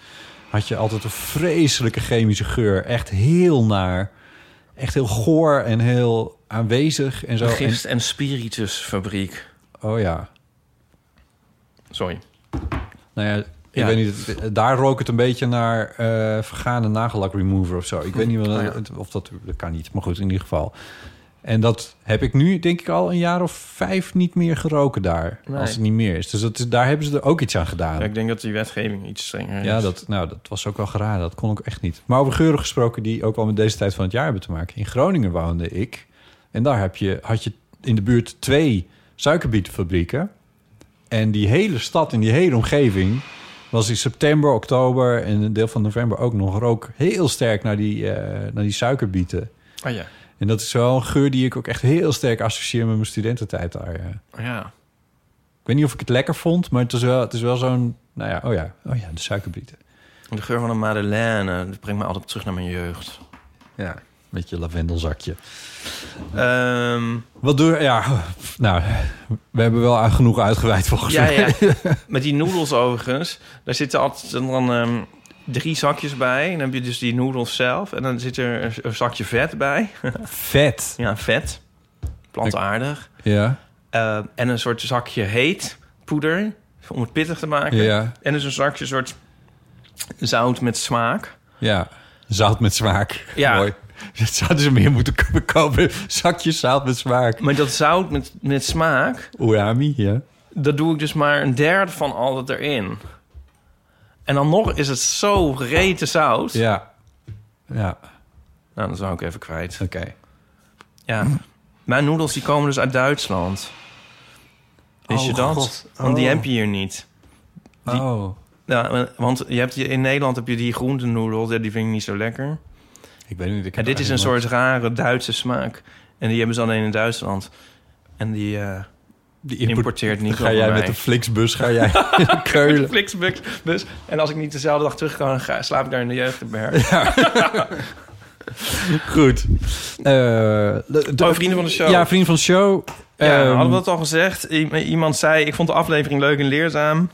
[SPEAKER 2] had je altijd een vreselijke chemische geur. Echt heel naar. Echt heel goor en heel aanwezig en zo.
[SPEAKER 3] Een
[SPEAKER 2] En-
[SPEAKER 3] gist- en spiritusfabriek.
[SPEAKER 2] oh ja.
[SPEAKER 3] Sorry.
[SPEAKER 2] Nou ja, ik
[SPEAKER 3] Ja.
[SPEAKER 2] weet niet. het- Daar rook het een beetje naar eh vergane nagellak remover of zo. Ik weet niet wel,
[SPEAKER 3] Oh ja.
[SPEAKER 2] het- of dat, dat kan niet. Maar goed, in ieder geval. En dat heb ik nu, denk ik, al een jaar of vijf niet meer geroken daar.
[SPEAKER 3] Nee.
[SPEAKER 2] Als het niet meer is. Dus dat is, daar hebben ze er ook iets aan gedaan.
[SPEAKER 3] Ja,
[SPEAKER 2] Ja,
[SPEAKER 3] ik denk dat die wetgeving iets strenger is.
[SPEAKER 2] dat, nou, dat was ook wel geraden. Dat kon ik echt niet. Maar over geuren gesproken die ook wel met deze tijd van het jaar hebben te maken. In Groningen woonde ik. En daar heb je, had je in de buurt twee suikerbietfabrieken. En die hele stad en die hele omgeving was in september, oktober en een deel van november ook nog rook heel sterk naar die, eh, naar die suikerbieten.
[SPEAKER 3] Ah ja.
[SPEAKER 2] En dat is wel een geur die ik ook echt heel sterk associeer met mijn studententijd daar. ja.
[SPEAKER 3] Ah ja.
[SPEAKER 2] Ik weet niet of ik het lekker vond, maar het is wel, het is wel zo'n... Nou ja, oh ja, oh ja, de suikerbieten.
[SPEAKER 3] De geur van een madeleine, eh, dat brengt me altijd terug naar mijn jeugd.
[SPEAKER 2] Ja. Met je lavendelzakje.
[SPEAKER 3] Ehm,
[SPEAKER 2] Wat doe Ja, nou, we hebben wel aan genoeg uitgeweid volgens
[SPEAKER 3] ja,
[SPEAKER 2] mij.
[SPEAKER 3] ja.
[SPEAKER 2] *laughs*
[SPEAKER 3] Met die noedels overigens. Daar zitten altijd dan ehm, drie zakjes bij. En dan heb je dus die noedels zelf. En dan zit er een, een zakje vet bij.
[SPEAKER 2] Vet.
[SPEAKER 3] ja, vet. Plantaardig.
[SPEAKER 2] Ja.
[SPEAKER 3] Eh, en een soort zakje heet poeder. Om het pittig te maken.
[SPEAKER 2] Ja.
[SPEAKER 3] En dus een zakje soort zout met smaak.
[SPEAKER 2] Ja, zout met smaak.
[SPEAKER 3] Ja.
[SPEAKER 2] Mooi. Dat zouden ze meer moeten k- kopen. Zakjes zout met smaak.
[SPEAKER 3] Maar dat zout met, met smaak,
[SPEAKER 2] Oerami, ja.
[SPEAKER 3] dat doe ik dus maar een derde van al dat erin. En dan nog is het zo rete zout.
[SPEAKER 2] Ja. Ja,
[SPEAKER 3] Nou, dat zou ik even kwijt.
[SPEAKER 2] oké.
[SPEAKER 3] Ja. Mijn noedels die komen dus uit Duitsland. Wist
[SPEAKER 2] Oh,
[SPEAKER 3] je dat?
[SPEAKER 2] God.
[SPEAKER 3] Want die
[SPEAKER 2] Oh.
[SPEAKER 3] heb je hier niet. Die-
[SPEAKER 2] Oh,
[SPEAKER 3] Ja, want je hebt hier- in Nederland heb je die groentenoedels. ja, Die vind ik niet zo lekker.
[SPEAKER 2] ik weet niet. Ik
[SPEAKER 3] En
[SPEAKER 2] heb
[SPEAKER 3] dit is een soort
[SPEAKER 2] eigenlijk
[SPEAKER 3] rare Duitse smaak. En die hebben ze alleen in Duitsland. En die eh
[SPEAKER 2] nooit- Die
[SPEAKER 3] importeert niet
[SPEAKER 2] Ga jij
[SPEAKER 3] over
[SPEAKER 2] met
[SPEAKER 3] mij.
[SPEAKER 2] de Flixbus, ga jij *laughs* naar
[SPEAKER 3] *laughs*
[SPEAKER 2] Keulen.
[SPEAKER 3] Flixbus. Dus, en als ik niet dezelfde dag terug kan, ga, slaap ik daar in de jeugdberg.
[SPEAKER 2] Eh, Goed. Eh, de- de-
[SPEAKER 3] Oh, vrienden van de show.
[SPEAKER 2] Ja, vrienden van de show.
[SPEAKER 3] Ja,
[SPEAKER 2] Ehm,
[SPEAKER 3] hadden we dat al gezegd? I- iemand zei, ik vond de aflevering leuk en leerzaam.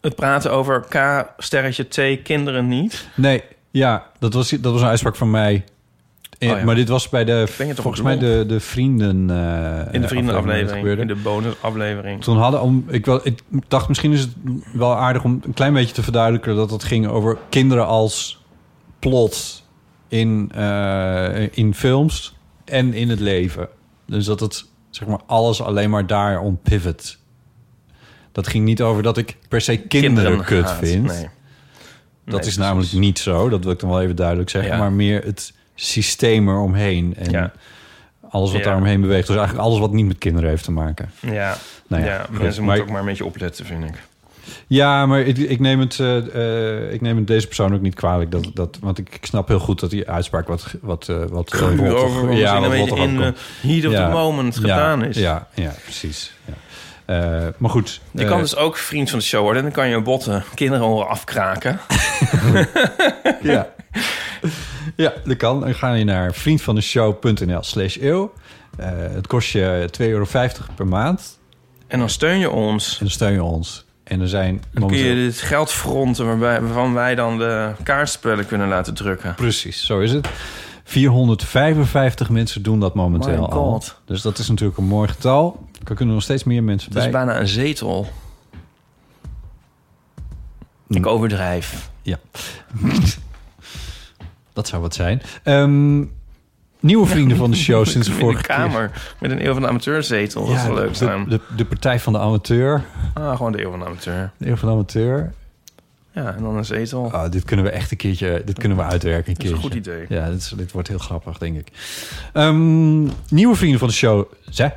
[SPEAKER 3] Het praten over K-sterretje T, kinderen niet.
[SPEAKER 2] Nee, ja, dat was, dat was een uitspraak van mij. Eh,
[SPEAKER 3] Oh ja.
[SPEAKER 2] Maar dit was bij de,
[SPEAKER 3] ben je toch
[SPEAKER 2] volgens
[SPEAKER 3] ook
[SPEAKER 2] mij
[SPEAKER 3] lomp?
[SPEAKER 2] de, de vrienden... eh,
[SPEAKER 3] In de
[SPEAKER 2] dat
[SPEAKER 3] vriendenaflevering,
[SPEAKER 2] gebeurde.
[SPEAKER 3] in de bonusaflevering.
[SPEAKER 2] Toen hadden om, ik, wel, ik dacht misschien is het wel aardig om een klein beetje te verduidelijken dat het ging over kinderen als plot in, eh, in films en in het leven. Dus dat het zeg maar alles alleen maar daar om pivot. Dat ging niet over dat ik per se kinderen, kut
[SPEAKER 3] haat.
[SPEAKER 2] vind.
[SPEAKER 3] Nee.
[SPEAKER 2] Dat
[SPEAKER 3] Nee,
[SPEAKER 2] is namelijk niet zo, dat wil ik dan wel even duidelijk zeggen.
[SPEAKER 3] Ja.
[SPEAKER 2] Maar meer het systeem eromheen en
[SPEAKER 3] Ja.
[SPEAKER 2] alles wat
[SPEAKER 3] Ja.
[SPEAKER 2] daar daaromheen beweegt. Dus eigenlijk alles wat niet met kinderen heeft te maken.
[SPEAKER 3] Ja,
[SPEAKER 2] Nou ja,
[SPEAKER 3] ja,
[SPEAKER 2] goed,
[SPEAKER 3] mensen
[SPEAKER 2] maar-
[SPEAKER 3] moeten ook maar een beetje opletten, vind ik.
[SPEAKER 2] Ja, maar ik, ik, neem het, eh, eh, ik neem het deze persoon ook niet kwalijk. Dat, dat, want ik, ik snap heel goed dat die uitspraak wat... wat, eh, wat eh,
[SPEAKER 3] Puur
[SPEAKER 2] rotter-
[SPEAKER 3] over ja, een
[SPEAKER 2] wat
[SPEAKER 3] beetje
[SPEAKER 2] rotter
[SPEAKER 3] in
[SPEAKER 2] overkomt.
[SPEAKER 3] eh, heat of
[SPEAKER 2] Ja,
[SPEAKER 3] the moment
[SPEAKER 2] ja,
[SPEAKER 3] gedaan is.
[SPEAKER 2] Ja, ja precies. Ja. Eh, maar goed.
[SPEAKER 3] Je kan
[SPEAKER 2] eh,
[SPEAKER 3] dus ook vriend van de show worden. En dan kan je botten kinderen horen afkraken.
[SPEAKER 2] ja. ja, dat kan. Dan ga je naar vriendvandeshow.nl slash eeuw. Eh, het kost je 2,50 euro per maand.
[SPEAKER 3] En dan steun je ons.
[SPEAKER 2] En dan steun je ons. En er zijn
[SPEAKER 3] Dan kun je
[SPEAKER 2] momenteel-
[SPEAKER 3] dit geld fronten waarbij, waarvan wij dan de kaartspellen kunnen laten drukken.
[SPEAKER 2] Precies, zo is het. 455 mensen doen dat momenteel
[SPEAKER 3] My
[SPEAKER 2] al.
[SPEAKER 3] God.
[SPEAKER 2] Dus dat is natuurlijk een mooi getal. Er kunnen nog steeds meer mensen
[SPEAKER 3] Het
[SPEAKER 2] bij.
[SPEAKER 3] is bijna een zetel.
[SPEAKER 2] Hm.
[SPEAKER 3] Ik overdrijf.
[SPEAKER 2] Ja. *laughs* dat zou wat zijn. Ehm, nieuwe vrienden
[SPEAKER 3] *laughs*
[SPEAKER 2] van de show sinds de
[SPEAKER 3] In
[SPEAKER 2] vorige
[SPEAKER 3] de kamer met een eeuw van de amateurzetel.
[SPEAKER 2] keer.
[SPEAKER 3] Dat
[SPEAKER 2] Ja,
[SPEAKER 3] is wel leuk
[SPEAKER 2] de,
[SPEAKER 3] zijn.
[SPEAKER 2] de, de Partij van de Amateur.
[SPEAKER 3] Ah, gewoon de eeuw van de amateur.
[SPEAKER 2] De Eeuw van de Amateur.
[SPEAKER 3] Ja, en dan een zetel.
[SPEAKER 2] Ah, dit kunnen we echt een keertje dit kunnen we uitwerken. Een
[SPEAKER 3] Dat is een
[SPEAKER 2] keertje.
[SPEAKER 3] goed idee.
[SPEAKER 2] Ja, dit, is- dit wordt heel grappig, denk ik. Ehm, nieuwe vrienden van de show zijn...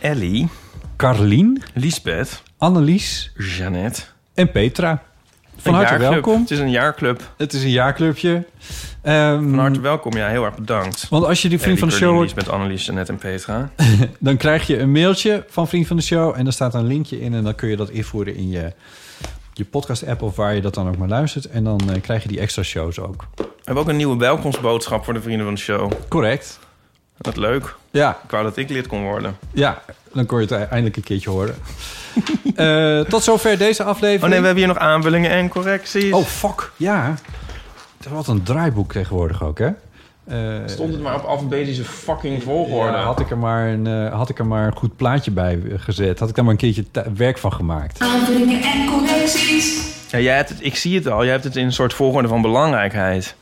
[SPEAKER 3] Ellie.
[SPEAKER 2] Carlien.
[SPEAKER 3] Lisbeth.
[SPEAKER 2] Annelies.
[SPEAKER 3] Jeannette.
[SPEAKER 2] En Petra. Van
[SPEAKER 3] Een
[SPEAKER 2] harte
[SPEAKER 3] jaarclub.
[SPEAKER 2] welkom.
[SPEAKER 3] Het is een jaarclub.
[SPEAKER 2] Het is een jaarclubje. Ehm,
[SPEAKER 3] Van harte welkom. Ja, heel erg bedankt.
[SPEAKER 2] Want als je die vriend
[SPEAKER 3] Ellie,
[SPEAKER 2] van de show
[SPEAKER 3] Cornelis
[SPEAKER 2] wordt,
[SPEAKER 3] met Annelies, Jeannette en Petra.
[SPEAKER 2] dan krijg je een mailtje van vriend van de show. En daar staat een linkje in. En dan kun je dat invoeren in je, je podcast-app of waar je dat dan ook maar luistert. En dan eh, krijg je die extra shows ook.
[SPEAKER 3] We hebben ook een nieuwe welkomstboodschap voor de vrienden van de show.
[SPEAKER 2] Correct.
[SPEAKER 3] Wat leuk.
[SPEAKER 2] Ja,
[SPEAKER 3] Ik wou dat ik lid kon worden.
[SPEAKER 2] ja. Dan kon je het e- eindelijk een keertje horen. *laughs* Eh, tot zover deze aflevering.
[SPEAKER 3] Oh nee, we hebben hier nog aanvullingen en correcties.
[SPEAKER 2] Oh, fuck. Ja. Wat een draaiboek tegenwoordig ook, hè? Eh,
[SPEAKER 3] Stond het maar op alfabetische fucking volgorde.
[SPEAKER 2] Ja, had, ik er maar een, eh, had ik er maar een goed plaatje bij eh, gezet. Had ik daar maar een keertje ta- werk van gemaakt.
[SPEAKER 7] Aanvullingen en correcties.
[SPEAKER 3] Ja, jij hebt het, ik zie het al. Jij hebt het in een soort volgorde van belangrijkheid.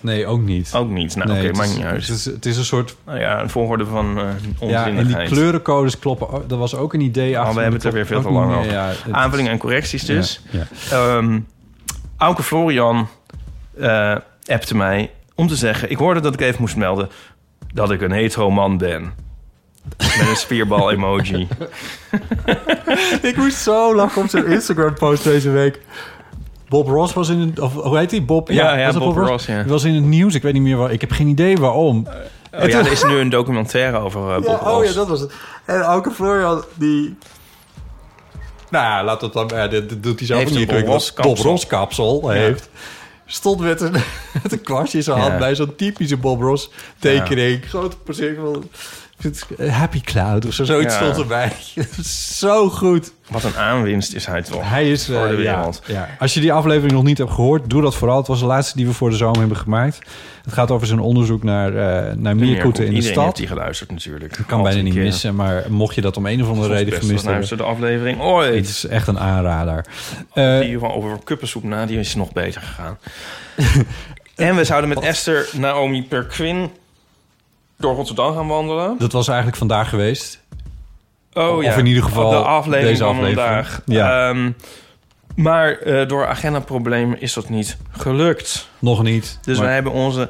[SPEAKER 2] Nee, ook niet.
[SPEAKER 3] Ook niet. Nou,
[SPEAKER 2] nee,
[SPEAKER 3] oké,
[SPEAKER 2] het
[SPEAKER 3] maakt
[SPEAKER 2] is-
[SPEAKER 3] niet uit.
[SPEAKER 2] Het is, het is een soort...
[SPEAKER 3] Nou ja, een volgorde van eh
[SPEAKER 2] Ja, en die
[SPEAKER 3] onzinnigheid.
[SPEAKER 2] kleurencodes kloppen. ook- Dat was ook een idee achter.
[SPEAKER 3] Oh, we hebben het er weer veel te lang over. Aanvullingen en correcties dus.
[SPEAKER 2] Ja,
[SPEAKER 3] Ehm, Auke Florian eh, appte mij om te zeggen... Ik hoorde dat ik even moest melden dat ik een hetero man ben. Met
[SPEAKER 2] *laughs*
[SPEAKER 3] een spierbal-emoji.
[SPEAKER 2] ik moest zo lachen op
[SPEAKER 3] *laughs*
[SPEAKER 2] zijn Instagram-post deze week. Bob Ross was in het... Of, hoe heet die? Bob...
[SPEAKER 3] Ja, ja,
[SPEAKER 2] was het
[SPEAKER 3] Bob Ross, ja.
[SPEAKER 2] Die was in het nieuws. Ik weet niet meer waar... Ik heb geen idee waarom.
[SPEAKER 3] Oh ja, er is nu een documentaire over eh, Bob
[SPEAKER 2] Ja, oh
[SPEAKER 3] Ross.
[SPEAKER 2] ja, dat was het. En Auke Florian, die... Nou ja, laat dat dan... Ja, dit, dit doet hij zelf
[SPEAKER 3] Heeft
[SPEAKER 2] niet.
[SPEAKER 3] een Bob
[SPEAKER 2] Ik weet
[SPEAKER 3] Ross
[SPEAKER 2] wat Bob
[SPEAKER 3] kapsel.
[SPEAKER 2] Ross kapsel heeft. Stond met een, *laughs* met een kwastje in zijn hand
[SPEAKER 3] Ja.
[SPEAKER 2] bij zo'n typische Bob Ross tekening. Grote perceel van... eh, Happy Cloud of zo, zoiets
[SPEAKER 3] Ja.
[SPEAKER 2] stond erbij. *laughs* zo goed.
[SPEAKER 3] Wat een aanwinst is hij toch.
[SPEAKER 2] Hij is... eh,
[SPEAKER 3] Voor de
[SPEAKER 2] ja,
[SPEAKER 3] wereld.
[SPEAKER 2] ja. Als je die aflevering nog niet hebt gehoord, doe dat vooral. Het was de laatste die we voor de zomer hebben gemaakt. Het gaat over zijn onderzoek naar, eh naar meerkoeten in de
[SPEAKER 3] Iedereen heeft
[SPEAKER 2] stad.
[SPEAKER 3] die geluisterd natuurlijk.
[SPEAKER 2] Ik kan bijna niet missen, maar mocht je dat om een of andere reden
[SPEAKER 3] Best
[SPEAKER 2] gemist hebben...
[SPEAKER 3] luisterde de aflevering
[SPEAKER 2] Het
[SPEAKER 3] ooit.
[SPEAKER 2] is echt een aanrader. Eh,
[SPEAKER 3] Die van over kuppensoep na, die is nog beter
[SPEAKER 2] *laughs*
[SPEAKER 3] gegaan. en we zouden met Esther Naomi Perquin door Rotterdam gaan wandelen.
[SPEAKER 2] dat was eigenlijk vandaag geweest.
[SPEAKER 3] Oh,
[SPEAKER 2] of in ieder geval
[SPEAKER 3] de aflevering
[SPEAKER 2] deze
[SPEAKER 3] van
[SPEAKER 2] aflevering.
[SPEAKER 3] vandaag.
[SPEAKER 2] Ja.
[SPEAKER 3] Ehm, maar eh, door agendaproblemen is dat niet gelukt.
[SPEAKER 2] Nog niet.
[SPEAKER 3] Dus
[SPEAKER 2] maar-
[SPEAKER 3] wij hebben onze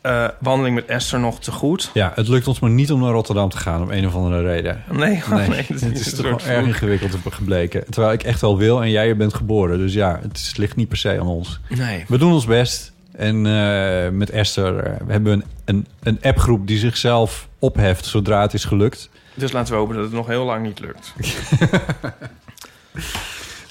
[SPEAKER 3] eh, wandeling met Esther nog te goed.
[SPEAKER 2] Ja, het lukt ons maar niet om naar Rotterdam te gaan om een of andere reden.
[SPEAKER 3] Nee, *laughs* nee,
[SPEAKER 2] Nee,
[SPEAKER 3] dat
[SPEAKER 2] het is
[SPEAKER 3] een
[SPEAKER 2] toch
[SPEAKER 3] soort
[SPEAKER 2] wel erg
[SPEAKER 3] vloek.
[SPEAKER 2] ingewikkeld gebleken. Terwijl ik echt wel wil en jij je bent geboren. Dus ja, het is- ligt niet per se aan ons.
[SPEAKER 3] Nee.
[SPEAKER 2] We doen ons best. En eh, met Esther eh, we hebben we een, een, een appgroep die zichzelf opheft zodra het is gelukt.
[SPEAKER 3] Dus laten we hopen dat het nog heel lang niet lukt.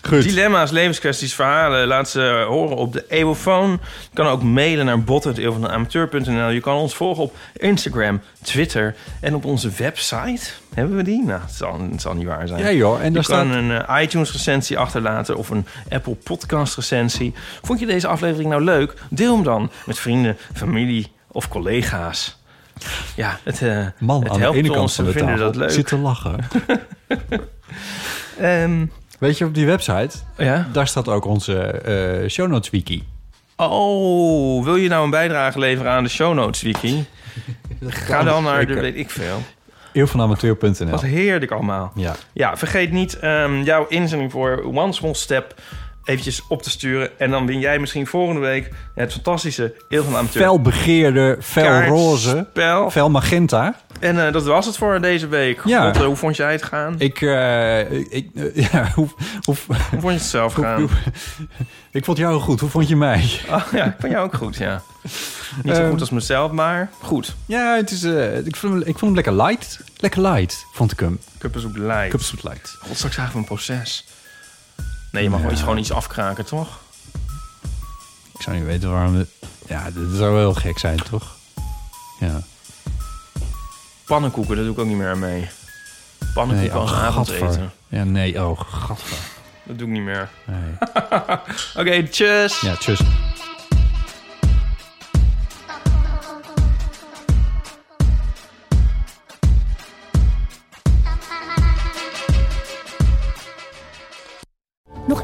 [SPEAKER 2] Goed.
[SPEAKER 3] Dilemma's, levenskwesties, verhalen. Laat ze horen op de Eeuwofoon. Je kan ook mailen naar bot.eeuwvandeamateur.nl. Je kan ons volgen op Instagram, Twitter en op onze website. Hebben we die? Nou, het zal, het zal niet waar zijn.
[SPEAKER 2] Ja, joh, en
[SPEAKER 3] je
[SPEAKER 2] daar
[SPEAKER 3] kan
[SPEAKER 2] staat-
[SPEAKER 3] een eh, iTunes-recensie achterlaten of een Apple Podcast-recensie. Vond je deze aflevering nou leuk? Deel hem dan met vrienden, familie of collega's. Ja, het, eh,
[SPEAKER 2] Man,
[SPEAKER 3] het
[SPEAKER 2] aan de
[SPEAKER 3] helpt
[SPEAKER 2] ene kant
[SPEAKER 3] ons.
[SPEAKER 2] van de
[SPEAKER 3] we vinden
[SPEAKER 2] tafel
[SPEAKER 3] dat leuk.
[SPEAKER 2] zit te
[SPEAKER 3] *laughs*
[SPEAKER 2] lachen.
[SPEAKER 3] Ehm,
[SPEAKER 2] Weet je, op die website,
[SPEAKER 3] ja?
[SPEAKER 2] daar staat ook onze eh show notes wiki.
[SPEAKER 3] Oh, wil je nou een bijdrage leveren aan de show notes,
[SPEAKER 2] *laughs*
[SPEAKER 3] Wiki? Ga dan naar de, weet ik veel.
[SPEAKER 2] Eeuwvanamateur.nl
[SPEAKER 3] Wat heerlijk allemaal.
[SPEAKER 2] Ja.
[SPEAKER 3] Ja, vergeet niet ehm, jouw inzending voor One Small Step eventjes op te sturen. En dan win jij misschien volgende week het fantastische Eeuw van de Amateur.
[SPEAKER 2] Felbegeerde, fel roze,
[SPEAKER 3] kaartspel.
[SPEAKER 2] fel magenta.
[SPEAKER 3] En eh, dat was het voor deze week.
[SPEAKER 2] Ja.
[SPEAKER 3] God, eh, hoe vond jij het gaan?
[SPEAKER 2] Ik, eh, ik, eh, *laughs* ja, hoe, hoe,
[SPEAKER 3] Hoe vond je het zelf
[SPEAKER 2] hoe-
[SPEAKER 3] gaan?
[SPEAKER 2] hoe- ik vond jou goed. Hoe vond je mij?
[SPEAKER 3] Ah, ja, ik vond jou ook goed, ja. Niet zo
[SPEAKER 2] Ehm.
[SPEAKER 3] goed als mezelf, maar goed.
[SPEAKER 2] Ja, het is, eh, ik, vond hem, ik vond hem lekker light. Lekker light, vond ik hem.
[SPEAKER 3] Kuppers op lijf.
[SPEAKER 2] Cupsoet light.
[SPEAKER 3] God, straks eigenlijk een proces. Nee, je mag wel iets, gewoon iets afkraken, toch?
[SPEAKER 2] Ik zou niet weten waarom... het- ja, dit zou wel heel gek zijn, toch? Ja.
[SPEAKER 3] Pannenkoeken, daar doe ik ook niet meer aan mee. Pannenkoek
[SPEAKER 2] Nee,
[SPEAKER 3] als
[SPEAKER 2] oh,
[SPEAKER 3] avondeten.
[SPEAKER 2] gadver. Ja, nee, oh, gadver.
[SPEAKER 3] Dat doe ik niet meer.
[SPEAKER 2] Nee.
[SPEAKER 3] Oké, tjus.
[SPEAKER 2] Ja, tjus.
[SPEAKER 1] Nog